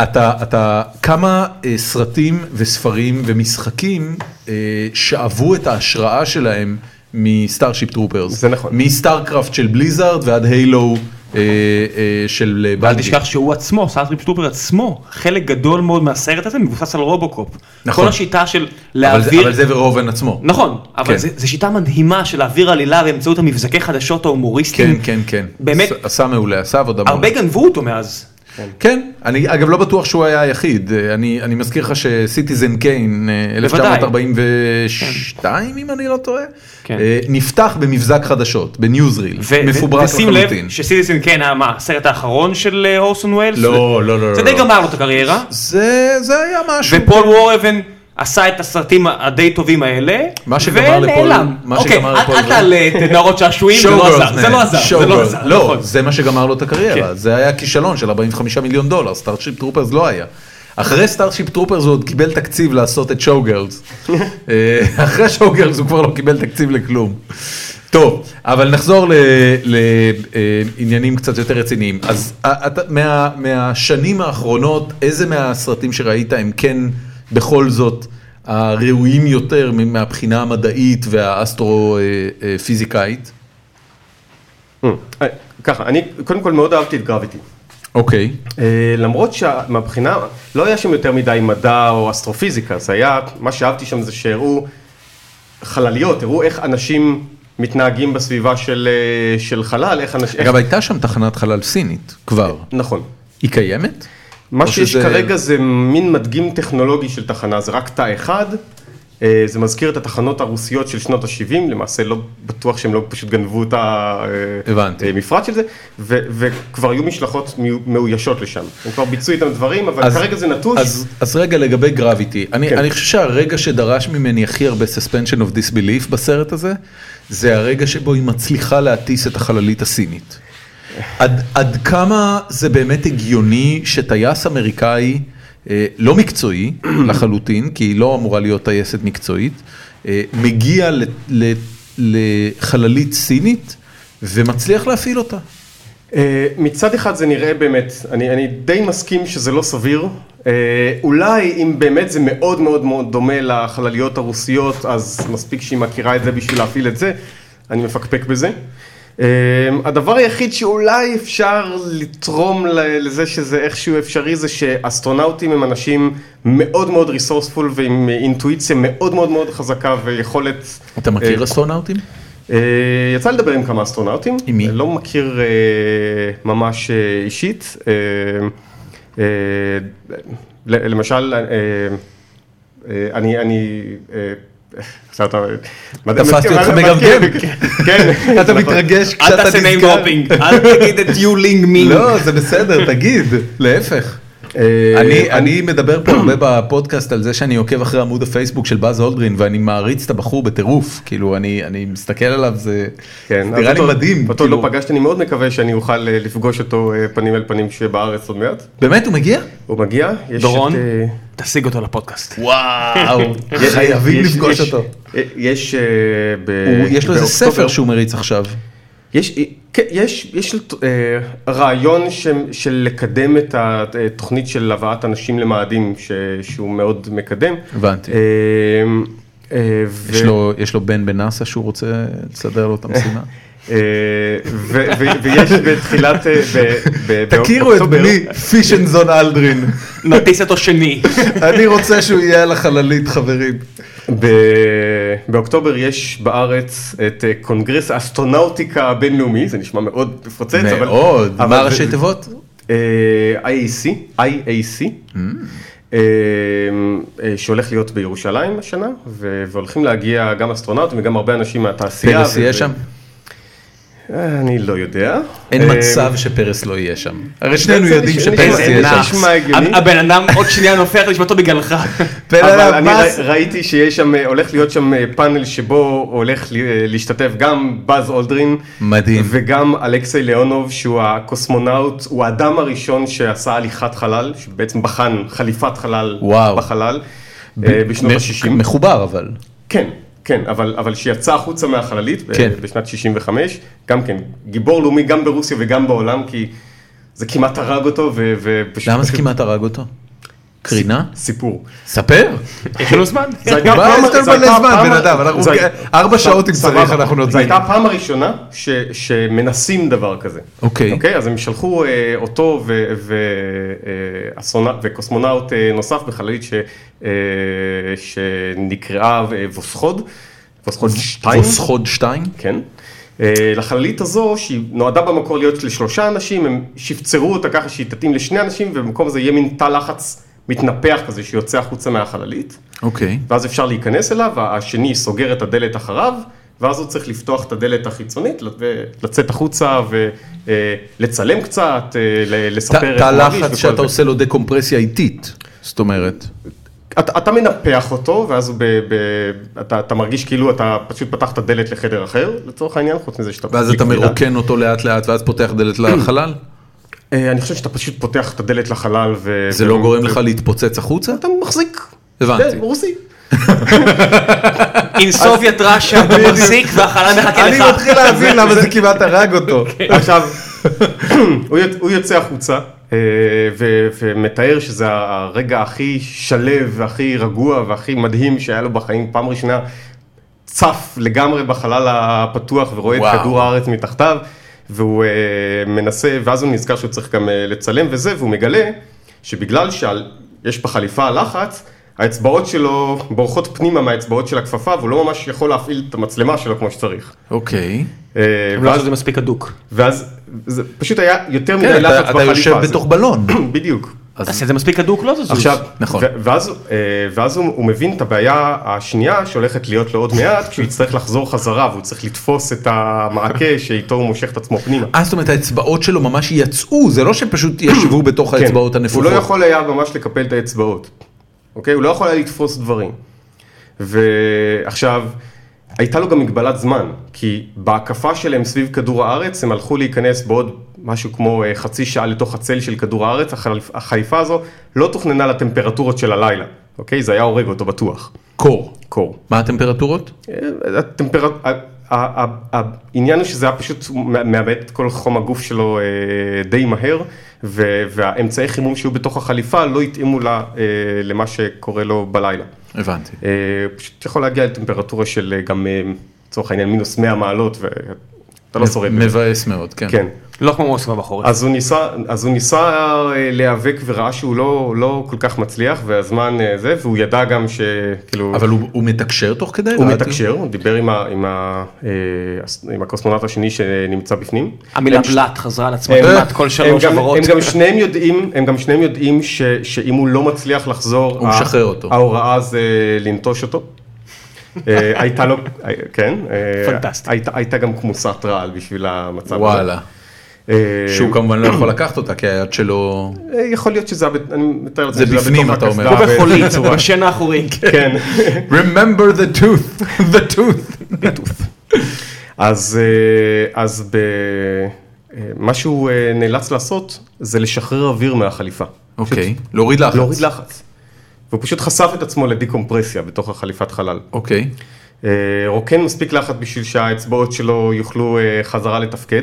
Speaker 1: אתה, אתה, כמה אה, סרטים וספרים ומשחקים אה, שאבו את ההשראה שלהם מסטארשיפ טרופרס.
Speaker 3: זה נכון.
Speaker 1: מסטארקראפט של בליזארד ועד היילו אה, אה, של
Speaker 2: אל
Speaker 1: בלג'י.
Speaker 2: תשכח שהוא עצמו, סארטריפ סטופר עצמו, חלק גדול מאוד מהסרט הזה מבוסס על רובוקופ.
Speaker 1: נכון.
Speaker 2: כל השיטה של
Speaker 1: אבל זה-
Speaker 2: להעביר...
Speaker 1: אבל זה ורובן עצמו.
Speaker 2: נכון,
Speaker 1: כן.
Speaker 2: אבל זה- זו שיטה מדהימה של להעביר עלילה באמצעות המבזקי חדשות ההומוריסטיים.
Speaker 1: כן, כן, כן.
Speaker 2: באמת,
Speaker 1: עשה- עשה מעולה, עשה עבודה מעולה.
Speaker 2: הרבה גנבו אותו מאז.
Speaker 1: כן, אני אגב לא בטוח שהוא היה היחיד, אה, אני, אני מזכיר לך שסיטיזן קיין, אה, 1942 אם אני לא טועה,
Speaker 2: כן.
Speaker 1: אה, נפתח במבזק חדשות, בניוזריל, מפוברק
Speaker 2: ושים
Speaker 1: לחלוטין.
Speaker 2: לב שסיטיזן קיין היה כן, אה, מה, הסרט האחרון של אה, אורסון ווילס?
Speaker 1: לא, לא, לא,
Speaker 2: זה
Speaker 1: לא,
Speaker 2: די
Speaker 1: לא.
Speaker 2: גמר לו את הקריירה,
Speaker 1: זה, זה היה משהו,
Speaker 2: ופול וורבן עשה את הסרטים הדי טובים האלה,
Speaker 1: מה שגמר לפול-
Speaker 2: ונעלם.
Speaker 1: מה
Speaker 2: אוקיי,
Speaker 1: שגמר
Speaker 2: אל-
Speaker 1: לפול-
Speaker 2: אל תעלה את נערות שעשועים, זה לא
Speaker 1: Showgirls,
Speaker 2: עזר, זה
Speaker 1: man.
Speaker 2: לא עזר, זה
Speaker 1: Showgirls.
Speaker 2: לא עזר,
Speaker 1: לא,
Speaker 2: נכון.
Speaker 1: זה מה שגמר לו את הקריירה,
Speaker 2: כן.
Speaker 1: זה היה כישלון של 45 מיליון דולר, סטארשיפ טרופרס לא היה. אחרי סטארשיפ טרופרס הוא עוד קיבל תקציב לעשות את שואוגרלס. אה, אחרי שואוגרלס הוא כבר לא קיבל תקציב לכלום. טוב, אבל נחזור לעניינים קצת יותר רציניים. אז אה, אתה- מה- מהשנים האחרונות, איזה מהסרטים שראית הם כן בכל זאת הראויים יותר מהבחינה המדעית אה, והאסטרופיזיקאית?
Speaker 3: אה, אה, ככה, אני קודם כל מאוד אהבתי את גרביטי.
Speaker 1: אוקיי.
Speaker 3: אה, למרות שמבחינה, לא היה שם יותר מדי מדע או אסטרופיזיקה, זה היה, מה שאהבתי שם זה שהראו חלליות, הראו איך אנשים מתנהגים בסביבה של, אה, של חלל, איך אנשים...
Speaker 1: אגב, הייתה שם תחנת חלל סינית כבר.
Speaker 3: נכון.
Speaker 1: היא קיימת?
Speaker 3: מה
Speaker 1: או
Speaker 3: שיש
Speaker 1: שזה-
Speaker 3: כרגע זה מין מדגים טכנולוגי של תחנה, זה רק תא אחד, אה, זה מזכיר את התחנות הרוסיות של שנות ה-70, למעשה לא בטוח שהם לא פשוט גנבו את
Speaker 1: הבנתי.
Speaker 3: המפרט של זה, ו- וכבר היו משלחות מאו- מאוישות לשם. הם כבר ביצעו איתם דברים, אבל
Speaker 1: אז-
Speaker 3: כרגע זה נטוש.
Speaker 1: אז, אז רגע לגבי גרביטי, אני,
Speaker 3: כן.
Speaker 1: אני חושב שהרגע שדרש ממני הכי הרבה suspension of disbelief בסרט הזה, זה הרגע שבו היא מצליחה להטיס את החללית הסינית. עד, עד כמה זה באמת הגיוני שטייס אמריקאי אה, לא מקצועי לחלוטין, כי היא לא אמורה להיות טייסת מקצועית, אה, מגיע ל, ל, לחללית סינית ומצליח להפעיל אותה.
Speaker 3: אה, מצד אחד זה נראה באמת, אני, אני די מסכים שזה לא סביר. אה, אולי אם באמת זה מאוד מאוד מאוד דומה לחלליות הרוסיות, אז מספיק שהיא מכירה את זה בשביל להפעיל את זה. אני מפקפק בזה. אה, הדבר היחיד שאולי אפשר לתרום ל- לזה שזה איכשהו אפשרי זה שאסטרונאוטים הם אנשים מאוד מאוד ריסורספול ועם אינטואיציה מאוד מאוד מאוד חזקה ויכולת...
Speaker 1: אתה
Speaker 3: אה,
Speaker 1: מכיר אסטרונאוטים?
Speaker 3: אה, יצא לדבר עם כמה אסטרונאוטים,
Speaker 1: עם מי?
Speaker 3: לא מכיר אה, ממש אה, אישית, אה, אה, ל- למשל, אה, אה, אני, אני, אה, עכשיו אתה,
Speaker 1: תפסתי אותך מגמגם.
Speaker 3: כן,
Speaker 1: אתה
Speaker 3: נכון.
Speaker 1: מתרגש
Speaker 2: אל
Speaker 1: כשאתה
Speaker 2: תעשה name
Speaker 1: נזכר.
Speaker 2: dropping, אל תגיד את you link me.
Speaker 1: לא, זה בסדר, תגיד, להפך.
Speaker 3: אה,
Speaker 1: אני, אני מדבר פה הרבה בפודקאסט על זה שאני עוקב אחרי עמוד הפייסבוק של באז הולדרין ואני מעריץ את הבחור בטירוף, כאילו אני, אני מסתכל עליו, זה
Speaker 3: כן,
Speaker 1: זה
Speaker 3: אז
Speaker 1: נראה לי
Speaker 3: אותו-
Speaker 1: מדהים,
Speaker 3: אותו לא
Speaker 1: כאילו,
Speaker 3: פגשתי, אני מאוד מקווה שאני אוכל אה, לפגוש אותו אה, פנים אל פנים שבארץ עוד מעט.
Speaker 1: באמת הוא מגיע?
Speaker 3: הוא מגיע, יש את,
Speaker 2: דורון,
Speaker 3: אה,
Speaker 2: תשיג אותו לפודקאסט.
Speaker 1: וואו,
Speaker 3: יש-
Speaker 1: חייבים
Speaker 3: יש-
Speaker 1: לפגוש
Speaker 3: יש-
Speaker 1: אותו.
Speaker 3: אה, יש, אה, ב-
Speaker 1: הוא- יש לו איזה
Speaker 3: באוקטובר-
Speaker 1: ספר שהוא מריץ עכשיו.
Speaker 3: יש, כן, יש, יש אה, רעיון ש, של לקדם את התוכנית של הבאת אנשים למאדים, ש, שהוא מאוד מקדם.
Speaker 1: הבנתי.
Speaker 3: אה, אה, ו-
Speaker 1: יש לו, יש לו בן בנאסא שהוא רוצה לסדר לו את המשימה.
Speaker 3: אה, ו- ו- ויש בתחילת, אה, ב- ב-
Speaker 1: תכירו את
Speaker 3: באוקטובר-
Speaker 1: בני פישנזון אלדרין,
Speaker 2: נטיס אותו שני.
Speaker 1: אני רוצה שהוא יהיה על החללית חברים.
Speaker 3: ב- באוקטובר יש בארץ את אה, קונגרס האסטרונאוטיקה הבינלאומי, זה נשמע מאוד מפוצץ, אבל...
Speaker 1: מאוד,
Speaker 3: אבל
Speaker 1: מה
Speaker 3: זה-
Speaker 1: הראשי תיבות?
Speaker 3: אה, IAC, IAC,
Speaker 1: Mm.
Speaker 3: אה, אה, שהולך להיות בירושלים השנה, ו- והולכים להגיע גם אסטרונאוטים וגם הרבה אנשים מהתעשייה.
Speaker 1: פרס
Speaker 3: ו-
Speaker 1: יהיה
Speaker 3: ו-
Speaker 1: שם?
Speaker 3: אה, אני לא יודע.
Speaker 1: אין
Speaker 3: אה,
Speaker 1: מצב שפרס לא יהיה שם. הרי שנינו
Speaker 3: זה
Speaker 1: יודעים
Speaker 3: נשמע-
Speaker 1: שפרס
Speaker 3: זה
Speaker 1: יהיה שם.
Speaker 3: נח. נשמע הגיוני.
Speaker 2: הבן אדם עוד שנייה נופח לשבתו בגללך.
Speaker 3: אבל
Speaker 1: פרס-
Speaker 3: אני ר- ראיתי שיש שם, אה, הולך להיות שם אה, פאנל שבו הולך ל- אה, להשתתף גם באז אולדרין.
Speaker 1: מדהים.
Speaker 3: וגם אלכסיי ליאונוב שהוא הקוסמונאוט, הוא האדם הראשון שעשה הליכת חלל, שבעצם בחן חליפת חלל
Speaker 1: וואו.
Speaker 3: בחלל אה, בשנות ה-60.
Speaker 1: מחובר אבל.
Speaker 3: כן, כן, אבל, אבל שיצא החוצה מהחללית ב-
Speaker 1: כן.
Speaker 3: בשנת 65, גם כן, גיבור לאומי גם ברוסיה וגם בעולם, כי זה כמעט הרג אותו, ו- ופשוט...
Speaker 1: למה זה
Speaker 3: פשוט
Speaker 1: כמעט הרג אותו? קרינה?
Speaker 3: סיפור.
Speaker 1: ספר.
Speaker 2: יש לנו זמן.
Speaker 3: זה הייתה
Speaker 1: מה
Speaker 3: הפעם-
Speaker 1: יש לך
Speaker 3: זה הייתה
Speaker 1: מלא זמן,
Speaker 3: הפעם-
Speaker 1: בן אדם? אנחנו-
Speaker 3: זה הי-
Speaker 1: ארבע שעות אם
Speaker 3: סבבה.
Speaker 1: צריך, אנחנו נוציא.
Speaker 3: זו הייתה הפעם הראשונה ש- שמנסים דבר כזה.
Speaker 1: אוקיי.
Speaker 3: אוקיי, אז הם שלחו אה, אותו ו- ו- אה, אסטרונא- וקוסמונאוט אה, נוסף בחללית ש- אה, שנקראה אה, ווסחוד. ווסחוד 2.
Speaker 1: ווסחוד 2?
Speaker 3: כן. אה, לחללית הזו, שהיא נועדה במקור להיות לשלושה אנשים, הם שפצרו אותה ככה שהיא תתאים לשני אנשים, ובמקום זה יהיה מין תא לחץ מתנפח כזה שיוצא החוצה מהחללית,
Speaker 1: אוקיי.
Speaker 3: ואז אפשר להיכנס אליו, השני סוגר את הדלת אחריו, ואז הוא צריך לפתוח את הדלת החיצונית, לצאת החוצה ולצלם קצת, אה, ל-
Speaker 1: ת-
Speaker 3: לספר איך
Speaker 1: תא
Speaker 3: הוא מרגיש
Speaker 1: לחץ
Speaker 3: וכל
Speaker 1: שאתה
Speaker 3: זה.
Speaker 1: עושה לו דקומפרסיה איטית. זאת אומרת.
Speaker 3: אתה, אתה מנפח אותו, ואז הוא ב, ב, אתה, אתה מרגיש כאילו אתה פשוט פתח את הדלת לחדר אחר, לצורך העניין, חוץ מזה שאתה...
Speaker 1: ואז אתה
Speaker 3: בקפידה.
Speaker 1: מרוקן אותו לאט לאט ואז פותח דלת לחלל?
Speaker 3: אה, אני חושב שאתה פשוט פותח את הדלת לחלל ו...
Speaker 1: זה לא גורם לך להתפוצץ החוצה?
Speaker 3: אתה מחזיק.
Speaker 1: הבנתי.
Speaker 3: כן, רוסי.
Speaker 2: עם סוביית רשע אתה מחזיק והחלל מחכה לך.
Speaker 1: להבין למה זה כמעט הרג אותו.
Speaker 3: עכשיו, הוא יוצ- הוא יוצא החוצה אה, ו- ומתאר שזה הרגע הכי שלב והכי רגוע והכי מדהים שהיה לו בחיים, פעם ראשונה צף לגמרי בחלל הפתוח ורואה את
Speaker 1: וואו.
Speaker 3: כדור הארץ מתחתיו, והוא אה, מנסה, ואז הוא נזכר שהוא צריך גם אה, לצלם וזה, והוא מגלה שבגלל שיש בחליפה לחץ, האצבעות שלו בורחות פנימה מהאצבעות של הכפפה והוא לא ממש יכול להפעיל את המצלמה שלו כמו שצריך.
Speaker 1: אוקיי.
Speaker 3: אה,
Speaker 2: הם לא
Speaker 3: ואז-
Speaker 2: עשו את זה מספיק הדוק.
Speaker 3: ואז זה פשוט היה יותר מדי
Speaker 1: כן,
Speaker 3: לחץ
Speaker 1: אתה- אתה
Speaker 3: בחליפה.
Speaker 1: יושב
Speaker 3: זה-
Speaker 1: בתוך בלון.
Speaker 3: בדיוק.
Speaker 1: אז
Speaker 4: תעשה את זה מספיק הדוק, לא תזוז.
Speaker 1: עכשיו, נכון.
Speaker 3: ו- ואז, אה, ואז הוא, הוא מבין את הבעיה השנייה שהולכת להיות לו עוד מעט, כשהוא יצטרך לחזור חזרה והוא צריך לתפוס את המעקה שאיתו הוא מושך את עצמו פנימה.
Speaker 1: אה, זאת אומרת, האצבעות שלו ממש יצאו, זה לא שפשוט ישבו בתוך האצבעות הנפוחות.
Speaker 3: כן. הוא לא יכול היה ממש לקפל את האצבעות, אוקיי? הוא לא יכול היה לתפוס דברים. ועכשיו, הייתה לו גם מגבלת זמן, כי בהקפה שלהם סביב כדור הארץ, הם הלכו להיכנס בעוד משהו כמו אה, חצי שעה לתוך הצל של כדור הארץ, החלפ- החליפה הזו לא תוכננה לטמפרטורות של הלילה, אוקיי? זה היה הורג אותו בטוח.
Speaker 1: קור.
Speaker 3: קור.
Speaker 1: מה הטמפרטורות?
Speaker 3: הטמפרט... ה- ה- ה- העניין הוא שזה היה פשוט הוא מא- מאבד את כל חום הגוף שלו אה, די מהר, ו- והאמצעי חימום שהיו בתוך החליפה לא התאימו לה, אה, למה שקורה לו בלילה.
Speaker 1: הבנתי.
Speaker 3: אה, פשוט יכול להגיע לטמפרטורה של אה, גם, אה, לצורך העניין, מינוס 100 מעלות, ואתה לא שורד.
Speaker 1: מבאס מאוד, כן.
Speaker 3: כן.
Speaker 4: לא כמו מוסקבה בחורף.
Speaker 3: אז הוא ניסה, אז הוא ניסה אה, להיאבק וראה שהוא לא, לא כל כך מצליח, והזמן אה, זה, והוא ידע גם כאילו- שכאילו...
Speaker 1: אבל הוא הוא מתקשר תוך כדי?
Speaker 3: הוא
Speaker 1: רדיו?
Speaker 3: מתקשר, הוא דיבר עם, ה, עם, ה, אה, הס- עם הקוסמונאוט השני שנמצא בפנים.
Speaker 4: המילה
Speaker 3: הם ש-
Speaker 4: בלאט חזרה על עצמה
Speaker 3: הם-
Speaker 4: כמעט כל שלוש
Speaker 3: הם גם-
Speaker 4: עברות.
Speaker 3: הם גם שניהם יודעים, הם גם שניהם יודעים ש, שאם הוא לא מצליח לחזור,
Speaker 1: הוא
Speaker 3: ה-
Speaker 1: משחרר אותו.
Speaker 3: ההוראה זה לנטוש אותו. אה, הייתה לו, אה, כן, אה,
Speaker 4: פנטסטי.
Speaker 3: הייתה, הייתה גם כמוסת רעל בשביל המצב הזה.
Speaker 1: וואלה.
Speaker 3: אה,
Speaker 1: שהוא כמובן לא יכול לקחת אותה, כי היד שלו...
Speaker 3: אה, יכול להיות שזה, היה בת- אני מתאר לעצמי
Speaker 1: זה
Speaker 3: שזה היה
Speaker 1: בפנים,
Speaker 3: בתוך
Speaker 1: אתה אומר.
Speaker 3: הקסדה
Speaker 1: הוא
Speaker 3: ו-
Speaker 4: בחולית, בשן האחורי.
Speaker 3: כן.
Speaker 1: Remember the tooth, the tooth.
Speaker 3: אז, אה, אז ב... אה, מה שהוא אה, נאלץ לעשות זה לשחרר אוויר מהחליפה.
Speaker 1: אוקיי, להוריד לחץ.
Speaker 3: להוריד לחץ. והוא פשוט חשף את עצמו לדיקומפרסיה בתוך החליפת חלל.
Speaker 1: אוקיי.
Speaker 3: אה, רוקן מספיק לחץ בשביל שהאצבעות שלו יוכלו אה, חזרה לתפקד,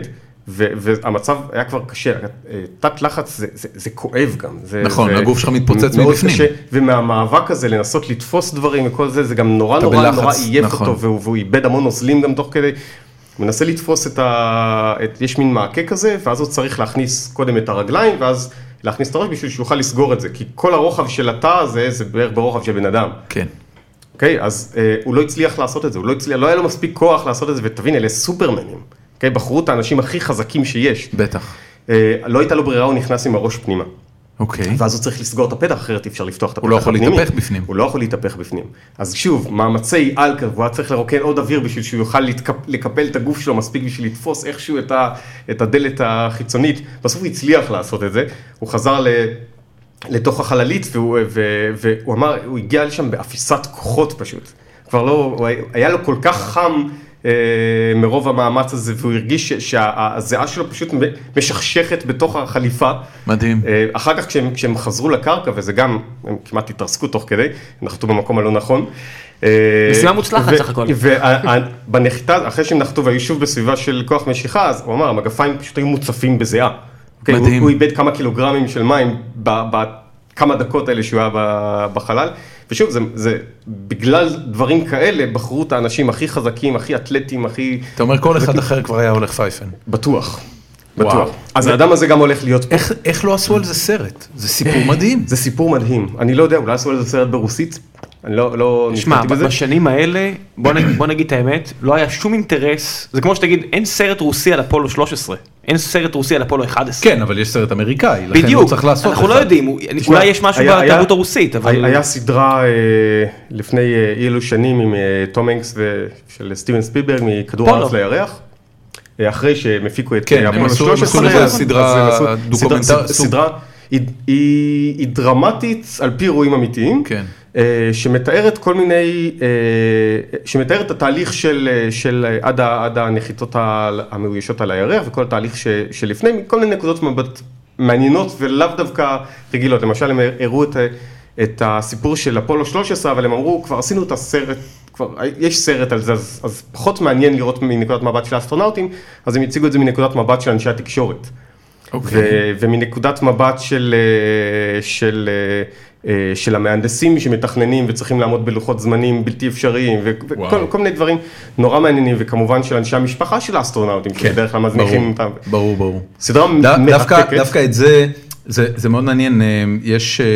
Speaker 3: ו- והמצב היה כבר קשה, אה, תת לחץ זה, זה, זה כואב גם. זה,
Speaker 1: נכון,
Speaker 3: זה
Speaker 1: הגוף שלך מתפוצץ
Speaker 3: מאוד
Speaker 1: מבפנים.
Speaker 3: קשה, ומהמאבק הזה לנסות לתפוס דברים וכל זה, זה גם נורא
Speaker 1: אתה
Speaker 3: נורא
Speaker 1: בלחץ,
Speaker 3: נורא עייף
Speaker 1: נכון.
Speaker 3: אותו, והוא, והוא איבד המון נוזלים גם תוך כדי. הוא מנסה לתפוס את ה... את... יש מין מעקה כזה, ואז הוא צריך להכניס קודם את הרגליים, ואז להכניס את הראש בשביל שיוכל לסגור את זה, כי כל הרוחב של התא הזה, זה בערך ברוחב של בן אדם.
Speaker 1: כן.
Speaker 3: אוקיי? אז אה, הוא לא הצליח לעשות את זה, הוא לא הצליח, לא היה לו מספיק כוח לעשות את זה, ותבין, אלה סופרמנים. אוקיי? בחרו את האנשים הכי חזקים שיש.
Speaker 1: בטח.
Speaker 3: אה, לא הייתה לו ברירה, הוא נכנס עם הראש פנימה.
Speaker 1: אוקיי.
Speaker 3: ואז הוא צריך לסגור את הפתח, אחרת אי אפשר לפתוח את הפתח
Speaker 1: הוא לא יכול
Speaker 3: הפנימי.
Speaker 1: להתהפך בפנים.
Speaker 3: הוא לא יכול להתהפך בפנים. אז שוב, מאמצי על כזה, הוא היה צריך לרוקן עוד אוויר בשביל שהוא יוכל להתקפ... לקפל את הגוף שלו מספיק בשביל לתפוס איכשהו את, ה... את הדלת החיצונית. בסוף הוא הצליח לעשות את זה, הוא חזר ל... לתוך החללית והוא, ו... והוא אמר, הוא הגיע לשם באפיסת כוחות פשוט. כבר לא, הוא היה- היה לו כל כך חם. אה, מרוב המאמץ הזה והוא הרגיש ש- שהזיעה שלו פשוט משכשכת בתוך החליפה
Speaker 1: מדהים.
Speaker 3: אה, אחר כך כשהם, כשהם חזרו לקרקע, וזה גם, הם כמעט התרסקו תוך כדי, הם נחתו במקום הלא נכון. אה,
Speaker 4: משימה מוצלחת
Speaker 3: ו-
Speaker 4: סך הכל.
Speaker 3: וה- ה- בנחיתה, אחרי שהם נחתו והיו שוב בסביבה של כוח משיכה, אז הוא אמר, המגפיים פשוט היו מוצפים בזיעה. אוקיי,
Speaker 1: מדהים.
Speaker 3: הוא, הוא איבד כמה קילוגרמים של מים בכמה דקות האלה שהוא היה ב- בחלל. ושוב, זה, זה בגלל דברים כאלה, בחרו את האנשים הכי חזקים, הכי אתלטים, הכי
Speaker 1: אתה אומר כל אחד אחר כבר היה הולך פייפן.
Speaker 3: בטוח.
Speaker 1: וואו.
Speaker 3: בטוח. אז האדם הזה גם הולך להיות
Speaker 1: איך- איך לא עשו על זה סרט? כן. זה סיפור מדהים.
Speaker 3: זה סיפור מדהים, אני לא יודע, אולי עשו על זה סרט ברוסית? אני לא, לא
Speaker 4: שמע,
Speaker 3: נתקלתי בזה.
Speaker 4: בשנים האלה, בוא נגיד, בוא נגיד את האמת, לא היה שום אינטרס, זה כמו שתגיד, אין סרט רוסי על אפולו 13, אין סרט רוסי על אפולו 11.
Speaker 1: כן, אבל יש סרט אמריקאי, לכן לא
Speaker 4: בדיוק,
Speaker 1: צריך לעשות
Speaker 4: אנחנו לא
Speaker 1: אחד.
Speaker 4: יודעים, הוא-
Speaker 3: תשמע,
Speaker 4: אולי יש משהו
Speaker 3: היה-
Speaker 4: בתרבות
Speaker 3: היה-
Speaker 4: הרוסית,
Speaker 3: היה-
Speaker 4: אבל...
Speaker 3: היה סדרה אה, לפני אה, אילו שנים עם אה, תום הנקס ושל סטיבן ספילברג מכדור
Speaker 4: פולו.
Speaker 3: הארץ לירח. אה, אחרי שהם הפיקו את
Speaker 1: כן,
Speaker 3: אה,
Speaker 1: הם
Speaker 3: אפולו
Speaker 1: עשו- הם עשו
Speaker 3: 13,
Speaker 1: לזה
Speaker 3: אז- אז
Speaker 1: סדרה
Speaker 3: הם עשו-
Speaker 1: דוקומנטר-
Speaker 3: סדרה-
Speaker 1: סוג.
Speaker 3: סדרה, היא- היא היא דרמטית על פי אירועים אמיתיים,
Speaker 1: כן.
Speaker 3: אה, שמתארת כל מיני, אה, שמתארת את התהליך של, אה, של אה, עד, ה- עד הנחיתות ה- המאוישות על הירח וכל התהליך ש, שלפני, מכל מיני נקודות מבט מעניינות ולאו דווקא רגילות. למשל הם הראו את, ה- את הסיפור של אפולו 13, אבל הם אמרו, כבר עשינו את הסרט. כבר יש סרט על זה, אז, אז פחות מעניין לראות מנקודת מבט של האסטרונאוטים, אז הם הציגו את זה מנקודת מבט של אנשי התקשורת.
Speaker 1: אוקיי.
Speaker 3: ו- ומנקודת מבט של, אה, של, אה, אה, של המהנדסים שמתכננים וצריכים לעמוד בלוחות זמנים בלתי אפשריים ו- וכל
Speaker 1: וואו.
Speaker 3: כל מיני דברים נורא מעניינים וכמובן של אנשי המשפחה של האסטרונאוטים
Speaker 1: כן,
Speaker 3: שבדרך כלל
Speaker 1: ברור,
Speaker 3: מזניחים אותם.
Speaker 1: ברור, ברור.
Speaker 3: סדרה
Speaker 1: דו- דווקא-
Speaker 3: מרתקת.
Speaker 1: דווקא את זה, זה זה מאוד מעניין, אה, יש אה,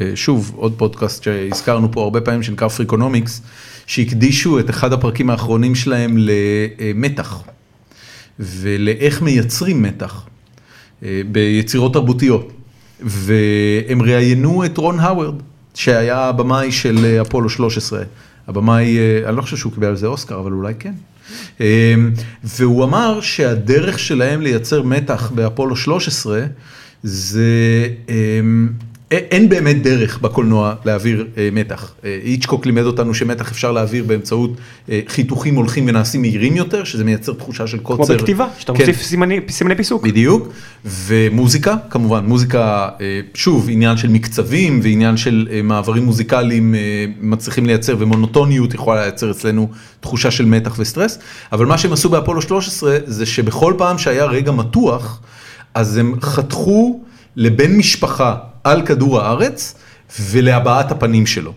Speaker 1: אה, שוב עוד פודקאסט שהזכרנו פה הרבה פעמים שנקרא פריקונומיקס, שהקדישו את אחד הפרקים האחרונים שלהם למתח, ולאיך מייצרים מתח אה, ביצירות תרבותיות. והם ראיינו את רון האוורד, שהיה הבמאי של אה, אפולו 13. הבמאי, אה, אני לא חושב שהוא קיבל על זה אוסקר, אבל אולי כן. אה, והוא אמר שהדרך שלהם לייצר מתח באפולו 13, זה... אה, א- אין באמת דרך בקולנוע להעביר אה, מתח. אה, היצ'קוק לימד אותנו שמתח אפשר להעביר באמצעות אה, חיתוכים הולכים ונעשים מהירים יותר, שזה מייצר תחושה של
Speaker 5: כמו
Speaker 1: קוצר.
Speaker 5: בכתיבה, שאתה
Speaker 1: כן,
Speaker 5: מוסיף סימני- סימני פיסוק.
Speaker 1: בדיוק, ומוזיקה, כמובן, מוזיקה, אה, שוב, עניין של מקצבים ועניין של אה, מעברים מוזיקליים אה, מצליחים לייצר, ומונוטוניות יכולה לייצר אצלנו תחושה של מתח וסטרס, אבל מה שהם עשו באפולו 13 זה שבכל פעם שהיה רגע מתוח, אז הם חתכו לבן משפחה על כדור הארץ ולהבעת הפנים שלו.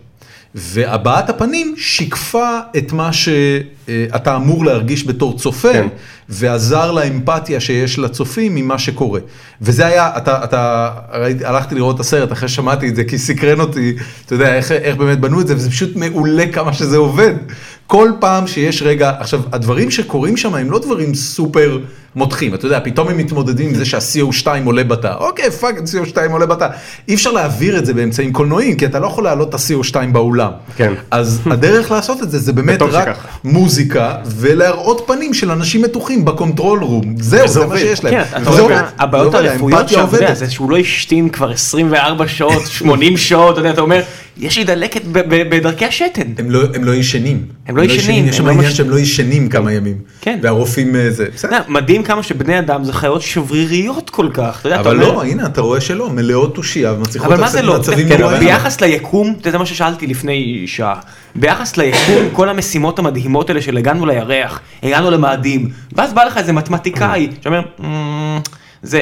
Speaker 1: והבעת הפנים שיקפה את מה שאתה אמור להרגיש בתור צופה, כן. ועזר לאמפתיה שיש לצופים ממה שקורה. וזה היה, אתה, אתה, ראיתי, הלכתי לראות את הסרט אחרי ששמעתי את זה, כי סקרן אותי, אתה יודע, איך, איך באמת בנו את זה, וזה פשוט מעולה כמה שזה עובד. כל פעם שיש רגע, עכשיו, הדברים שקורים שם הם לא דברים סופר מותחים, אתה יודע, פתאום הם מתמודדים עם זה שה-CO2 עולה בתא, אוקיי, פאק, CO2 עולה בתא. אי אפשר להעביר את זה באמצעים קולנועיים, כי אתה לא יכול להעלות את ה-CO2 באולם.
Speaker 3: כן.
Speaker 1: אז הדרך לעשות את זה, זה באמת
Speaker 3: וטוב
Speaker 1: רק
Speaker 3: שכך.
Speaker 1: מוזיקה, ולהראות פנים של אנשים מתוחים בקונטרול רום. זהו, זה מה
Speaker 3: עובד.
Speaker 1: שיש להם.
Speaker 5: כן, אתה
Speaker 1: וזה
Speaker 5: רואה,
Speaker 1: עובד.
Speaker 5: הבעיות
Speaker 1: זה עובד,
Speaker 5: הרפואיות
Speaker 1: האמפתיה
Speaker 5: שם, אתה יודע,
Speaker 1: לא עובדת.
Speaker 5: זה שהוא לא השתין כבר 24 שעות, 80 שעות, אתה יודע, אתה אומר, יש לי דלקת ב- ב- בדרכי השתן.
Speaker 1: הם לא, הם לא ישנים.
Speaker 5: הם לא ישנים,
Speaker 1: יש
Speaker 5: הם
Speaker 1: שם
Speaker 5: לא
Speaker 1: עניין
Speaker 5: מש-
Speaker 1: שהם לא ישנים כמה ימים.
Speaker 5: כן.
Speaker 1: והרופאים אה, זה,
Speaker 5: אתה
Speaker 1: בסדר.
Speaker 5: יודע, מדהים כמה שבני אדם זה חיות שבריריות כל כך, אתה יודע, אתה
Speaker 1: אבל
Speaker 5: אומר,
Speaker 1: לא, הנה, אתה רואה שלא, מלאות תושייה, ומצליחות
Speaker 5: אבל מה זה לא?
Speaker 1: מצבים
Speaker 5: כן,
Speaker 1: נוראים.
Speaker 5: ביחס ליקום, אתה יודע, זה מה ששאלתי לפני שעה, ביחס ליקום, כל המשימות המדהימות האלה של הגענו לירח, הגענו למאדים, ואז בא לך איזה מתמטיקאי שאומר, "אמ, זה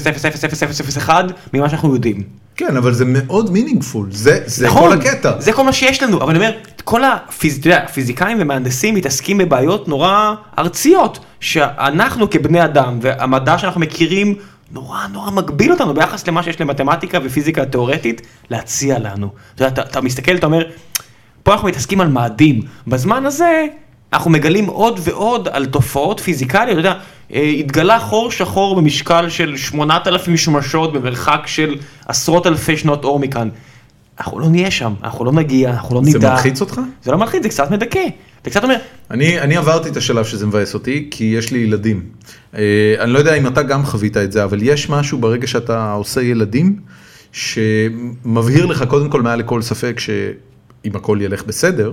Speaker 5: 0.000000001 ממה שאנחנו יודעים.
Speaker 1: כן, אבל זה מאוד מינינגפול, זה זה
Speaker 5: נכון,
Speaker 1: כל הקטע.
Speaker 5: זה כל מה שיש לנו, אבל אני אומר, כל הפיז- אתה יודע, הפיזיקאים ומהנדסים מתעסקים בבעיות נורא ארציות, שאנחנו כבני אדם והמדע שאנחנו מכירים נורא נורא מגביל אותנו ביחס למה שיש למתמטיקה ופיזיקה התיאורטית להציע לנו. אתה, יודע, אתה, אתה מסתכל, אתה אומר, פה אנחנו מתעסקים על מאדים, בזמן הזה אנחנו מגלים עוד ועוד על תופעות פיזיקליות, אתה יודע, אה, התגלה חור שחור במשקל של 8,000 שמשות במרחק של עשרות אלפי שנות אור מכאן. אנחנו לא נהיה שם, אנחנו לא נגיע, אנחנו לא
Speaker 1: זה
Speaker 5: נדע.
Speaker 1: מלחיץ אותך?
Speaker 5: זה לא מלחיץ, זה קצת מדכא. אתה קצת אומר,
Speaker 1: אני, אני עברתי את השלב שזה מבאס אותי, כי יש לי ילדים. אה, אני לא יודע אם אתה גם חווית את זה, אבל יש משהו ברגע שאתה עושה ילדים, שמבהיר לך קודם כל מעל לכל ספק שאם הכל ילך בסדר,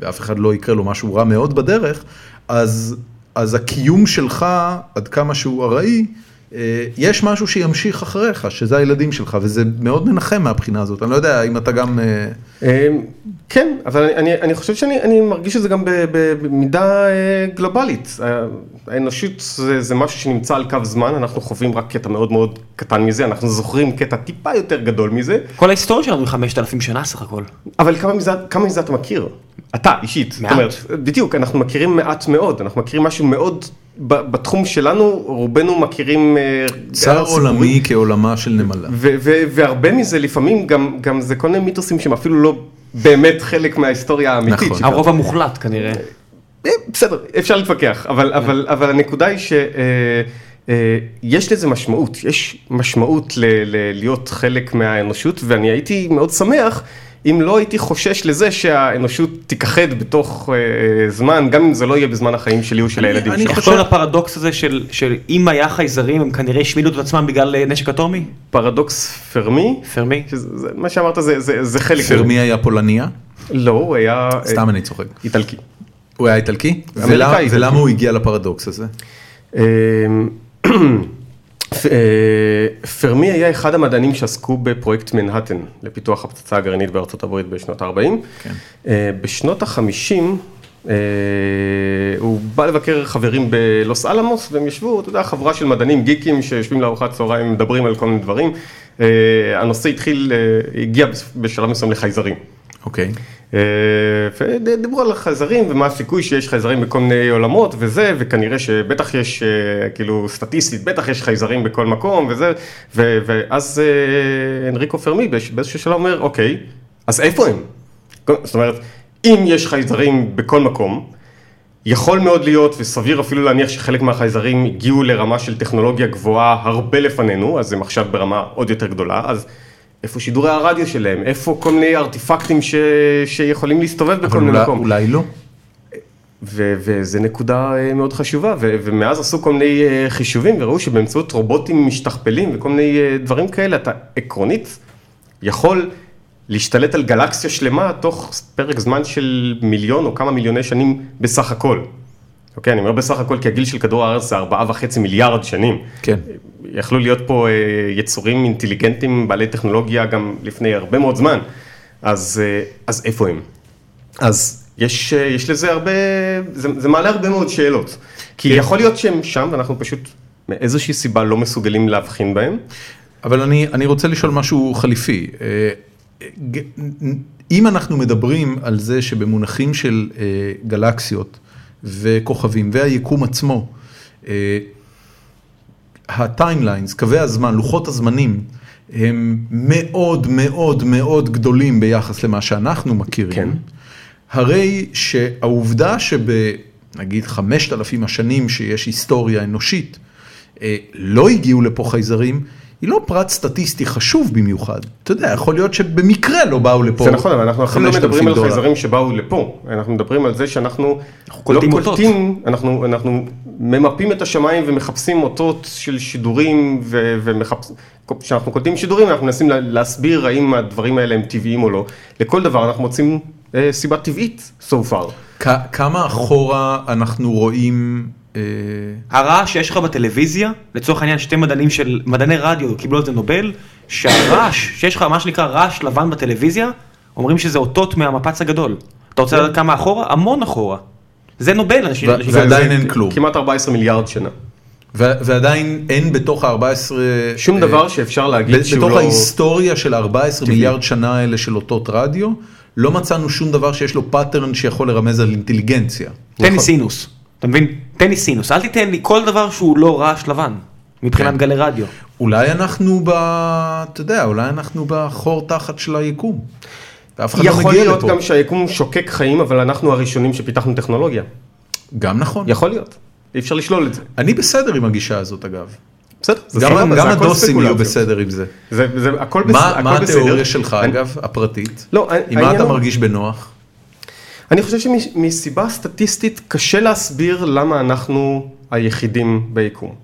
Speaker 1: ואף אחד לא יקרה לו משהו רע מאוד בדרך, אז, אז הקיום שלך, עד כמה שהוא ארעי, אה, יש משהו שימשיך אחריך, שזה הילדים שלך, וזה מאוד מנחם מהבחינה הזאת. אני לא יודע אם אתה גם... אה,
Speaker 3: אמ, כן, אבל אני- אני, אני חושב שאני אני מרגיש את זה גם ב- ב- במידה אה, גלובלית. אה, האנושות זה, זה משהו שנמצא על קו זמן, אנחנו חווים רק קטע מאוד מאוד קטן מזה, אנחנו זוכרים קטע טיפה יותר גדול מזה,
Speaker 5: כל ההיסטוריה שלנו היא 5,000 שנה סך הכל.
Speaker 3: אבל כמה מזה, כמה מזה אתה מכיר? אתה אישית. זאת
Speaker 5: מעט.
Speaker 3: אומרת, בדיוק, אנחנו מכירים מעט מאוד, אנחנו מכירים משהו מאוד, ב- בתחום שלנו רובנו מכירים... אה,
Speaker 1: צר
Speaker 3: סיפורים.
Speaker 1: עולמי כעולמה של נמלה.
Speaker 3: ו- ו- והרבה מזה לפעמים גם, גם זה כל מיני מיתוסים שהם אפילו לא באמת חלק מההיסטוריה האמיתית.
Speaker 1: נכון.
Speaker 3: שקרתה.
Speaker 5: הרוב המוחלט כנראה.
Speaker 3: אה, בסדר, אפשר להתווכח,
Speaker 1: כן.
Speaker 3: אבל, אבל, אבל הנקודה היא שיש אה, אה, יש לזה משמעות, יש משמעות ל, ל, להיות חלק מהאנושות, ואני הייתי מאוד שמח אם לא הייתי חושש לזה שהאנושות תיכחד בתוך אה, אה, זמן, גם אם זה לא יהיה בזמן החיים שלי או של הילדים
Speaker 1: אני
Speaker 3: שלי.
Speaker 1: חושב-
Speaker 5: תחשוב על הפרדוקס הזה של- של אם היה חייזרים הם כנראה השמידו את עצמם בגלל אה, נשק אטומי?
Speaker 3: פרדוקס פרמי,
Speaker 5: פרמי?
Speaker 3: שזה, זה, מה שאמרת זה, זה, זה חלק. מזה.
Speaker 1: פרמי היה פולניה?
Speaker 3: לא, הוא היה... אה,
Speaker 1: סתם אני צוחק.
Speaker 3: איטלקי.
Speaker 1: הוא היה איטלקי?
Speaker 3: אמריקאי.
Speaker 1: ולמה- ולמה הוא הגיע לפרדוקס הזה?
Speaker 3: אמ, פ- אה, פרמי היה אחד המדענים שעסקו בפרויקט מנהטן לפיתוח הפצצה הגרעינית בארצות הברית בשנות ה-40. אה, בשנות ה-50 אה, הוא בא לבקר חברים בלוס אלמוס והם ישבו, אתה יודע, חבורה של מדענים גיקים שיושבים לארוחת צהריים, מדברים על כל מיני דברים. אה, הנושא התחיל, אה, הגיע בשלב מסוים לחייזרים.
Speaker 1: אוקיי.
Speaker 3: אה, ודיברו על חייזרים ומה הסיכוי שיש חייזרים בכל מיני עולמות וזה, וכנראה שבטח יש, אה, כאילו סטטיסטית, בטח יש חייזרים בכל מקום וזה, ו- ואז אה, הנריקו פרמי באיז- באיזשהו שלב אומר, אוקיי, אז איפה הם? זאת אומרת, אם יש חייזרים בכל מקום, יכול מאוד להיות, וסביר אפילו להניח שחלק מהחייזרים הגיעו לרמה של טכנולוגיה גבוהה הרבה לפנינו, אז הם עכשיו ברמה עוד יותר גדולה, אז איפה שידורי הרדיו שלהם, איפה כל מיני ארטיפקטים ש... שיכולים להסתובב בכל
Speaker 1: אבל
Speaker 3: מיני
Speaker 1: אולי-
Speaker 3: מקום.
Speaker 1: אולי לא.
Speaker 3: ו- וזו נקודה אה, מאוד חשובה, ו- ומאז עשו כל מיני אה, חישובים וראו שבאמצעות רובוטים משתכפלים וכל מיני אה, דברים כאלה, אתה עקרונית יכול להשתלט על גלקסיה שלמה תוך פרק זמן של מיליון או כמה מיליוני שנים בסך הכל. אוקיי, אני אומר בסך הכל כי הגיל של כדור הארץ זה ארבעה וחצי מיליארד שנים.
Speaker 1: כן.
Speaker 3: יכלו להיות פה אה, יצורים אינטליגנטים בעלי טכנולוגיה גם לפני הרבה מאוד זמן, אז, אה, אז איפה הם? אז יש, אה, יש לזה הרבה, זה, זה מעלה הרבה מאוד שאלות, כי יכול להיות שהם שם ואנחנו פשוט מאיזושהי סיבה לא מסוגלים להבחין בהם.
Speaker 1: אבל אני, אני רוצה לשאול משהו חליפי. אה, ג- אם אנחנו מדברים על זה שבמונחים של אה, גלקסיות וכוכבים והיקום עצמו, אה, הטיימליינס, קווי הזמן, לוחות הזמנים, הם מאוד מאוד מאוד גדולים ביחס למה שאנחנו מכירים.
Speaker 3: כן.
Speaker 1: הרי שהעובדה שבנגיד 5,000 השנים שיש היסטוריה אנושית, אה, לא הגיעו לפה חייזרים, היא לא פרט סטטיסטי חשוב במיוחד. אתה יודע, יכול להיות שבמקרה לא באו לפה
Speaker 3: זה נכון, אבל אנחנו אפילו לא
Speaker 1: 5,000
Speaker 3: מדברים על
Speaker 1: דולר.
Speaker 3: חייזרים שבאו לפה, אנחנו מדברים על זה שאנחנו לא
Speaker 5: קולטים אותות.
Speaker 3: קולטים, אנחנו, אנחנו ממפים את השמיים ומחפשים אותות של שידורים, ו- ומחפש- כשאנחנו קולטים שידורים אנחנו מנסים לה- להסביר האם הדברים האלה הם טבעיים או לא, לכל דבר אנחנו מוצאים אה, סיבה טבעית so far.
Speaker 1: כ- כמה אחורה אנחנו רואים... אה,
Speaker 5: הרעש שיש לך בטלוויזיה, לצורך העניין שתי מדענים של, מדעני רדיו קיבלו על זה נובל, שהרעש, שיש לך מה שנקרא רעש לבן בטלוויזיה, אומרים שזה אותות מהמפץ הגדול. אתה רוצה לדעת כמה אחורה? המון אחורה. זה נובל, אנשים...
Speaker 1: כן. ו-
Speaker 5: אנשים-
Speaker 1: ועדיין
Speaker 3: זה
Speaker 1: אין כלום.
Speaker 3: כמעט 14 מיליארד שנה.
Speaker 1: ו- ועדיין אין בתוך ה-14...
Speaker 3: שום דבר שאפשר
Speaker 1: אה, ב-
Speaker 3: להגיד שהוא
Speaker 1: בתוך
Speaker 3: לא...
Speaker 1: ההיסטוריה של 14 מיליארד שנה האלה של אותות רדיו, לא מצאנו שום דבר שיש לו פאטרן שיכול לרמז על אינטליגנציה.
Speaker 5: תן לי סינוס. אתה מבין? תן לי סינוס. אל תיתן לי כל דבר שהוא לא רעש לבן,
Speaker 1: כן.
Speaker 5: מבחינת גלי רדיו.
Speaker 1: אולי אנחנו ב... אתה יודע, אולי אנחנו בחור תחת של היקום. ואף אחד לא
Speaker 3: יכול
Speaker 1: מגיע
Speaker 3: להיות
Speaker 1: לפה. גם...
Speaker 3: גם שהיקום שוקק חיים, אבל אנחנו הראשונים שפיתחנו טכנולוגיה.
Speaker 1: נכון.
Speaker 3: יכול להיות. אי אפשר לשלול את זה.
Speaker 1: אני בסדר עם הגישה הזאת אגב.
Speaker 3: בסדר, זה
Speaker 1: גם,
Speaker 3: סבבה,
Speaker 1: גם
Speaker 3: זה הכל
Speaker 1: הדוסים יהיו
Speaker 3: ספקולציות.
Speaker 1: בסדר עם זה.
Speaker 3: זה, זה הכל, בס...
Speaker 1: מה,
Speaker 3: הכל
Speaker 1: מה
Speaker 3: בסדר.
Speaker 1: התיאוריה שלך
Speaker 3: אני,
Speaker 1: אגב, הפרטית?
Speaker 3: לא,
Speaker 1: עם מה
Speaker 3: העניין
Speaker 1: אתה
Speaker 3: הוא-
Speaker 1: מרגיש בנוח?
Speaker 3: אני חושב שמסיבה סטטיסטית קשה להסביר למה אנחנו היחידים ביקום.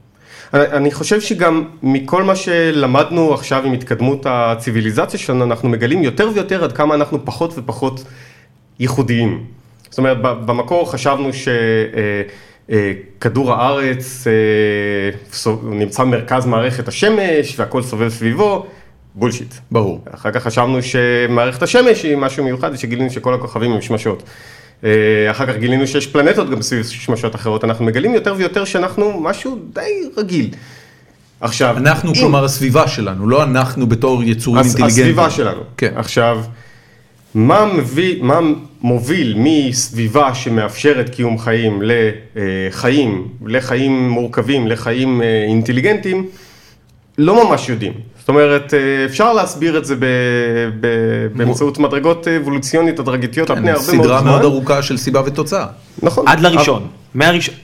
Speaker 3: אני- אני חושב שגם מכל מה שלמדנו עכשיו עם התקדמות הציוויליזציה שלנו, אנחנו מגלים יותר ויותר עד כמה אנחנו פחות ופחות ייחודיים. זאת אומרת, ב- במקור חשבנו שכדור הארץ אה, סוב- נמצא במרכז מערכת השמש והכל סובב סביבו, בולשיט.
Speaker 1: ברור.
Speaker 3: אחר כך חשבנו שמערכת השמש היא משהו מיוחד, ושגילינו שכל הכוכבים הם שמשות. אה, אחר כך גילינו שיש פלנטות גם סביב שמשות אחרות, אנחנו מגלים יותר ויותר שאנחנו משהו די רגיל. עכשיו,
Speaker 1: אנחנו,
Speaker 3: אם-
Speaker 1: כלומר הסביבה שלנו, לא אנחנו בתור יצורים
Speaker 3: הס-
Speaker 1: אינטליגנטיים.
Speaker 3: הסביבה שלנו.
Speaker 1: כן.
Speaker 3: עכשיו, מה, מביא, מה מוביל מסביבה שמאפשרת קיום חיים לחיים, לחיים מורכבים, לחיים אה, אינטליגנטיים, לא ממש יודעים. זאת אומרת, אה, אפשר להסביר את זה ב, ב, באמצעות מדרגות אבולוציונית הדרגתיות על פני הרבה מאוד
Speaker 1: כן, סדרה
Speaker 3: זמן.
Speaker 1: מאוד ארוכה של סיבה ותוצאה.
Speaker 3: נכון.
Speaker 5: עד לראשון. מהראשון...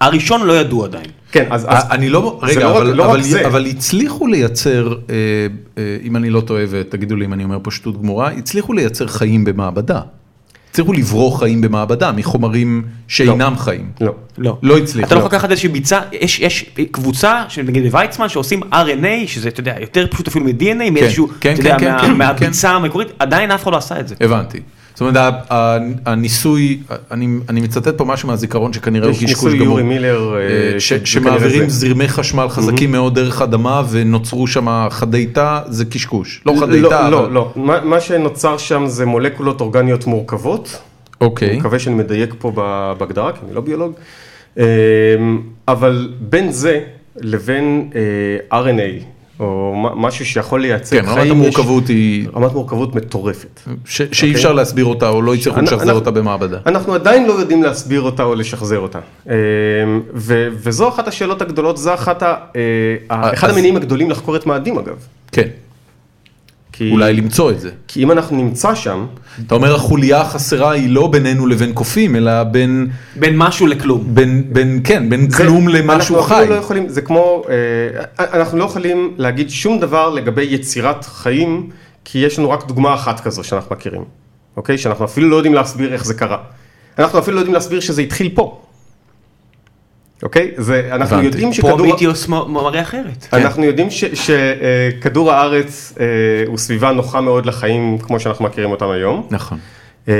Speaker 5: הראשון לא ידעו עדיין.
Speaker 3: כן, אז... אז
Speaker 1: אני לא,
Speaker 3: זה
Speaker 1: רגע,
Speaker 3: לא רק-
Speaker 1: אבל,
Speaker 3: לא רק
Speaker 1: אבל,
Speaker 3: זה.
Speaker 1: אבל הצליחו לייצר, אה, אה, אם אני לא טועה ותגידו לי אם אני אומר פה שטות גמורה, הצליחו לייצר חיים במעבדה. הצליחו לברוא חיים במעבדה מחומרים שאינם חיים.
Speaker 3: לא.
Speaker 5: לא.
Speaker 1: לא הצליחו.
Speaker 5: אתה לא
Speaker 1: לא.
Speaker 5: יכול לקחת איזושהי ביצה, יש, יש קבוצה, שנגיד בוויצמן, שעושים RNA, שזה, אתה יודע, יותר פשוט אפילו מ-DNA, מאיזשהו,
Speaker 1: כן,
Speaker 5: אתה
Speaker 1: כן,
Speaker 5: יודע,
Speaker 1: כן,
Speaker 5: מה-
Speaker 1: כן,
Speaker 5: מהביצה המקורית, עדיין אף אחד לא עשה את זה.
Speaker 1: הבנתי. זאת אומרת, ה- ה- הניסוי, אני, אני מצטט פה משהו מהזיכרון שכנראה הוא
Speaker 3: יש
Speaker 1: קשקוש גמור.
Speaker 3: ניסוי יורי מילר,
Speaker 1: אה,
Speaker 3: אה,
Speaker 1: ש-
Speaker 3: שזה כנראה
Speaker 1: שמעבירים
Speaker 3: זה.
Speaker 1: זרמי חשמל חזקים מאוד דרך אדמה ונוצרו שם חדי תא, זה קשקוש. לא חדי תא,
Speaker 3: לא, לא,
Speaker 1: אבל-
Speaker 3: לא. מה, מה שנוצר שם זה מולקולות אורגניות מורכבות, אני
Speaker 1: אוקיי.
Speaker 3: מקווה שאני מדייק פה ב- בהגדרה, כי אני לא ביולוג. אמ, אבל בין זה לבין אה, RNA, או מ- משהו שיכול לייצר
Speaker 1: כן,
Speaker 3: חיים,
Speaker 1: רמת
Speaker 3: יש- אוקיי.
Speaker 1: המורכבות Mm. היא
Speaker 3: רמת מורכבות מטורפת.
Speaker 1: ש- שאי אפשר להסביר אותה או לא הצליחו
Speaker 3: אנ-
Speaker 1: לשחזר
Speaker 3: אנחנו-
Speaker 1: אותה במעבדה.
Speaker 3: אנחנו עדיין לא יודעים להסביר אותה או לשחזר אותה. אמ, ו- וזו אחת השאלות הגדולות, זה אחת ה- אה, ה- אחד
Speaker 1: אז-
Speaker 3: המניעים הגדולים לחקור את מאדים אגב.
Speaker 1: כן.
Speaker 3: כי כי,
Speaker 1: אולי למצוא את זה.
Speaker 3: כי אם אנחנו נמצא שם,
Speaker 1: אתה אומר החוליה החסרה היא לא בינינו לבין קופים, אלא בין,
Speaker 5: בין משהו לכלום.
Speaker 1: בין, בין, כן, בין כלום למשהו
Speaker 3: אנחנו אפילו
Speaker 1: חי.
Speaker 3: לא יכולים, זה כמו, אה, אנחנו לא יכולים להגיד שום דבר לגבי יצירת חיים, כי יש לנו רק דוגמה אחת כזו שאנחנו מכירים, אוקיי? שאנחנו אפילו לא יודעים להסביר איך זה קרה. אנחנו אפילו לא יודעים להסביר שזה התחיל פה. אוקיי? זה, אנחנו
Speaker 1: הבנתי. כן.
Speaker 3: יודעים
Speaker 5: פה
Speaker 3: שכדור...
Speaker 5: מיתיוס מ- מראה אחרת.
Speaker 3: אנחנו יודעים שכדור הארץ אה, הוא סביבה נוחה מאוד לחיים כמו שאנחנו מכירים אותם היום.
Speaker 1: נכון.
Speaker 3: אה,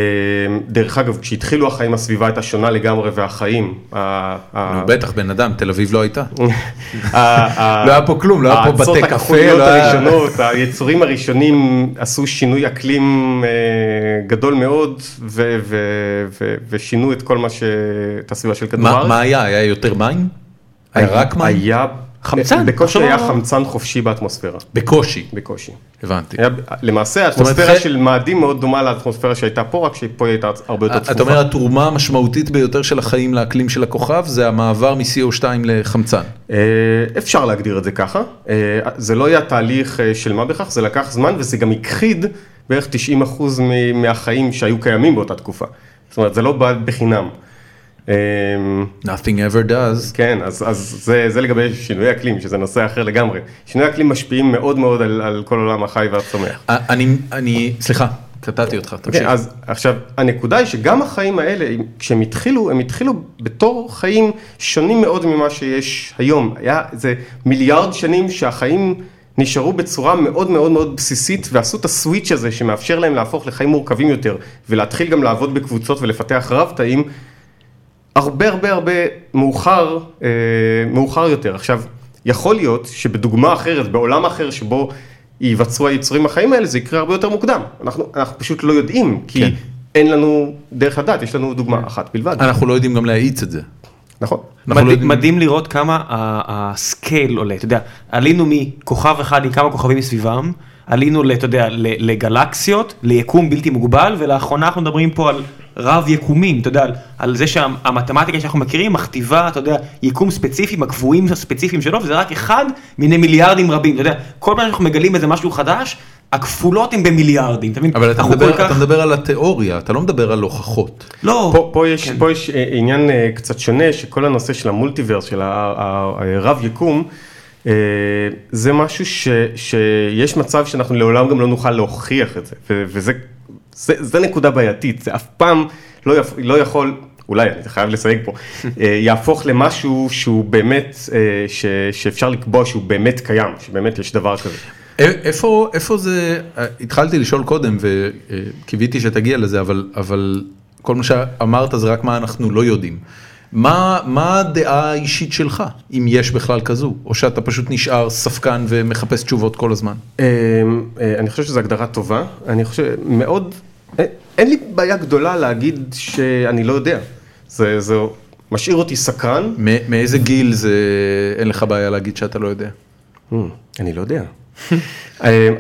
Speaker 3: דרך אגב, כשהתחילו החיים הסביבה הייתה שונה לגמרי והחיים, ה- ה-
Speaker 1: נו, בטח, בן אדם, תל אביב לא הייתה.
Speaker 3: אה. ה-
Speaker 1: לא היה פה כלום, לא היה פה
Speaker 3: האצות
Speaker 1: בתי קפה,
Speaker 3: הכחוליות
Speaker 1: לא היה-
Speaker 3: הראשונות, היצורים הראשונים עשו שינוי אקלים אה, גדול מאוד ו- ו- ו- ושינו את כל מה ש... את הסביבה של כדור
Speaker 1: מה
Speaker 3: הארץ.
Speaker 1: מה היה? היה יותר מים? היה רק מים?
Speaker 3: היה...
Speaker 5: חמצן,
Speaker 3: בקושי
Speaker 5: תחשוב
Speaker 3: היה
Speaker 1: לא-
Speaker 5: על-
Speaker 3: חמצן חופשי באטמוספירה,
Speaker 1: בקושי,
Speaker 3: בקושי.
Speaker 1: הבנתי.
Speaker 3: היה, למעשה האטמוספירה
Speaker 1: אומרת,
Speaker 3: של מאדים מאוד דומה לאטמוספירה שהייתה פה, רק שפה היא הייתה הרבה יותר צפופה.
Speaker 1: אה, אתה אומר התרומה המשמעותית ביותר של החיים לאקלים של הכוכב זה המעבר מ-CO2 לחמצן.
Speaker 3: אה, אפשר להגדיר את זה ככה, אה, זה לא היה תהליך אה, של מה בכך, זה לקח זמן וזה גם הכחיד בערך 90 אחוז מהחיים שהיו קיימים באותה תקופה. זאת אומרת, זה לא בא בחינם. אה,
Speaker 1: Nothing ever does.
Speaker 3: כן, אז, אז זה, זה לגבי שינוי אקלים, שזה נושא אחר לגמרי. שינוי אקלים משפיעים מאוד מאוד על, על כל עולם החי והצומח.
Speaker 1: אה, אני, אני, סליחה, קטעתי אותך, תמשיך.
Speaker 3: כן, אז עכשיו, הנקודה היא שגם החיים האלה, כשהם התחילו, הם התחילו בתור חיים שונים מאוד ממה שיש היום. היה איזה מיליארד שנים שהחיים נשארו בצורה מאוד מאוד מאוד בסיסית, ועשו את הסוויץ' הזה שמאפשר להם להפוך לחיים מורכבים יותר, ולהתחיל גם לעבוד בקבוצות ולפתח רב-תאים, הרבה הרבה הרבה מאוחר, אה, מאוחר יותר. עכשיו, יכול להיות שבדוגמה אחרת, בעולם אחר שבו ייווצרו היצורים החיים האלה, זה יקרה הרבה יותר מוקדם. אנחנו, אנחנו פשוט לא יודעים, כי
Speaker 1: כן.
Speaker 3: כן. אין לנו דרך לדעת, יש לנו דוגמה אחת בלבד,
Speaker 1: אנחנו לא יודעים גם להאיץ את זה.
Speaker 3: נכון?
Speaker 1: אנחנו לא
Speaker 5: מדהים,
Speaker 1: יודעים-
Speaker 5: מדהים לראות כמה ה- הסקייל עולה, אתה יודע, עלינו מכוכב אחד עם כמה כוכבים מסביבם, עלינו, ל- אתה יודע, ל- לגלקסיות, ליקום בלתי מוגבל, ולאחרונה אנחנו מדברים פה על רב יקומים, אתה יודע, על, על זה שהמתמטיקה שאנחנו מכירים מכתיבה, אתה יודע, יקום ספציפי, עם הקבועים הספציפיים שלו, וזה רק אחד מיני מיליארדים רבים, אתה יודע, כל פעם שאנחנו מגלים איזה משהו חדש, הכפולות הן במיליארדים, אתה מבין?
Speaker 1: אבל אתה
Speaker 5: אנחנו
Speaker 1: מדבר,
Speaker 5: כל כך-
Speaker 1: אתה מדבר על התיאוריה, אתה לא מדבר על הוכחות.
Speaker 5: לא,
Speaker 3: פה, פה יש, כן. פה יש אה, עניין אה, קצת שונה, שכל הנושא של המולטיברס, של ה- ה- הרב יקום, אה, זה משהו ש, שיש מצב שאנחנו לעולם גם לא נוכל להוכיח את זה, ו- וזה זה, זה נקודה בעייתית, זה אף פעם לא, יפ, לא יכול, אולי, אני חייב לסייג פה, אה, יהפוך למשהו שהוא באמת, אה, ש, שאפשר לקבוע שהוא באמת קיים, שבאמת יש דבר כזה.
Speaker 1: א- איפה, איפה זה, אה, התחלתי לשאול קודם וקיוויתי שתגיע לזה, אבל, אבל כל מה שאמרת זה רק מה אנחנו לא יודעים. מה, מה הדעה האישית שלך, אם יש בכלל כזו, או שאתה פשוט נשאר ספקן ומחפש תשובות כל הזמן?
Speaker 3: אמ, אה, אני חושב שזו הגדרה טובה, אני חושב מאוד, אה, אין לי בעיה גדולה להגיד שאני לא יודע, זה, זה משאיר אותי סקרן,
Speaker 1: מ- מאיזה גיל זה, אין לך בעיה להגיד שאתה לא יודע?
Speaker 3: אמ, אני לא יודע. אמ,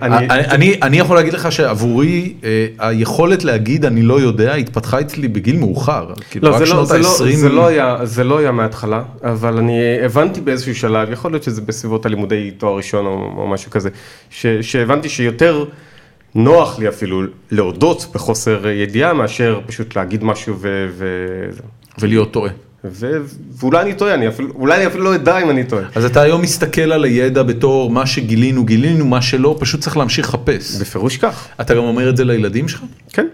Speaker 3: אני-
Speaker 1: אני, אני, אני יכול להגיד לך שעבורי אה, היכולת להגיד אני לא יודע התפתחה אצלי בגיל מאוחר, כאילו
Speaker 3: לא,
Speaker 1: רק
Speaker 3: זה לא,
Speaker 1: שנות
Speaker 3: זה, לא,
Speaker 1: ה-20,
Speaker 3: זה, לא היה, זה לא היה מההתחלה, אבל אני הבנתי באיזשהו שלב, יכול להיות שזה בסביבות הלימודי תואר ראשון או, או משהו כזה, ש, שהבנתי שיותר נוח לי אפילו להודות בחוסר ידיעה מאשר פשוט להגיד משהו ו... ו...
Speaker 1: ולהיות טועה.
Speaker 3: ו... ואולי אני טועה, אני אפילו, אולי אני אפילו לא אדע אם אני טועה.
Speaker 1: אז אתה היום מסתכל על הידע בתור מה שגילינו גילינו, מה שלא, פשוט צריך להמשיך לחפש.
Speaker 3: בפירוש כך,
Speaker 1: אתה גם אומר את זה לילדים שלך?
Speaker 3: כן.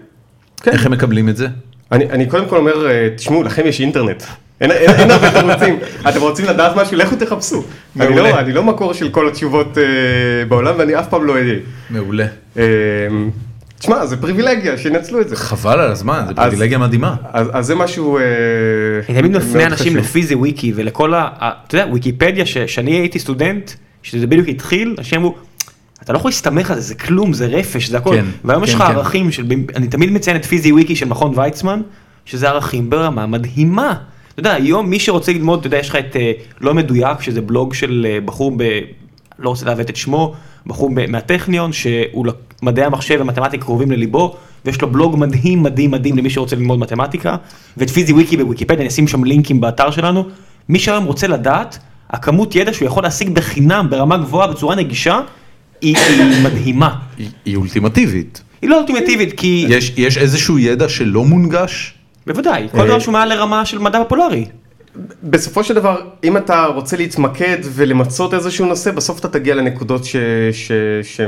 Speaker 3: כן.
Speaker 1: איך הם מקבלים את זה?
Speaker 3: אני, אני קודם כל אומר, אה, תשמעו, לכם יש אינטרנט. אין, אין, אין הרבה תירוצים. אתם רוצים לדעת משהו, לכו תחפשו. אני
Speaker 1: מעולה.
Speaker 3: לא, אני לא מקור של כל התשובות אה, בעולם, ואני אף פעם לא אהיה.
Speaker 1: מעולה.
Speaker 3: אה, תשמע, זה פריבילגיה, שינצלו את זה.
Speaker 1: חבל על הזמן, זו פריבילגיה מדהימה.
Speaker 3: אז, אז זה משהו... אה,
Speaker 5: אני תמיד מפנה
Speaker 3: מאוד
Speaker 5: אנשים
Speaker 3: חשוב.
Speaker 5: לפי זה וויקי ולכל ה... ה- אתה יודע, וויקיפדיה, ש- שאני הייתי סטודנט, שזה בדיוק התחיל, אנשים אמרו, אתה לא יכול להסתמך על זה, זה כלום, זה רפש, זה הכל.
Speaker 1: כן,
Speaker 5: והיום יש
Speaker 1: כן,
Speaker 5: לך
Speaker 1: כן.
Speaker 5: ערכים של... אני תמיד מציין את פיזי וויקי של מכון ויצמן, שזה ערכים ברמה מדהימה. אתה יודע, היום מי שרוצה ללמוד, אתה יודע, יש לך את אה, לא מדויק, שזה בלוג של אה, בחור ב... לא רוצה לעוות את שמו, בחור ב- מהטכניון, שהוא לק- מדעי המחשב ומתמטיקה קרובים לליבו, ויש לו בלוג מדהים מדהים מדהים למי שרוצה ללמוד מתמטיקה, ואת פיזי וויקי בוויקיפדיה, אני אשים שם לינקים באתר שלנו. מי שהיום רוצה לדעת, הכמות ידע שהוא יכול להשיג בחינם ברמה גבוהה בצורה נגישה, היא היא מדהימה.
Speaker 1: היא- היא אולטימטיבית.
Speaker 5: היא לא אולטימטיבית, כי...
Speaker 1: יש, יש איזשהו ידע שלא מונגש?
Speaker 5: בוודאי, כל דבר שהוא מעל לרמה של מדע פופולרי.
Speaker 3: בסופו של דבר, אם אתה רוצה להתמקד ולמצות איזשהו נושא, בסוף אתה תגיע לנקודות ש, ש, ש,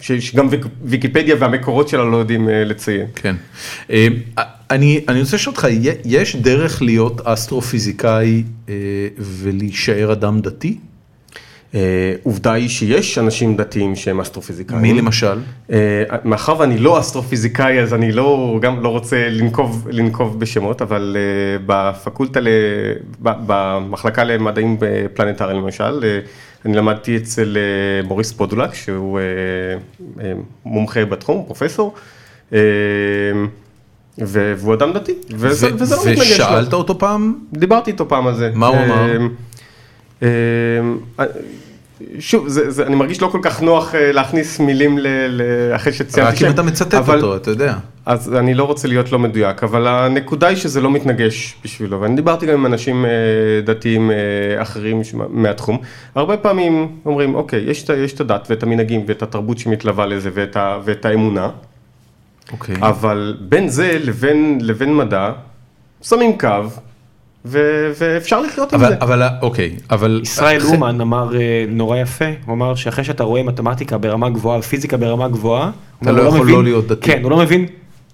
Speaker 3: ש, שגם ויק, ויקיפדיה והמקורות שלה לא יודעים אה, לציין.
Speaker 1: כן. אה, אני, אני רוצה לשאול אותך, י- יש דרך להיות אסטרופיזיקאי אה, ולהישאר אדם דתי?
Speaker 3: אה, עובדה היא שיש אנשים דתיים שהם אסטרופיזיקאים.
Speaker 1: מי למשל?
Speaker 3: אה, מאחר ואני לא אסטרופיזיקאי, אז אני לא, גם לא רוצה לנקוב, לנקוב בשמות, אבל אה, בפקולטה, ל, ב, במחלקה למדעים פלנטריים למשל, אה, אני למדתי אצל אה, מוריס פודולק, שהוא אה, אה, מומחה בתחום, פרופסור, אה, ו- והוא אדם דתי, וזה,
Speaker 1: ו-
Speaker 3: וזה לא מתנגש לו.
Speaker 1: ושאלת אותו פעם?
Speaker 3: דיברתי איתו פעם על זה.
Speaker 1: מה הוא אמר?
Speaker 3: אמ, אמ, אה, שוב, זה, זה, אני מרגיש לא כל כך נוח אה, להכניס מילים ל, ל, אחרי שציינתי
Speaker 1: רק
Speaker 3: שם.
Speaker 1: אם אתה מצטט
Speaker 3: אבל,
Speaker 1: אותו, אתה יודע.
Speaker 3: אז אני לא רוצה להיות לא מדויק, אבל הנקודה היא שזה לא מתנגש בשבילו, ואני דיברתי גם עם אנשים אה, דתיים אה, אחרים ש- מהתחום, הרבה פעמים אומרים, אוקיי, יש, את ה- יש את הדת ואת המנהגים ואת התרבות שמתלווה לזה ואת, ה, ואת האמונה,
Speaker 1: אוקיי.
Speaker 3: אבל בין זה לבין, לבין מדע, שמים קו, ו, ואפשר לחיות עם
Speaker 1: אבל,
Speaker 3: זה.
Speaker 1: אבל, אוקיי, אבל...
Speaker 5: ישראל אומן אמר אה, נורא יפה, הוא אמר שאחרי שאתה רואה מתמטיקה ברמה גבוהה ופיזיקה ברמה גבוהה, הוא אומר,
Speaker 1: לא
Speaker 5: "הוא
Speaker 1: יכול
Speaker 5: מבין-
Speaker 1: לא להיות דתי."
Speaker 5: כן, הוא לא מבין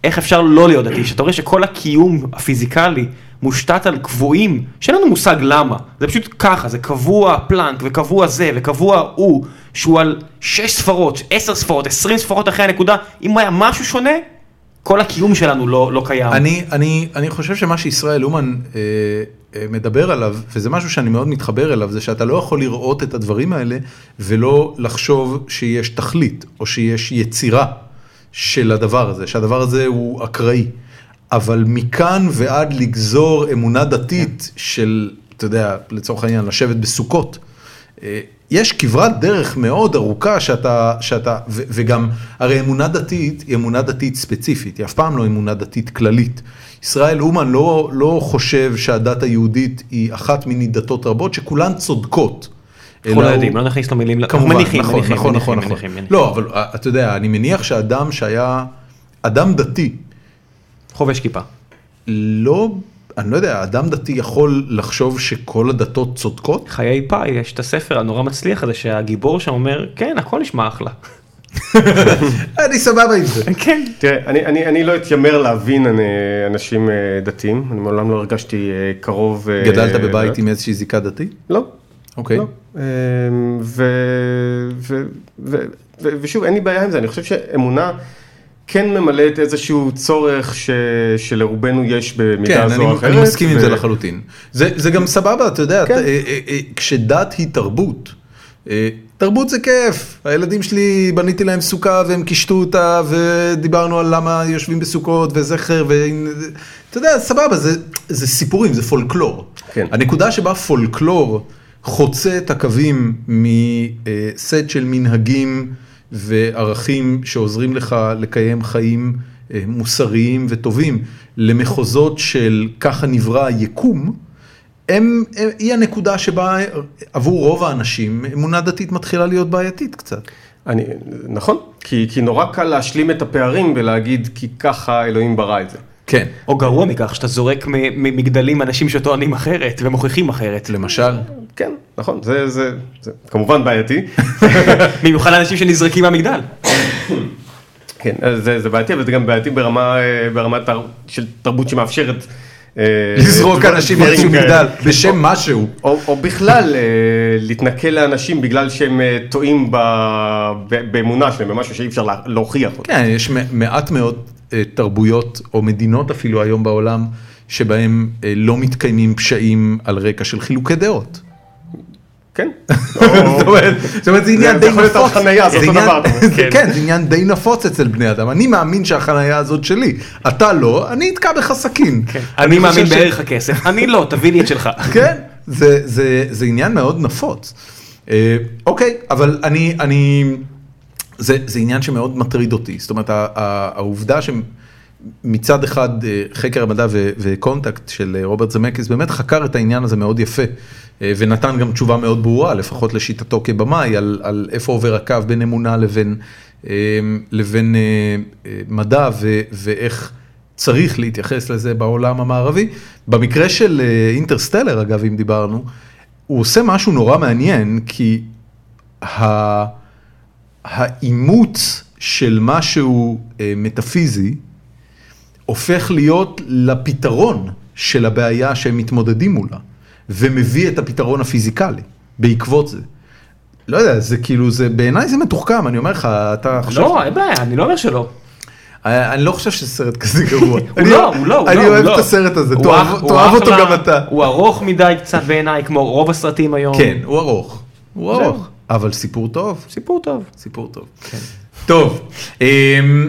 Speaker 5: איך אפשר לא להיות דתי, שאתה רואה שכל הקיום הפיזיקלי מושתת על קבועים, שאין לנו מושג למה, זה פשוט ככה, זה קבוע פלנק וקבוע זה וקבוע הוא, שהוא על 6 ספרות, 10 ספרות, 20 ספרות אחרי הנקודה, אם היה משהו שונה, כל הקיום שלנו לא, לא קיים.
Speaker 1: אני, אני, אני חושב שמה שישראל אומן אה, אה, מדבר עליו, וזה משהו שאני מאוד מתחבר אליו, זה שאתה לא יכול לראות את הדברים האלה ולא לחשוב שיש תכלית או שיש יצירה של הדבר הזה, שהדבר הזה הוא אקראי. אבל מכאן ועד לגזור אמונה דתית של, אתה יודע, לצורך העניין, לשבת בסוכות. אה, יש כברת דרך מאוד ארוכה שאתה, שאתה ו, וגם, הרי אמונה דתית היא אמונה דתית ספציפית, היא אף פעם לא אמונה דתית כללית. ישראל אומן לא, לא חושב שהדת היהודית היא אחת מיני דתות רבות שכולן צודקות.
Speaker 5: אנחנו לא
Speaker 1: אלא
Speaker 5: יודעים,
Speaker 1: הוא-
Speaker 5: לא נכניס למילים,
Speaker 1: כמובן,
Speaker 5: מניחים,
Speaker 1: נכון,
Speaker 5: מניחים,
Speaker 1: נכון,
Speaker 5: מניחים,
Speaker 1: נכון, נכון.
Speaker 5: מניחים, מניחים.
Speaker 1: לא, אבל אה, אתה יודע, אני מניח שאדם שהיה, אדם דתי,
Speaker 5: חובש כיפה.
Speaker 1: לא, אני לא יודע, אדם דתי יכול לחשוב שכל הדתות צודקות?
Speaker 5: חיי פאי, יש את הספר הנורא מצליח הזה שהגיבור שם אומר, כן, הכל נשמע אחלה.
Speaker 1: אני סבבה עם זה.
Speaker 5: כן.
Speaker 3: תראה, אני, אני, אני לא אתיימר להבין אני, אנשים אה, דתיים, אני מעולם לא הרגשתי אה, קרוב. אה,
Speaker 1: גדלת בבית
Speaker 3: לדת.
Speaker 1: עם איזושהי זיקה דתית?
Speaker 3: לא.
Speaker 1: אוקיי.
Speaker 3: לא. אה, ו, ו, ו, ו, ושוב, אין לי בעיה עם זה, אני חושב שאמונה כן ממלאת איזשהו צורך ש, שלרובנו יש במידה
Speaker 1: כן,
Speaker 3: זו
Speaker 1: אני,
Speaker 3: או אחרת.
Speaker 1: אני מסכים עם
Speaker 3: ו-
Speaker 1: זה לחלוטין. זה, זה גם סבבה, אתה יודע,
Speaker 3: כן.
Speaker 1: אתה- אה, אה, אה, כשדת היא תרבות, אה, תרבות זה כיף. הילדים שלי, בניתי להם סוכה והם קישטו אותה, ודיברנו על למה יושבים בסוכות וזכר, ואם- אתה יודע, סבבה, זה, זה סיפורים, זה פולקלור.
Speaker 3: כן.
Speaker 1: הנקודה שבה פולקלור חוצה את הקווים מסט של מנהגים וערכים שעוזרים לך לקיים חיים אה, מוסריים וטובים למחוזות של ככה נברא היקום, הם, הם, היא הנקודה שבה עבור רוב האנשים אמונה דתית מתחילה להיות בעייתית קצת.
Speaker 3: אני, נכון, כי, כי נורא קל להשלים את הפערים ולהגיד כי ככה אלוהים ברא את זה.
Speaker 1: כן.
Speaker 5: או גרוע מכך, שאתה זורק מ- ממגדלים אנשים שטוענים אחרת ומוכיחים אחרת.
Speaker 1: למשל,
Speaker 3: כן, נכון, זה, זה, זה כמובן בעייתי.
Speaker 5: במיוחד אנשים שנזרקים מהמגדל.
Speaker 3: כן, אז זה, זה בעייתי, אבל זה גם בעייתי ברמה, אה, ברמה תר, של תרבות שמאפשרת... אה,
Speaker 1: לזרוק
Speaker 3: דבר-
Speaker 1: אנשים
Speaker 3: דברים
Speaker 1: מאיזשהו
Speaker 3: כאלה.
Speaker 1: מגדל בשם משהו.
Speaker 3: או, או בכלל, אה, להתנכל לאנשים בגלל שהם אה, טועים ב, ב, באמונה שלהם, במשהו שאי אפשר לה- להוכיח אותו.
Speaker 1: כן, יש מ- מעט מאוד אה, תרבויות או מדינות אפילו היום בעולם, שבהם אה, לא מתקיימים פשעים על רקע של חילוקי דעות.
Speaker 3: כן.
Speaker 1: זאת אומרת, זאת אומרת, זה עניין
Speaker 3: זה
Speaker 1: די
Speaker 3: יכול להיות על
Speaker 1: נפוץ.
Speaker 3: חנייה, זה אותו
Speaker 1: עניין-
Speaker 3: דבר, אתה אומר,
Speaker 1: זה- כן, זה עניין די נפוץ אצל בני אדם. אני מאמין שהחנייה הזאת שלי. אתה לא, אני אתקע בך סכין.
Speaker 5: כן. אני מאמין
Speaker 1: חושב ש-
Speaker 5: בערך הכסף, אני לא, תביא לי את שלך.
Speaker 1: כן, זה, זה, זה עניין מאוד נפוץ. אה, אוקיי, אבל אני, אני, זה, זה עניין שמאוד מטריד אותי. זאת אומרת, ה- ה- העובדה ש... מצד אחד אה, חקר המדע ו- וקונטקט של אה, רוברט זמקיס באמת חקר את העניין הזה מאוד יפה אה, ונתן גם תשובה מאוד ברורה לפחות לשיטתו כבמאי על, על איפה עובר הקו בין אמונה לבין, אה, לבין אה, אה, מדע ו- ואיך צריך להתייחס לזה בעולם המערבי. במקרה של אה, אינטרסטלר אגב אם דיברנו הוא עושה משהו נורא מעניין כי ה... האימוץ של משהו אה, מטאפיזי הופך להיות לפתרון של הבעיה שהם מתמודדים מולה, ומביא את הפתרון הפיזיקלי בעקבות זה. לא יודע, זה כאילו, זה בעיניי זה מתוחכם, אני אומר לך, אתה חושב...
Speaker 5: לא, אין בעיה, אני לא אומר שלא.
Speaker 1: אה, אני לא חושב שזה סרט כזה גרוע.
Speaker 5: הוא לא, הוא לא, הוא לא.
Speaker 1: אני
Speaker 5: הוא
Speaker 1: אוהב
Speaker 5: לא.
Speaker 1: את הסרט הזה,
Speaker 5: הוא
Speaker 1: תאהב
Speaker 5: אח- הוא
Speaker 1: תאהב אותו
Speaker 5: אחלה,
Speaker 1: גם אתה.
Speaker 5: הוא ארוך מדי קצת בעיניי, כמו רוב הסרטים היום.
Speaker 1: כן, הוא ארוך. הוא ארוך. אבל סיפור טוב,
Speaker 5: סיפור טוב.
Speaker 1: סיפור טוב.
Speaker 5: כן.
Speaker 1: טוב, אמ,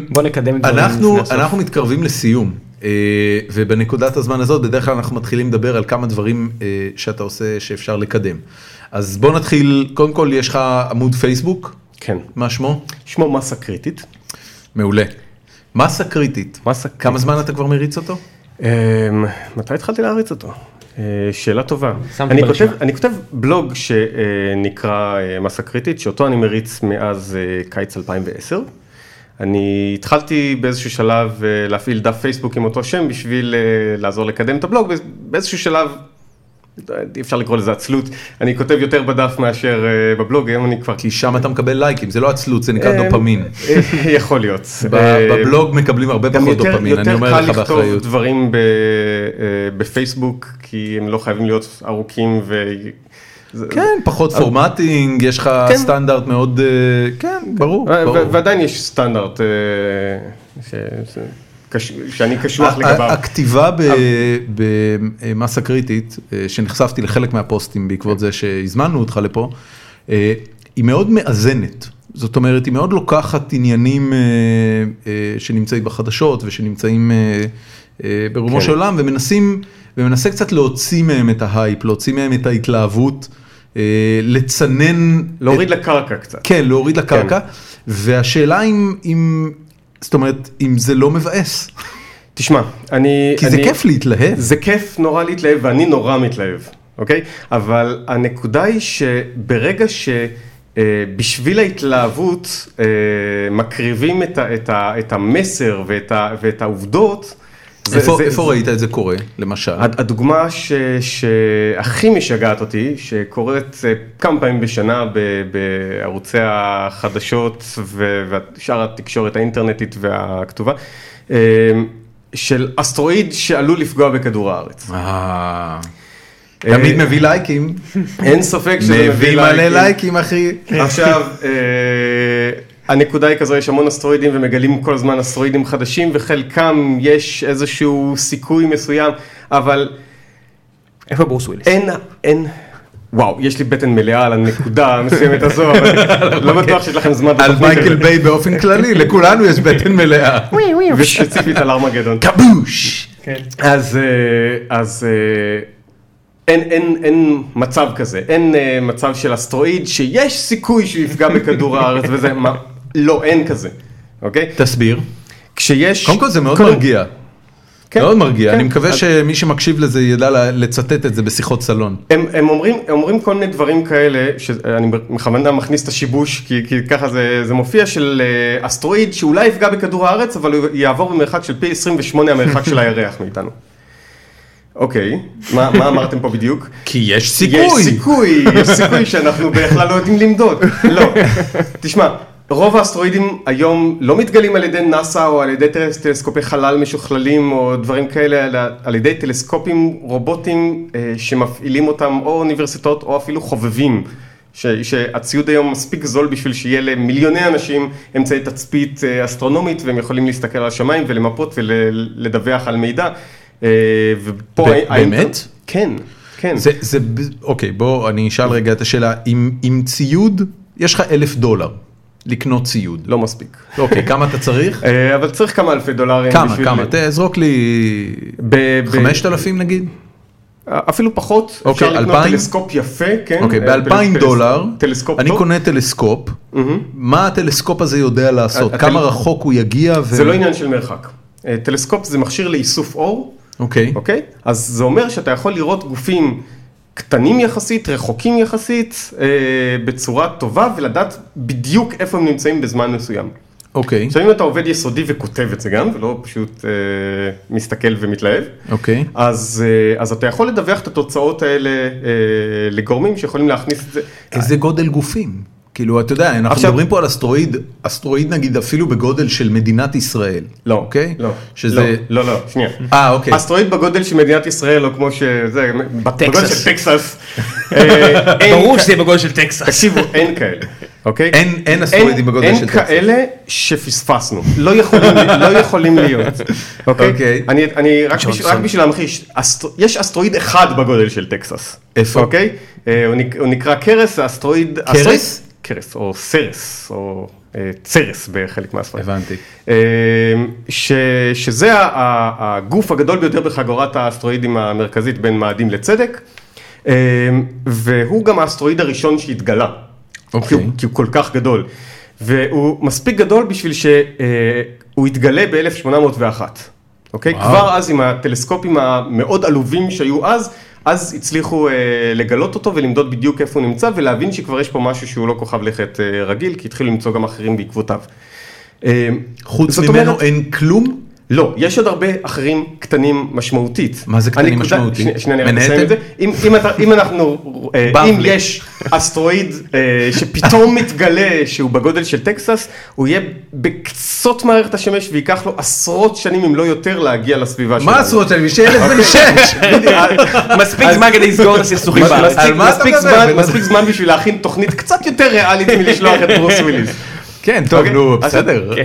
Speaker 5: בוא נקדם את דברים
Speaker 1: אנחנו,
Speaker 5: לפני הסוף.
Speaker 1: אנחנו מתקרבים לסיום, אה, ובנקודת הזמן הזאת בדרך כלל אנחנו מתחילים לדבר על כמה דברים אה, שאתה עושה שאפשר לקדם. אז בוא נתחיל, קודם כל יש לך עמוד פייסבוק,
Speaker 3: כן.
Speaker 1: מה שמו?
Speaker 3: שמו מסה קריטית.
Speaker 1: מעולה. מסה קריטית.
Speaker 3: מסה קריטית.
Speaker 1: כמה זמן אתה כבר מריץ אותו?
Speaker 3: אמ, מתי התחלתי להריץ אותו? אה, שאלה טובה.
Speaker 5: שמתי
Speaker 3: אני
Speaker 5: ברשימה.
Speaker 3: כותב, אני כותב בלוג שנקרא אה, מסה קריטית, שאותו אני מריץ מאז אה, קיץ 2010. אני התחלתי באיזשהו שלב אה, להפעיל דף פייסבוק עם אותו שם בשביל אה, לעזור לקדם את הבלוג, באיז- באיזשהו שלב, אי אפשר לקרוא לזה עצלות, אני כותב יותר בדף מאשר אה, בבלוג, היום אני כבר...
Speaker 1: כי שם אתה מקבל לייקים, זה לא עצלות, זה נקרא דופמין.
Speaker 3: אה, יכול להיות.
Speaker 1: ב-
Speaker 3: אה,
Speaker 1: בבלוג מקבלים הרבה
Speaker 3: גם
Speaker 1: פחות
Speaker 3: יותר,
Speaker 1: דופמין, אני
Speaker 3: יותר
Speaker 1: אומר
Speaker 3: קל
Speaker 1: לך
Speaker 3: לכתוב כן.
Speaker 1: באחריות.
Speaker 3: דברים ב, אה, בפייסבוק, כי הם לא חייבים להיות ארוכים ו... זה-
Speaker 1: כן, פחות פורמטינג, יש לך
Speaker 3: כן.
Speaker 1: סטנדרט מאוד, אה, כן, ברור,
Speaker 3: ו- ו-
Speaker 1: ברור.
Speaker 3: ועדיין יש סטנדרט אה, ש... ש... קש... שאני קשוח
Speaker 1: ה-
Speaker 3: לגביו.
Speaker 1: הכתיבה ב- במסה קריטית, אה, שנחשפתי לחלק מהפוסטים בעקבות זה שהזמנו אותך לפה, אה, היא מאוד מאזנת. זאת אומרת, היא מאוד לוקחת עניינים אה, אה, שנמצאים בחדשות ושנמצאים אה, אה, ברומו
Speaker 3: כן.
Speaker 1: של עולם ומנסים, ומנסה קצת להוציא מהם את ההייפ, להוציא מהם את ההתלהבות, אה, לצנן...
Speaker 3: להוריד
Speaker 1: את-
Speaker 3: לקרקע קצת.
Speaker 1: כן, להוריד לקרקע. והשאלה אם, אם, זאת אומרת, אם זה לא מבאס.
Speaker 3: תשמע, אני...
Speaker 1: כי זה
Speaker 3: אני-
Speaker 1: כיף להתלהב.
Speaker 3: זה כיף נורא להתלהב, ואני נורא מתלהב, אוקיי? אבל הנקודה היא שברגע שבשביל ההתלהבות אה, מקריבים את, ה, את, ה, את המסר ואת, ה, ואת העובדות, זה-
Speaker 1: איפה,
Speaker 3: זה-
Speaker 1: איפה
Speaker 3: זה-
Speaker 1: ראית את זה קורה, למשל?
Speaker 3: הד- הדוגמה ש- שהכי משגעת אותי, שקורית אה, כמה פעמים בשנה ב- בערוצי החדשות ו- ושאר התקשורת האינטרנטית והכתובה, אה, של אסטרואיד שעלול לפגוע בכדור הארץ.
Speaker 1: אה, תמיד מביא לייקים.
Speaker 3: אין ספק שזה
Speaker 1: מביא מלא לייקים, אחי.
Speaker 3: עכשיו, אה, הנקודה היא כזו, יש המון אסטרואידים ומגלים כל הזמן אסטרואידים חדשים, וחלקם יש איזשהו סיכוי מסוים, אבל
Speaker 5: איפה ברוס וויליס?
Speaker 3: אין, אין, וואו, יש לי בטן מלאה על הנקודה המסוימת הזו, אבל לא בטוח שיש לכם זמן
Speaker 1: על
Speaker 3: בתוכנית
Speaker 1: מייקל
Speaker 3: הזאת.
Speaker 1: ביי באופן כללי, לכולנו יש בטן מלאה.
Speaker 3: וספציפית על ארמגדון.
Speaker 1: כבוש!
Speaker 3: אז, אה, אז אה, אין, אין, אין מצב כזה, אין אה, מצב של אסטרואיד שיש סיכוי שהוא יפגע בכדור הארץ וזה, מה, לא, אין כזה, אוקיי?
Speaker 1: תסביר.
Speaker 3: כשיש...
Speaker 1: קודם כל זה מאוד
Speaker 3: קודם-
Speaker 1: מרגיע.
Speaker 3: כן,
Speaker 1: מאוד מרגיע.
Speaker 3: כן.
Speaker 1: אני מקווה
Speaker 3: אז-
Speaker 1: שמי שמקשיב לזה ידע ל- לצטט את זה בשיחות סלון.
Speaker 3: הם, הם, אומרים, הם אומרים כל מיני דברים כאלה, שאני בכוונה מכניס את השיבוש, כי, כי ככה זה, זה מופיע, של אה, אסטרואיד שאולי יפגע בכדור הארץ, אבל הוא יעבור במרחק של פי 28 המרחק של הירח מאיתנו. אוקיי, מה, מה אמרתם פה בדיוק?
Speaker 1: כי יש
Speaker 3: יש
Speaker 1: סיכוי.
Speaker 3: סיכוי, יש סיכוי שאנחנו בכלל לא יודעים למדוד. לא, תשמע, רוב האסטרואידים היום לא מתגלים על ידי נאסא או על ידי טל- טלסקופי חלל משוכללים או דברים כאלה, אלא על ידי טלסקופים רובוטים אה, שמפעילים אותם או אוניברסיטאות או אפילו חובבים. ש, שהציוד היום מספיק זול בשביל שיהיה למיליוני אנשים אמצעי תצפית אה, אסטרונומית והם יכולים להסתכל על השמיים ולמפות ולדווח על מידע. אה, ופה
Speaker 1: ב-
Speaker 3: האינטר-
Speaker 1: באמת?
Speaker 3: כן, כן.
Speaker 1: זה, זה, ב- אוקיי, בוא, אני אשאל רגע את השאלה. עם, עם ציוד, יש לך אלף דולר לקנות ציוד.
Speaker 3: לא מספיק.
Speaker 1: אוקיי, כמה אתה צריך?
Speaker 3: אה, אבל צריך כמה אלפי דולרים.
Speaker 1: כמה,
Speaker 3: בשביל-
Speaker 1: כמה? תזרוק לי
Speaker 3: ב- ב-
Speaker 1: 5,000 נגיד?
Speaker 3: אפילו פחות.
Speaker 1: אוקיי,
Speaker 3: אפשר לקנות
Speaker 1: אלפיים?
Speaker 3: טלסקופ יפה, כן.
Speaker 1: אוקיי,
Speaker 3: אה,
Speaker 1: ב-2,000
Speaker 3: טלס-
Speaker 1: דולר,
Speaker 3: טלסקופ
Speaker 1: אני
Speaker 3: טוב.
Speaker 1: קונה טלסקופ, מה הטלסקופ הזה יודע לעשות?
Speaker 3: הטל- לא
Speaker 1: כמה רחוק הוא יגיע? ו-
Speaker 3: זה לא עניין של מרחק. אה, טלסקופ זה מכשיר לאיסוף אור,
Speaker 1: אוקיי.
Speaker 3: אוקיי? אז זה אומר שאתה יכול לראות גופים קטנים יחסית, רחוקים יחסית, אה, בצורה טובה, ולדעת בדיוק איפה הם נמצאים בזמן מסוים.
Speaker 1: אוקיי.
Speaker 3: עכשיו אם אתה עובד יסודי וכותב את זה גם, ולא פשוט אה, מסתכל ומתלהב,
Speaker 1: אוקיי.
Speaker 3: אז, אה, אז אתה יכול לדווח את התוצאות האלה אה, לגורמים שיכולים להכניס את זה.
Speaker 1: איזה גודל גופים? כאילו, אתה יודע, אנחנו
Speaker 3: עכשיו-
Speaker 1: מדברים פה על אסטרואיד, אסטרואיד נגיד אפילו בגודל של מדינת ישראל.
Speaker 3: לא,
Speaker 1: אוקיי?
Speaker 3: לא,
Speaker 1: שזה...
Speaker 3: לא, לא, לא, שנייה.
Speaker 1: אה, אוקיי.
Speaker 3: אסטרואיד בגודל של מדינת ישראל, או כמו שזה, בגודל
Speaker 5: טקסס.
Speaker 3: של טקסס. אה, אין
Speaker 5: ברור
Speaker 3: כ-
Speaker 5: שזה יהיה בגודל של טקסס.
Speaker 3: תקשיבו, אין כאלה, אוקיי?
Speaker 1: אין- אין אסטרואידים בגודל של
Speaker 3: אין
Speaker 1: טקסס.
Speaker 3: כאלה שפספסנו, לא יכולים- לא יכולים להיות,
Speaker 1: אוקיי.
Speaker 3: אוקיי? אני- אני, רק בשביל-
Speaker 5: ג'ונסון.
Speaker 3: רק בשביל להמחיש, אסטר- יש אסטרואיד אחד בגודל של טקסס.
Speaker 1: איפה?
Speaker 3: אוקיי? אה, הוא נק- הוא נקרא קרס, האסטרואיד...
Speaker 1: קרס?
Speaker 3: אסטרואיד- קרס, או סרס, או אה, צרס בחלק מהספרים.
Speaker 1: הבנתי.
Speaker 3: אה, ש, שזה ה- ה- הגוף הגדול ביותר בחגורת האסטרואידים המרכזית בין מאדים לצדק, אה, והוא גם האסטרואיד הראשון שהתגלה,
Speaker 1: אוקיי.
Speaker 3: כי, הוא, כי הוא כל כך גדול, והוא מספיק גדול בשביל שהוא יתגלה ב-1801, אוקיי?
Speaker 1: וואו.
Speaker 3: כבר אז עם הטלסקופים המאוד עלובים שהיו אז, אז הצליחו אה, לגלות אותו ולמדוד בדיוק איפה הוא נמצא ולהבין שכבר יש פה משהו שהוא לא כוכב לכת אה, רגיל, כי התחילו למצוא גם אחרים בעקבותיו. אה,
Speaker 1: חוץ
Speaker 3: זאת
Speaker 1: ממנו
Speaker 3: אומרת-
Speaker 1: אין כלום?
Speaker 3: לא, יש עוד הרבה אחרים קטנים משמעותית.
Speaker 1: מה זה קטנים
Speaker 3: הנקודה-
Speaker 1: משמעותית?
Speaker 3: שנייה, שנייה, אני רק
Speaker 1: מנהטן?
Speaker 3: אסיים את זה. אם- אם אתה- אם אנחנו, אה, אם
Speaker 5: בבלי.
Speaker 3: יש אסטרואיד אה, שפתאום מתגלה שהוא בגודל של טקסס, הוא יהיה בקצות מערכת השמש וייקח לו עשרות שנים אם לא יותר להגיע לסביבה שלנו.
Speaker 1: מה עשרות שנים? שילד
Speaker 3: אוקיי.
Speaker 1: בן שש!
Speaker 5: מספיק זמן כדי לסגור את הסכסוכים
Speaker 1: מה-
Speaker 5: בארץ.
Speaker 1: מה- על
Speaker 3: מספיק-
Speaker 1: מה אתה
Speaker 3: מספיק
Speaker 1: מדבר?
Speaker 3: זמן-
Speaker 1: בן-
Speaker 3: מספיק זמן בשביל להכין תוכנית קצת יותר ריאלית מלשלוח את ברוס וויליס.
Speaker 1: כן, טוב,
Speaker 3: אוקיי,
Speaker 1: נו,
Speaker 3: אז-
Speaker 1: בסדר.
Speaker 3: כן.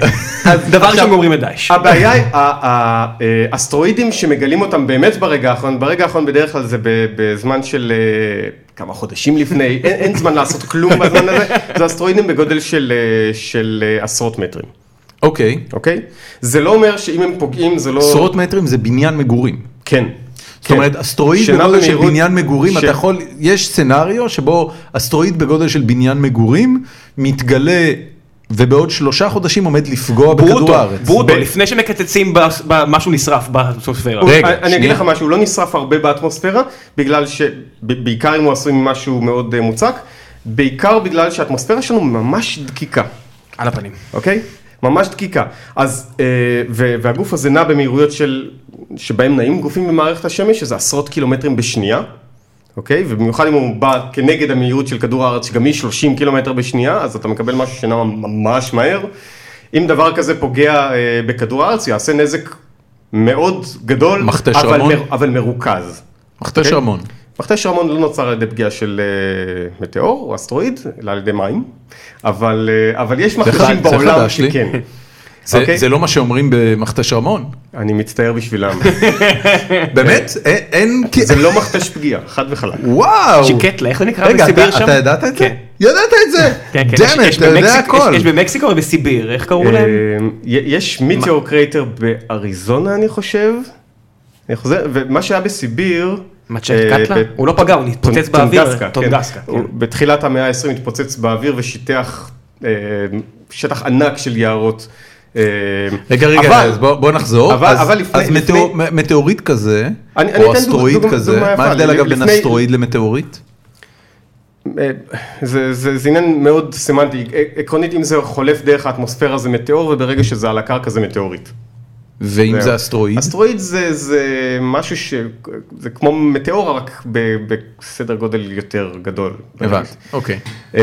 Speaker 5: דבר
Speaker 3: עכשיו-
Speaker 5: ראשון גומרים את דאעש.
Speaker 3: הבעיה היא ה- ה- האסטרואידים שמגלים אותם באמת ברגע האחרון, ברגע האחרון בדרך כלל זה ב- בזמן של אה, כמה חודשים לפני, אין, אין זמן לעשות כלום בזמן הזה, זה אסטרואידים בגודל של, אה, של אה, עשרות מטרים,
Speaker 1: אוקיי.
Speaker 3: אוקיי? זה לא אומר שאם הם פוגעים זה לא...
Speaker 1: עשרות מטרים זה בניין מגורים.
Speaker 3: כן.
Speaker 1: זאת אומרת, אסטרואיד
Speaker 3: שנע
Speaker 1: בגודל של
Speaker 3: במהירות-
Speaker 1: בניין מגורים,
Speaker 3: ש-
Speaker 1: אתה יכול, יש סצנריו שבו אסטרואיד בגודל של בניין מגורים מתגלה ובעוד שלושה חודשים עומד לפגוע בכדור
Speaker 5: ברוטו,
Speaker 1: הארץ.
Speaker 5: ברוטו,
Speaker 3: ב-
Speaker 5: לפני שמקצצים בס- במשהו נשרף באטמוספירה.
Speaker 1: רגע,
Speaker 3: אני- אני אגיד
Speaker 1: שנייה.
Speaker 3: לך משהו, הוא לא נשרף הרבה באטמוספירה, בגלל ש... ב- בעיקר אם הוא עשוי ממשהו מאוד אה, מוצק, בעיקר בגלל שהאטמוספירה שלנו ממש דקיקה.
Speaker 5: על הפנים.
Speaker 3: אוקיי? ממש דקיקה. אז, אה, ו- והגוף הזה נע במהירויות של, שבהם נעים גופים במערכת השמש, שזה עשרות קילומטרים בשנייה, אוקיי? ובמיוחד אם הוא בא כנגד המהירות של כדור הארץ, שגם היא 30 קילומטר בשנייה, אז אתה מקבל משהו שנע ממש מהר. אם דבר כזה פוגע אה, בכדור הארץ, יעשה נזק מאוד גדול,
Speaker 1: מכתש
Speaker 3: אבל,
Speaker 1: רמון?
Speaker 3: מר, אבל מרוכז.
Speaker 1: מכתש
Speaker 3: אוקיי.
Speaker 1: רמון.
Speaker 3: מכתש רמון לא נוצר על ידי פגיעה של אה, מטאור או אסטרואיד, אלא על ידי מים, אבל, אה, אבל יש
Speaker 1: חד- זה
Speaker 3: מכתשים בעולם
Speaker 1: חדש לי.
Speaker 3: שכן.
Speaker 1: זה-
Speaker 3: אוקיי.
Speaker 1: זה לא מה שאומרים במכתש רמון.
Speaker 3: אני מצטער בשבילם,
Speaker 1: באמת? אין- אין... כי-
Speaker 3: זה לא מכתש פגיעה, חד וחלק.
Speaker 1: וואו.
Speaker 5: שקטלה, איך זה נקרא
Speaker 1: רגע,
Speaker 5: בסיביר
Speaker 1: אתה-
Speaker 5: שם?
Speaker 1: אתה ידעת את זה?
Speaker 5: כן.
Speaker 1: ידעת את זה.
Speaker 5: כן, כן, יש-
Speaker 1: דאמת,
Speaker 5: יש
Speaker 1: אתה יודע
Speaker 5: במקסיקו-
Speaker 1: הכל.
Speaker 5: יש- יש במקסיקו ובסיביר, איך קראו להם?
Speaker 3: אה, יש מיטאור קרייטר באריזונה, אני חושב. אני חוזר, ומה שהיה בסיביר...
Speaker 5: מצ'ט
Speaker 3: אה,
Speaker 5: קטלה?
Speaker 3: ב-
Speaker 5: הוא לא פגע, הוא התפוצץ
Speaker 3: טונגסקה,
Speaker 5: באוויר.
Speaker 3: כן.
Speaker 5: טונגסקה. כן.
Speaker 3: הוא בתחילת המאה ה-20 התפוצץ באוויר ושיטח אה, שטח ענק של יערות. אה,
Speaker 1: רגע, רגע,
Speaker 3: אבל-
Speaker 1: אז בוא בוא נחזור.
Speaker 3: אבל-
Speaker 1: אז-
Speaker 3: אבל לפני-
Speaker 1: אז מטאור-
Speaker 3: לפני-
Speaker 1: מ- מטאורית כזה,
Speaker 3: אני- אני אתן
Speaker 1: או
Speaker 3: דוג-
Speaker 1: אסטרואיד
Speaker 3: דוגמה-
Speaker 1: כזה,
Speaker 3: דוגמה
Speaker 1: מה
Speaker 3: יפה.
Speaker 1: ההבדל אגב בין
Speaker 3: לפני-
Speaker 1: אסטרואיד למטאורית?
Speaker 3: אה, זה, זה, זה עניין מאוד סמנטי, ע- עקרונית אם זה חולף דרך האטמוספירה זה מטאור וברגע שזה על הקרקע זה מטאורית.
Speaker 1: ואם
Speaker 3: זהו.
Speaker 1: זה אסטרואיד?
Speaker 3: אסטרואיד זה, זה משהו ש... זה כמו מטאור רק ב- בסדר גודל יותר גדול.
Speaker 1: הבנתי, אוקיי.
Speaker 3: אה,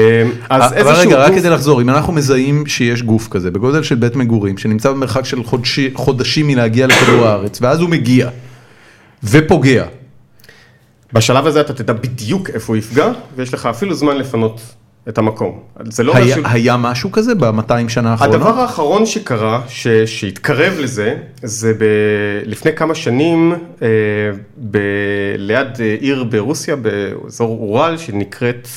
Speaker 3: אז
Speaker 1: אבל
Speaker 3: איזשהו
Speaker 1: רגע, רק
Speaker 3: גוף-
Speaker 1: כדי לחזור, אם אנחנו מזהים שיש גוף כזה בגודל של בית מגורים, שנמצא במרחק של חודשי- חודשים מלהגיע לכדור הארץ, ואז הוא מגיע ופוגע,
Speaker 3: בשלב הזה אתה תדע בדיוק איפה הוא יפגע, ויש לך אפילו זמן לפנות את המקום. זה לא
Speaker 1: היה-
Speaker 3: משהו...
Speaker 1: היה משהו כזה ב-200 שנה האחרונות?
Speaker 3: הדבר האחרון שקרה, ש... שהתקרב לזה, זה ב... לפני כמה שנים, אה, ב... ליד אה, עיר ברוסיה, באזור אורל, שנקראת...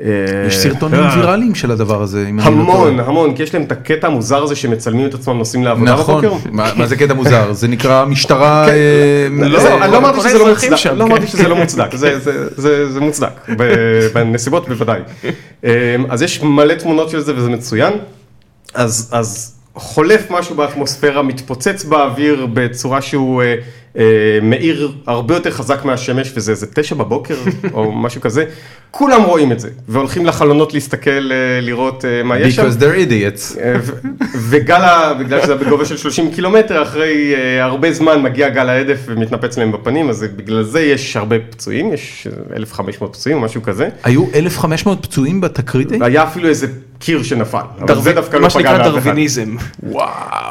Speaker 3: אה,
Speaker 1: יש סרטונים כאילו
Speaker 3: אה,
Speaker 1: ויראליים של הדבר הזה, אם אני לא טועה.
Speaker 3: המון, המון, כי יש להם את הקטע המוזר הזה שמצלמים את עצמם נוסעים לעבודה
Speaker 1: נכון,
Speaker 3: בבוקר.
Speaker 1: מה מה זה קטע מוזר? זה נקרא משטרה... אה,
Speaker 3: לא,
Speaker 1: זה-
Speaker 3: אני לא אמרתי
Speaker 5: כל
Speaker 3: שזה לא
Speaker 5: האזרחים
Speaker 3: מוצדק,
Speaker 5: שם,
Speaker 3: לא
Speaker 5: כן.
Speaker 3: אמרתי שזה לא מוצדק, זה- זה- זה זה מוצדק, ב- בנסיבות בוודאי. אמ, אז יש מלא תמונות של זה וזה מצוין, אז- אז חולף משהו באטמוספירה, מתפוצץ באוויר בצורה שהוא אה, אה, מאיר הרבה יותר חזק מהשמש, וזה איזה תשע בבוקר או משהו כזה, כולם רואים את זה, והולכים לחלונות להסתכל, אה, לראות אה, מה יש שם.
Speaker 1: Because they're idiots.
Speaker 3: אה, ו- וגל, ה- בגלל שזה היה בגובה של 30 קילומטר, אחרי אה, הרבה זמן מגיע גל ההדף ומתנפץ להם בפנים, אז זה- בגלל זה יש הרבה פצועים, יש אה, 1,500 פצועים או משהו כזה.
Speaker 1: היו 1,500 פצועים בתקרית? ההיא?
Speaker 3: היה אפילו איזה קיר שנפל, אבל זה דווקא לא
Speaker 5: מה
Speaker 3: פגע
Speaker 5: שנקרא
Speaker 3: לאף אחד.
Speaker 5: דרוויניזם.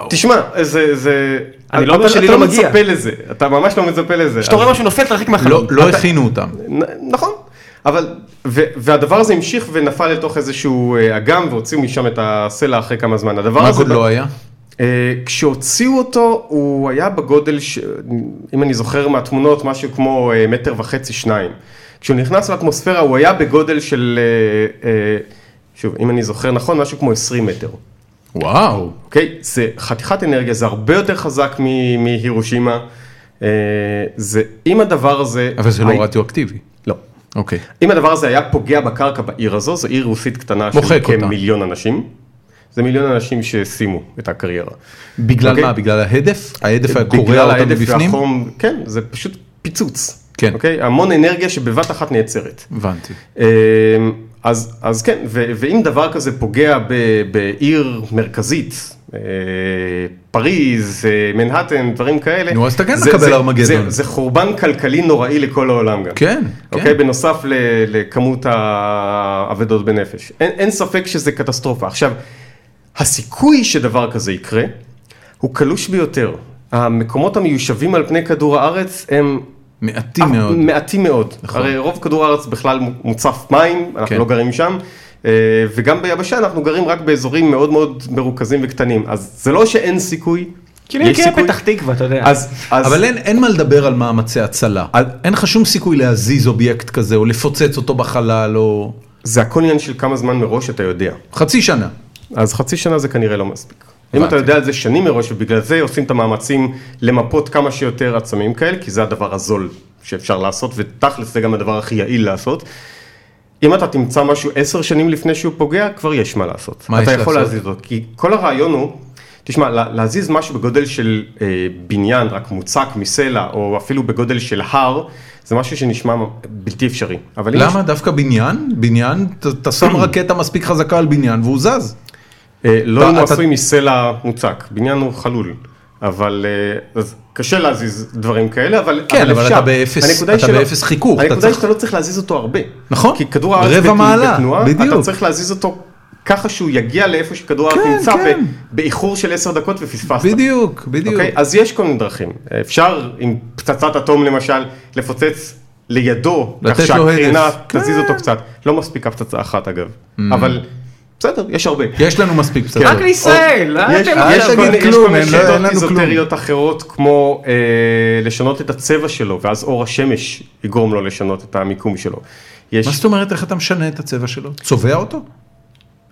Speaker 3: תשמע, זה, זה...
Speaker 5: אני לא
Speaker 3: אתה-
Speaker 5: אומר שלי לא
Speaker 3: אתה
Speaker 5: מגיע.
Speaker 3: לא מצפה לזה, אתה ממש לא מצפה לזה.
Speaker 5: כשאתה
Speaker 3: אז-
Speaker 5: רואה משהו נופל תרחיק
Speaker 1: לא-
Speaker 5: מהחלום.
Speaker 1: לא הכינו אותם.
Speaker 3: נ- נכון, אבל, ו, והדבר הזה המשיך ונפל לתוך איזשהו אה, אגם והוציאו משם את הסלע אחרי כמה זמן. הדבר
Speaker 1: מה
Speaker 3: הזה...
Speaker 1: עוד לא היה?
Speaker 3: אה, כשהוציאו אותו, הוא היה בגודל, ש... אם אני זוכר מהתמונות, משהו כמו אה, מטר וחצי, שניים. כשהוא נכנס לאטמוספירה, הוא היה בגודל של, אה, אה, שוב, אם אני זוכר נכון, משהו כמו 20 מטר.
Speaker 1: וואו.
Speaker 3: אוקיי? זה חתיכת אנרגיה, זה הרבה יותר חזק מ- מהירושימה. אה, זה, אם הדבר הזה...
Speaker 1: אבל זה לא
Speaker 3: הי-
Speaker 1: רדיואקטיבי.
Speaker 3: לא.
Speaker 1: אוקיי.
Speaker 3: אם הדבר הזה היה פוגע בקרקע בעיר הזו, זו עיר רוסית קטנה של
Speaker 1: מוחק אותה.
Speaker 3: כמיליון אנשים. זה מיליון אנשים שסיימו את הקריירה.
Speaker 1: בגלל
Speaker 3: אוקיי.
Speaker 1: מה? בגלל ההדף? ההדף היה קורע
Speaker 3: בגלל
Speaker 1: אותם
Speaker 3: ההדף
Speaker 1: מבפנים?
Speaker 3: והחום, כן, זה פשוט פיצוץ.
Speaker 1: כן.
Speaker 3: אוקיי? המון אנרגיה שבבת אחת נעצרת.
Speaker 1: הבנתי.
Speaker 3: אמ, אז, אז כן, ו, ואם דבר כזה פוגע ב, בעיר מרכזית, אה, פריז, אה, מנהטן, דברים כאלה,
Speaker 1: נו, אז אתה כן
Speaker 3: זה-
Speaker 1: מקבל
Speaker 3: זה-
Speaker 1: ארמגדון.
Speaker 3: זה, זה חורבן כלכלי נוראי לכל העולם גם.
Speaker 1: כן,
Speaker 3: אוקיי,
Speaker 1: כן.
Speaker 3: בנוסף ל, לכמות האבדות בנפש. אין, אין ספק שזה קטסטרופה. עכשיו, הסיכוי שדבר כזה יקרה, הוא קלוש ביותר. המקומות המיושבים על פני כדור הארץ הם
Speaker 1: מעטים
Speaker 3: אף-
Speaker 1: מאוד.
Speaker 3: מעטים מאוד.
Speaker 1: נכון.
Speaker 3: הרי רוב כדור הארץ בכלל מוצף מים, אנחנו
Speaker 1: כן.
Speaker 3: לא גרים שם, אה, וגם ביבשה אנחנו גרים רק באזורים מאוד מאוד מרוכזים וקטנים, אז זה לא שאין סיכוי,
Speaker 5: כאילו
Speaker 3: יש
Speaker 5: יקרה
Speaker 3: סיכוי.
Speaker 5: פתח תקווה, אתה
Speaker 1: אה,
Speaker 5: יודע.
Speaker 3: אז, אז
Speaker 1: אבל אין, אין מה לדבר על מאמצי הצלה. אין לך שום סיכוי להזיז אובייקט כזה, או לפוצץ אותו בחלל, או...
Speaker 3: זה הכל עניין של כמה זמן מראש אתה יודע.
Speaker 1: חצי שנה.
Speaker 3: אז חצי שנה זה כנראה לא מספיק. אם
Speaker 1: הבנתי.
Speaker 3: אתה יודע על זה שנים מראש, ובגלל זה עושים את המאמצים למפות כמה שיותר עצמים כאלה, כי זה הדבר הזול שאפשר לעשות, ותכלס זה גם הדבר הכי יעיל לעשות. אם אתה תמצא משהו עשר שנים לפני שהוא פוגע, כבר יש מה לעשות.
Speaker 1: מה
Speaker 3: אתה
Speaker 1: יש
Speaker 3: יכול
Speaker 1: לעשות?
Speaker 3: להזיז אותו, כי כל הרעיון הוא, תשמע, לה- להזיז משהו בגודל של אה, בניין, רק מוצק מסלע, או אפילו בגודל של הר, זה משהו שנשמע בלתי אפשרי. אבל אם
Speaker 1: למה? דווקא בניין? בניין? ת- אתה שם רקטה מספיק חזקה על בניין והוא זז.
Speaker 3: אה, לא
Speaker 1: אתה-
Speaker 3: אם הוא
Speaker 1: אתה-
Speaker 3: עשוי מסלע מוצק, בניין הוא חלול, אבל אה, אז קשה להזיז דברים כאלה, אבל
Speaker 1: כן, אבל
Speaker 3: אפשר.
Speaker 1: אתה באפס-
Speaker 3: הנקודה היא
Speaker 1: אתה
Speaker 3: שלא-
Speaker 1: באפס חיכוך, אתה
Speaker 3: הנקודה היא
Speaker 1: צריך-
Speaker 3: שאתה לא צריך להזיז אותו הרבה.
Speaker 1: נכון,
Speaker 3: כי כדור הארץ
Speaker 1: רבע
Speaker 3: בת-
Speaker 1: מעלה,
Speaker 3: בתנועה, אתה
Speaker 1: בדיוק.
Speaker 3: צריך להזיז אותו ככה שהוא יגיע לאיפה שכדור הארץ
Speaker 1: כן,
Speaker 3: נמצא,
Speaker 1: כן.
Speaker 3: ב- באיחור של עשר דקות ופספסת.
Speaker 1: בדיוק, בדיוק.
Speaker 3: נכון. אוקיי? אז יש כל מיני דרכים. אפשר עם פצצת אטום למשל, לפוצץ לידו, כך
Speaker 1: לתת לו כן.
Speaker 3: שהקרינה
Speaker 1: הדף.
Speaker 3: תזיז אותו קצת. לא מספיקה פצצה אחת אגב,
Speaker 1: Mm.
Speaker 3: אבל בסדר, יש הרבה.
Speaker 1: יש לנו מספיק פצצות.
Speaker 5: רק לישראל,
Speaker 3: או-
Speaker 5: אה,
Speaker 3: יש
Speaker 5: אתם-
Speaker 1: אל
Speaker 3: יש כל
Speaker 1: תגיד
Speaker 3: מיני- יש
Speaker 1: כלום,
Speaker 3: כל מיני
Speaker 1: הם לא- אין
Speaker 3: שיטות
Speaker 1: לנו כלום.
Speaker 3: איזוטריות אחרות כמו אה, לשנות את הצבע שלו ואז אור השמש יגרום לו לשנות את המיקום שלו.
Speaker 1: מה
Speaker 3: יש,
Speaker 1: זאת אומרת, איך אתה משנה את הצבע שלו? צובע אותו?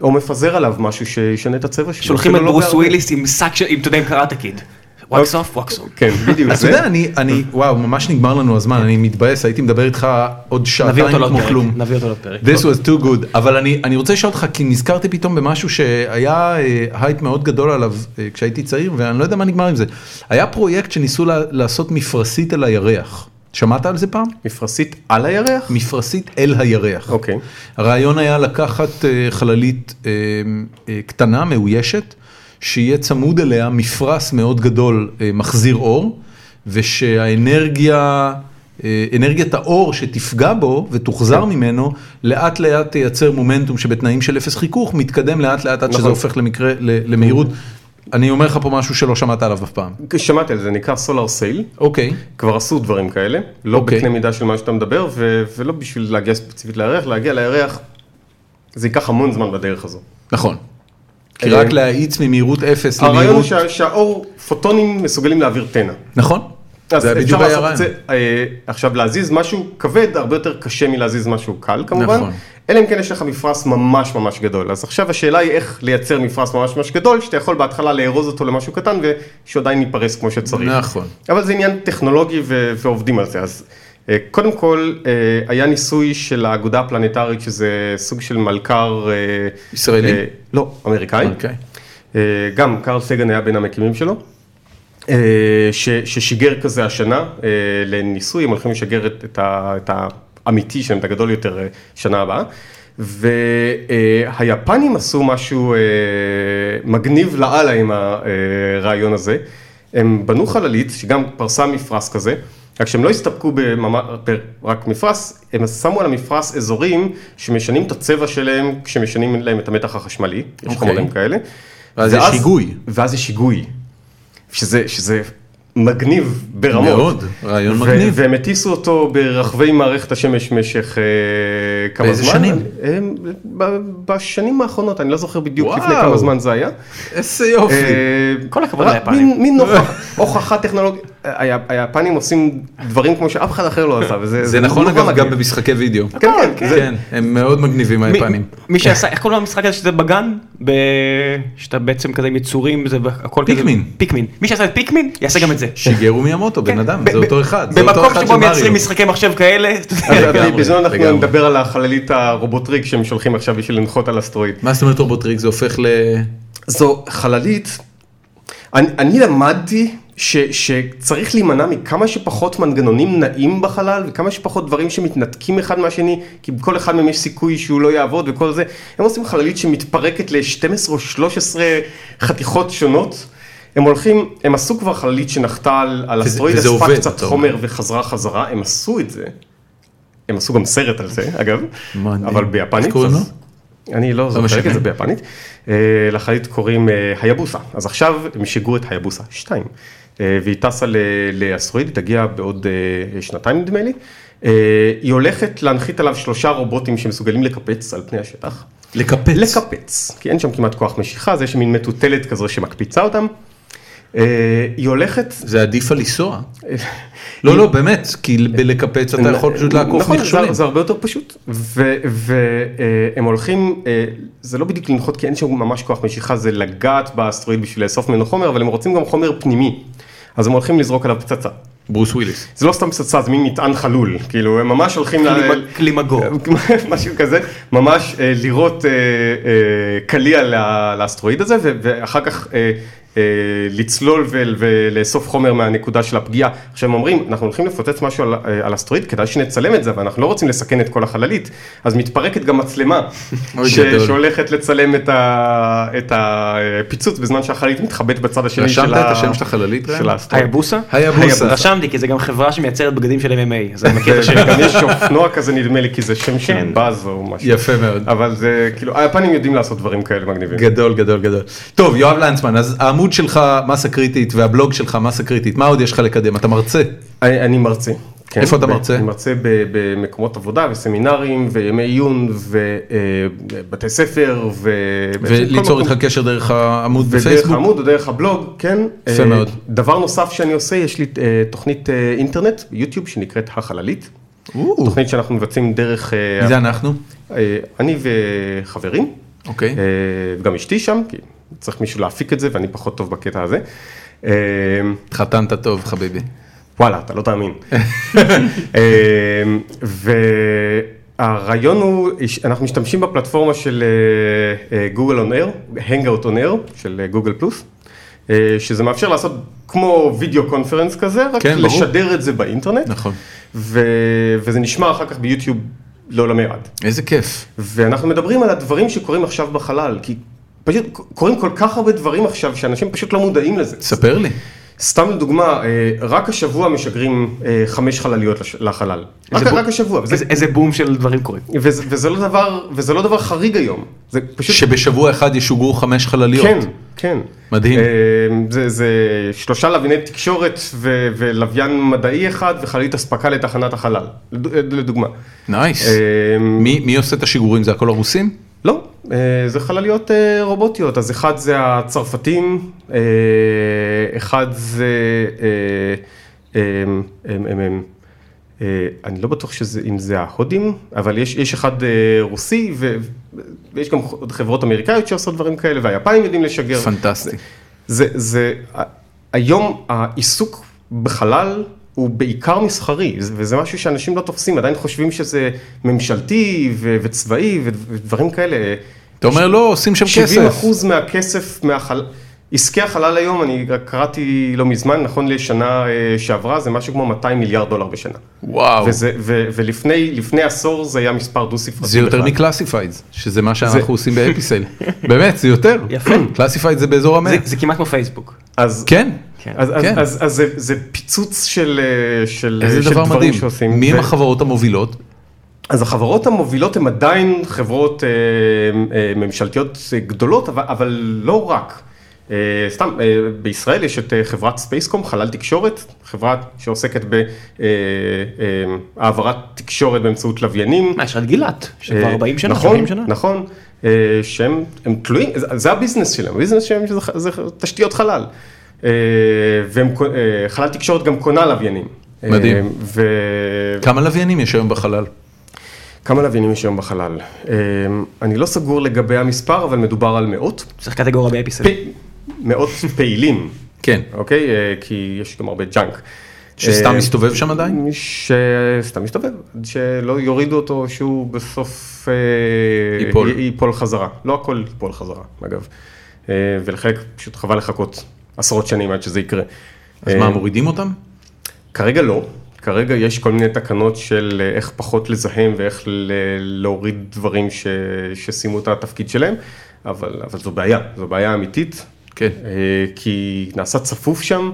Speaker 3: או מפזר עליו משהו שישנה את הצבע שלו.
Speaker 5: שולחים את
Speaker 3: אפילו לא
Speaker 5: ברוס
Speaker 3: בהרבה.
Speaker 5: וויליס עם שק של, עם, אתה יודע, עם קראטה קיד.
Speaker 1: אוקיי.
Speaker 5: וואקס אוף, וואקס אוף.
Speaker 3: כן, בדיוק.
Speaker 1: אתה
Speaker 3: זה.
Speaker 1: יודע, אני, אני, וואו, ממש נגמר לנו הזמן, אני מתבאס, הייתי מדבר איתך עוד
Speaker 5: נביא
Speaker 1: שעתיים
Speaker 5: אותו לעוד
Speaker 1: כמו
Speaker 5: פרק.
Speaker 1: כלום.
Speaker 5: נביא אותו לעוד פרק.
Speaker 1: This was too good, אבל אני, אני רוצה לשאול אותך, כי נזכרתי פתאום במשהו שהיה אה, הייפ מאוד גדול עליו אה, כשהייתי צעיר, ואני לא יודע מה נגמר עם זה. היה פרויקט שניסו לה, לעשות מפרשית על הירח. שמעת על זה פעם?
Speaker 3: מפרשית על הירח?
Speaker 1: מפרשית אל הירח.
Speaker 3: אוקיי.
Speaker 1: הרעיון היה לקחת אה, חללית אה, אה, קטנה, מאוישת, שיהיה צמוד אליה מפרס מאוד גדול אה, מחזיר אור, ושהאנרגיה, אה, אנרגיית האור שתפגע בו ותוחזר
Speaker 3: כן.
Speaker 1: ממנו, לאט לאט תייצר מומנטום שבתנאים של אפס חיכוך מתקדם לאט לאט עד שזה
Speaker 3: נכון.
Speaker 1: הופך למקרה, ל- למהירות. אני אומר לך פה משהו שלא שמעת עליו אף פעם.
Speaker 3: שמעתי על זה, נקרא סולאר סייל.
Speaker 1: אוקיי,
Speaker 3: כבר עשו דברים כאלה, לא
Speaker 1: אוקיי.
Speaker 3: בקנה מידה של מה שאתה מדבר, ו- ולא בשביל להגיע ספציפית לירח, להגיע לירח, זה ייקח המון זמן בדרך הזו.
Speaker 1: נכון. כי
Speaker 3: אה,
Speaker 1: רק להאיץ ממהירות אפס
Speaker 3: הרעיון הוא
Speaker 1: למהירות,
Speaker 3: שה- שהאור, פוטונים מסוגלים להעביר טנא.
Speaker 1: נכון?
Speaker 3: אז
Speaker 1: זה
Speaker 3: אפשר
Speaker 1: בדיוק היה
Speaker 3: לעשות
Speaker 1: הרעיון.
Speaker 3: את זה, אה, עכשיו להזיז משהו כבד הרבה יותר קשה מלהזיז משהו קל כמובן,
Speaker 1: נכון.
Speaker 3: אלא אם כן יש לך מפרס ממש ממש גדול, אז עכשיו השאלה היא איך לייצר מפרס ממש ממש גדול, שאתה יכול בהתחלה לארוז אותו למשהו קטן ושעדיין ייפרס כמו שצריך.
Speaker 1: נכון.
Speaker 3: אבל זה עניין טכנולוגי ו- ועובדים על זה, אז אה, קודם כל אה, היה ניסוי של האגודה הפלנטרית שזה סוג של מלכר... אה,
Speaker 1: ישראלי?
Speaker 3: אה, לא, אמריקאי.
Speaker 1: אוקיי.
Speaker 3: אה, גם קרל סגן היה בין המקימים שלו, אה, ש, ששיגר כזה השנה אה, לניסוי, הם הולכים לשגר את, את, ה, את האמיתי שלהם, את הגדול יותר, אה, שנה הבאה. והיפנים עשו משהו אה, מגניב לאללה עם הרעיון הזה. הם בנו חללית שגם פרסה מפרס כזה, רק שהם לא הסתפקו בממ- רק מפרס, הם שמו על המפרס אזורים שמשנים את הצבע שלהם כשמשנים להם את המתח החשמלי, יש
Speaker 1: אוקיי.
Speaker 3: חומרים כאלה.
Speaker 1: ואז יש היגוי.
Speaker 3: ואז יש היגוי, שזה, שזה מגניב ברמות.
Speaker 1: מאוד, רעיון
Speaker 3: ו-
Speaker 1: מגניב.
Speaker 3: והם הטיסו אותו ברחבי מערכת השמש משך אה, כמה
Speaker 1: באיזה
Speaker 3: זמן.
Speaker 1: שנים?
Speaker 3: הם, ב- בשנים האחרונות, אני לא זוכר בדיוק לפני
Speaker 1: וואו.
Speaker 3: כמה זמן זה היה.
Speaker 1: איזה יופי.
Speaker 3: אה,
Speaker 5: כל הכבוד
Speaker 3: רק
Speaker 5: ליפנים.
Speaker 3: מין- מין הוכח- הוכחה טכנולוגית, היה- היפנים עושים דברים כמו שאף אחד אחר לא עשה, וזה
Speaker 1: זה נכון
Speaker 3: נורא
Speaker 1: אגב גם
Speaker 3: מגניב.
Speaker 1: במשחקי וידאו.
Speaker 3: כן, כן, כן. זה-
Speaker 1: כן, הם מאוד מגניבים
Speaker 5: מי-
Speaker 1: היפנים.
Speaker 5: מי שעשה, איך קוראים למשחק הזה שזה בגן? ב- שאתה בעצם כזה עם יצורים, זה הכל כזה.
Speaker 1: פיקמין.
Speaker 5: פיקמין. מי שעשה את פיקמין, יעשה גם את זה.
Speaker 1: שיגרו מיאמוטו,
Speaker 3: כן.
Speaker 1: בן אדם,
Speaker 5: ב-
Speaker 1: זה
Speaker 5: ב-
Speaker 1: אותו אחד. זה אותו
Speaker 5: במקום
Speaker 1: אחד של
Speaker 5: שבו מייצרים
Speaker 1: מריו.
Speaker 5: משחקי מחשב כאלה, אתה יודע,
Speaker 1: כן,
Speaker 3: אז
Speaker 1: לגמרי,
Speaker 3: בזמן אנחנו
Speaker 1: לגמרי.
Speaker 3: נדבר על החללית הרובוטריק שהם שולחים עכשיו בשביל לנחות על אסטרואיד.
Speaker 1: מה זאת אומרת רובוטריק? זה הופך ל...
Speaker 3: זו חללית. אני, אני למדתי ש, שצריך להימנע מכמה שפחות מנגנונים נעים בחלל וכמה שפחות דברים שמתנתקים אחד מהשני, כי בכל אחד מהם יש סיכוי שהוא לא יעבוד וכל זה. הם עושים חללית שמתפרקת ל-12 או 13 חתיכות שונות. הם הולכים, הם עשו כבר חללית שנחתה על, על
Speaker 1: וזה-
Speaker 3: אסטרואיד,
Speaker 1: וזה
Speaker 3: אספה
Speaker 1: עובד,
Speaker 3: קצת
Speaker 1: אתה אומר.
Speaker 3: חומר וחזרה חזרה, הם עשו את זה. הם עשו גם סרט על זה, אגב,
Speaker 1: מעניין.
Speaker 3: אבל ביפנית.
Speaker 1: איך קוראים
Speaker 3: אז-
Speaker 1: לו?
Speaker 3: אני לא זוכר
Speaker 1: משנה.
Speaker 3: את זה ביפנית. אה, לחללית קוראים אה, היבוסה. אז עכשיו הם שיגרו את היבוסה 2. אה, והיא טסה ל- לאסטרואיד, היא תגיע בעוד אה, שנתיים נדמה לי. אה, היא הולכת להנחית עליו שלושה רובוטים שמסוגלים לקפץ על פני השטח.
Speaker 1: לקפץ.
Speaker 3: לקפץ, כי אין שם כמעט כוח משיכה, אז יש מין מטוטלת כזו שמקפיצה אותם. אה, היא הולכת...
Speaker 1: זה עדיף על לנסוע. לא, לא, באמת, כי בלקפץ אתה יכול פשוט לעקוף
Speaker 3: נכון,
Speaker 1: מכשולים.
Speaker 3: זה- זה הרבה יותר פשוט. והם הולכים, אה, זה לא בדיוק לנחות כי אין שם ממש כוח משיכה, זה לגעת באסטרואיד בשביל לאסוף ממנו חומר, אבל הם רוצים גם חומר פנימי. אז הם הולכים לזרוק עליו פצצה.
Speaker 1: ברוס וויליס.
Speaker 3: זה לא סתם פצצה, זה מין מטען חלול. כאילו, הם ממש הולכים ל...
Speaker 5: קלימגו.
Speaker 3: משהו כזה, ממש אה, לירות אה, אה, קליע ל- לאסטרואיד הזה, ו- ואחר כך אה, אה, לצלול ול- ולאסוף חומר מהנקודה של הפגיעה. עכשיו הם אומרים, אנחנו הולכים לפוצץ משהו על, אה, על אסטרואיד, כדאי שנצלם את זה, אבל אנחנו לא רוצים לסכן את כל החללית, אז מתפרקת גם מצלמה,
Speaker 1: אוי,
Speaker 3: ש-
Speaker 1: גדול.
Speaker 3: שהולכת לצלם את ה- את הפיצוץ בזמן שהחללית מתחבאת בצד השני כן, של
Speaker 1: רשמת
Speaker 3: ה-
Speaker 1: את השם של החללית, ראם?
Speaker 3: של האסטרואיד.
Speaker 5: היבוסה?
Speaker 1: היבוסה.
Speaker 5: רשמתי, כי זה גם חברה שמייצרת בגדים של MMA, אז אני מכיר את השם.
Speaker 3: וגם יש אופנוע כזה נדמה לי כי זה שם של
Speaker 1: כן.
Speaker 3: באז או משהו.
Speaker 1: יפה מאוד.
Speaker 3: אבל זה כאילו היפנים יודעים לעשות דברים כאלה מגניבים.
Speaker 1: גדול, גדול, גדול. טוב, יואב לנצמן, אז העמוד שלך מסה קריטית והבלוג שלך מסה קריטית, מה עוד יש לך לקדם? אתה מרצה.
Speaker 3: אני אני מרצה. כן,
Speaker 1: איפה אתה
Speaker 3: ב-
Speaker 1: מרצה?
Speaker 3: אני מרצה ב- במקומות עבודה וסמינרים וימי עיון ובתי ספר ו...
Speaker 1: וליצור
Speaker 3: כל
Speaker 1: איתך
Speaker 3: מקום.
Speaker 1: קשר דרך העמוד
Speaker 3: ודרך
Speaker 1: בפייסבוק.
Speaker 3: העמוד או דרך הבלוג, כן.
Speaker 1: יפה
Speaker 3: אה,
Speaker 1: מאוד.
Speaker 3: דבר נוסף שאני עושה, יש לי אה, תוכנית אה, אינטרנט ביוטיוב שנקראת החללית.
Speaker 1: או,
Speaker 3: תוכנית שאנחנו מבצעים דרך... אה,
Speaker 1: מי זה אנחנו?
Speaker 3: אה, אני וחברים.
Speaker 1: אוקיי.
Speaker 3: אה, גם אשתי שם, כי צריך מישהו להפיק את זה ואני פחות טוב בקטע הזה. אה,
Speaker 1: התחתנת טוב, חביבי.
Speaker 3: וואלה, אתה לא תאמין. אה, והרעיון הוא, אנחנו משתמשים בפלטפורמה של אה, גוגל און אייר, Hangout on Air של אה, גוגל פלוס, אה, שזה מאפשר לעשות כמו וידאו קונפרנס כזה, רק
Speaker 1: כן, ברור.
Speaker 3: לשדר את זה באינטרנט,
Speaker 1: נכון.
Speaker 3: ו- וזה נשמע אחר כך ביוטיוב לא למעט.
Speaker 1: איזה כיף.
Speaker 3: ואנחנו מדברים על הדברים שקורים עכשיו בחלל, כי פשוט קורים כל כך הרבה דברים עכשיו שאנשים פשוט לא מודעים לזה.
Speaker 1: ספר לי.
Speaker 3: סתם לדוגמה, אה, רק השבוע משגרים אה, חמש חלליות לש- לחלל. רק,
Speaker 5: בו-
Speaker 3: רק השבוע, וזה,
Speaker 5: איזה- איזה בום של דברים קורים.
Speaker 3: וזה, וזה, לא דבר, וזה לא דבר חריג היום, זה פשוט...
Speaker 1: שבשבוע אחד ישוגרו חמש חלליות.
Speaker 3: כן, כן.
Speaker 1: מדהים.
Speaker 3: אה, זה, זה שלושה לוויני תקשורת ו, ולוויין מדעי אחד וחללית אספקה לתחנת החלל, לד- לדוגמה.
Speaker 1: נייס.
Speaker 3: אה,
Speaker 1: מי מי עושה את השיגורים? זה הכל הרוסים?
Speaker 3: לא, אה, זה חלליות אה, רובוטיות, אז אחד זה הצרפתים, אה, אחד זה, אה, אה, אה, אה, אה, אה, אני לא בטוח שזה- אם זה ההודים, אבל יש, יש אחד אה, רוסי ו, ויש גם עוד חברות אמריקאיות שעושות דברים כאלה והיפנים יודעים לשגר.
Speaker 1: פנטסטי.
Speaker 3: כן. זה, זה, ה- היום העיסוק בחלל הוא בעיקר מסחרי, זה- וזה משהו שאנשים לא תופסים, עדיין חושבים שזה ממשלתי ו- וצבאי ו- ודברים כאלה.
Speaker 1: אתה אומר לא, עושים שם
Speaker 3: 70
Speaker 1: כסף.
Speaker 3: אחוז מהכסף, מהחל... עסקי החלל היום, אני רק קראתי לא מזמן, נכון לשנה אה, שעברה, זה משהו כמו 200 מיליארד דולר בשנה.
Speaker 1: וואו.
Speaker 3: וזה, ו, ולפני לפני עשור זה היה מספר דו ספרתי.
Speaker 1: זה יותר
Speaker 3: בכלל.
Speaker 1: מקלאסיפיידס, שזה מה שאנחנו עושים באפיסל. באמת, זה יותר.
Speaker 5: יפה.
Speaker 1: קלאסיפיידס זה באזור המאה.
Speaker 5: זה- זה כמעט כמו פייסבוק.
Speaker 3: אז,
Speaker 1: כן.
Speaker 3: אז, אז,
Speaker 1: כן.
Speaker 3: אז, אז, זה, זה פיצוץ של, אה, של, אה,
Speaker 1: איזה
Speaker 3: של
Speaker 1: דבר
Speaker 3: דברים
Speaker 1: מדהים.
Speaker 3: שעושים.
Speaker 1: מי הם
Speaker 3: ו-
Speaker 1: החברות המובילות?
Speaker 3: אז החברות המובילות הן עדיין חברות אה, אה, ממשלתיות אה, גדולות, אבל, אבל לא רק. אה, סתם, אה, בישראל יש את אה, חברת ספייסקום, חלל תקשורת, חברה שעוסקת בהעברת תקשורת באמצעות לוויינים.
Speaker 5: מה, יש לך את גילת, שכבר
Speaker 3: אה,
Speaker 5: 40 שנה,
Speaker 3: נכון,
Speaker 5: 30 שנה.
Speaker 3: נכון, אה, שהם הם תלויים, זה- זה הביזנס שלהם, הביזנס שלהם זה, זה תשתיות חלל. אה, והם, קו- אה, חלל תקשורת גם קונה לוויינים.
Speaker 1: מדהים.
Speaker 3: אה, ו...
Speaker 1: כמה לוויינים יש היום בחלל?
Speaker 3: כמה לוויינים יש היום בחלל? אמ, אני לא סגור לגבי המספר, אבל מדובר על מאות.
Speaker 5: צריך קטגוריה באפיסל.
Speaker 3: פ- מאות פעילים,
Speaker 1: כן.
Speaker 3: אוקיי? אה, כי יש גם הרבה ג'אנק.
Speaker 1: שסתם
Speaker 3: אה,
Speaker 1: מסתובב שם עדיין?
Speaker 3: שסתם מסתובב, שלא יורידו אותו שהוא בסוף אה,
Speaker 1: ייפול.
Speaker 3: י- ייפול חזרה. לא הכל ייפול חזרה, אגב. אה, ולחלק פשוט חבל לחכות עשרות שנים עד שזה יקרה.
Speaker 1: אז
Speaker 3: אה,
Speaker 1: מה, מורידים אותם?
Speaker 3: כרגע לא. כרגע יש כל מיני תקנות של אה, איך פחות לזהם ואיך ל- להוריד דברים ש... שסיימו את התפקיד שלהם, אבל, אבל זו בעיה, זו בעיה אמיתית,
Speaker 1: כן.
Speaker 3: אה, כי נעשה צפוף שם,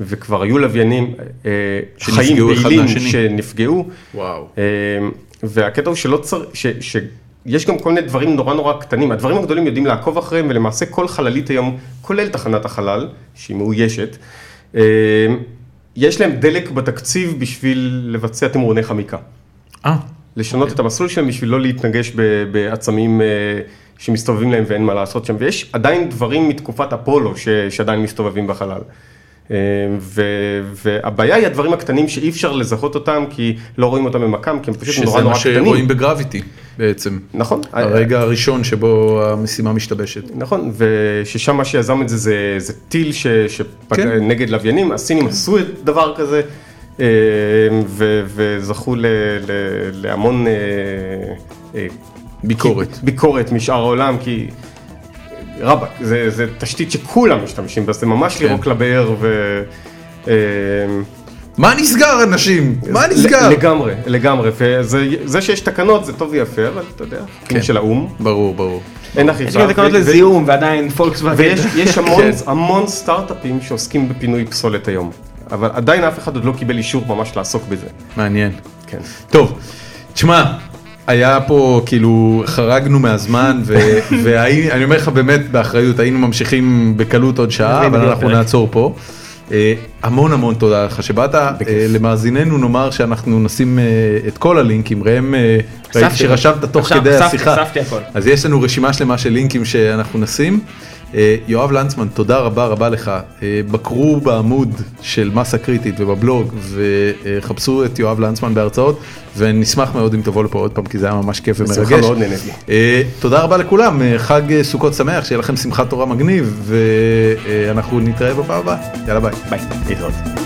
Speaker 3: וכבר היו לוויינים אה,
Speaker 1: שנפגעו
Speaker 3: חיים
Speaker 1: אחד
Speaker 3: פעילים
Speaker 1: מהשני.
Speaker 3: שנפגעו.
Speaker 1: וואו.
Speaker 3: אה, והקטע הוא שלא צריך, ש... ש... יש גם כל מיני דברים נורא נורא קטנים, הדברים הגדולים יודעים לעקוב אחריהם, ולמעשה כל חללית היום, כולל תחנת החלל, שהיא מאוישת, אה, יש להם דלק בתקציב בשביל לבצע תמרוני חמיקה.
Speaker 1: אה,
Speaker 3: לשנות את המסלול שלהם בשביל לא להתנגש ב- בעצמים אה, שמסתובבים להם ואין מה לעשות שם, ויש עדיין דברים מתקופת אפולו ש- שעדיין מסתובבים בחלל. אה, ו- והבעיה היא הדברים הקטנים שאי אפשר לזהות אותם כי לא רואים אותם במקם, כי הם פשוט נורא
Speaker 1: שזה
Speaker 3: נורא
Speaker 1: מה אה,
Speaker 3: קטנים.
Speaker 1: שרואים בגרביטי בעצם.
Speaker 3: נכון,
Speaker 1: הרגע הראשון שבו המשימה משתבשת.
Speaker 3: נכון, וששם מה שיזם את זה זה, זה טיל ש, שפגע
Speaker 1: כן.
Speaker 3: כן. נגד לוויינים, הסינים עשו את דבר כזה, אה, ו, וזכו ל, ל, להמון אה, אה,
Speaker 1: ביקורת.
Speaker 3: ביקורת משאר העולם, כי רבאק, זה, זה תשתית שכולם משתמשים בה, זה ממש
Speaker 1: כן.
Speaker 3: לירוק לבאר ו... אה,
Speaker 1: מה נסגר אנשים? מה נסגר?
Speaker 3: לגמרי, לגמרי, וזה זה שיש תקנות זה טוב ויפה, אבל אתה יודע,
Speaker 1: כן.
Speaker 3: כן. של האו"ם,
Speaker 1: ברור, ברור.
Speaker 3: אין אכיפה.
Speaker 5: יש גם תקנות
Speaker 3: ו- ו-
Speaker 5: לזיהום, ועדיין פולקסווגן.
Speaker 3: ויש יש המון,
Speaker 1: כן.
Speaker 3: המון סטארט-אפים שעוסקים בפינוי פסולת היום, אבל עדיין אף אחד עוד לא קיבל אישור ממש לעסוק בזה.
Speaker 1: מעניין.
Speaker 3: כן.
Speaker 1: טוב, תשמע, היה פה כאילו חרגנו מהזמן ו- ואני אומר לך באמת באחריות היינו ממשיכים בקלות עוד שעה אבל אנחנו נעצור פה. אה, המון המון תודה לך שבאת, אה, למאזיננו נאמר שאנחנו נשים אה, את כל הלינקים, ראם אה, ראיתי שרשמת תוך
Speaker 5: עכשיו,
Speaker 1: כדי
Speaker 5: אספתי,
Speaker 1: השיחה,
Speaker 5: אספתי הכל.
Speaker 1: אז יש לנו רשימה שלמה של לינקים שאנחנו נשים. אה, יואב לנצמן, תודה רבה רבה לך. אה, בקרו בעמוד של מסה קריטית ובבלוג וחפשו את יואב לנצמן בהרצאות, ונשמח מאוד אם תבוא לפה עוד פעם, כי זה היה ממש כיף ומרגש.
Speaker 3: בשמחה, מאוד נהניתי.
Speaker 1: אה, תודה רבה לכולם, אה, חג אה, סוכות שמח, שיהיה לכם שמחת תורה מגניב, ואנחנו נתראה בפעם הבאה. יאללה ביי.
Speaker 3: ביי. להתראות.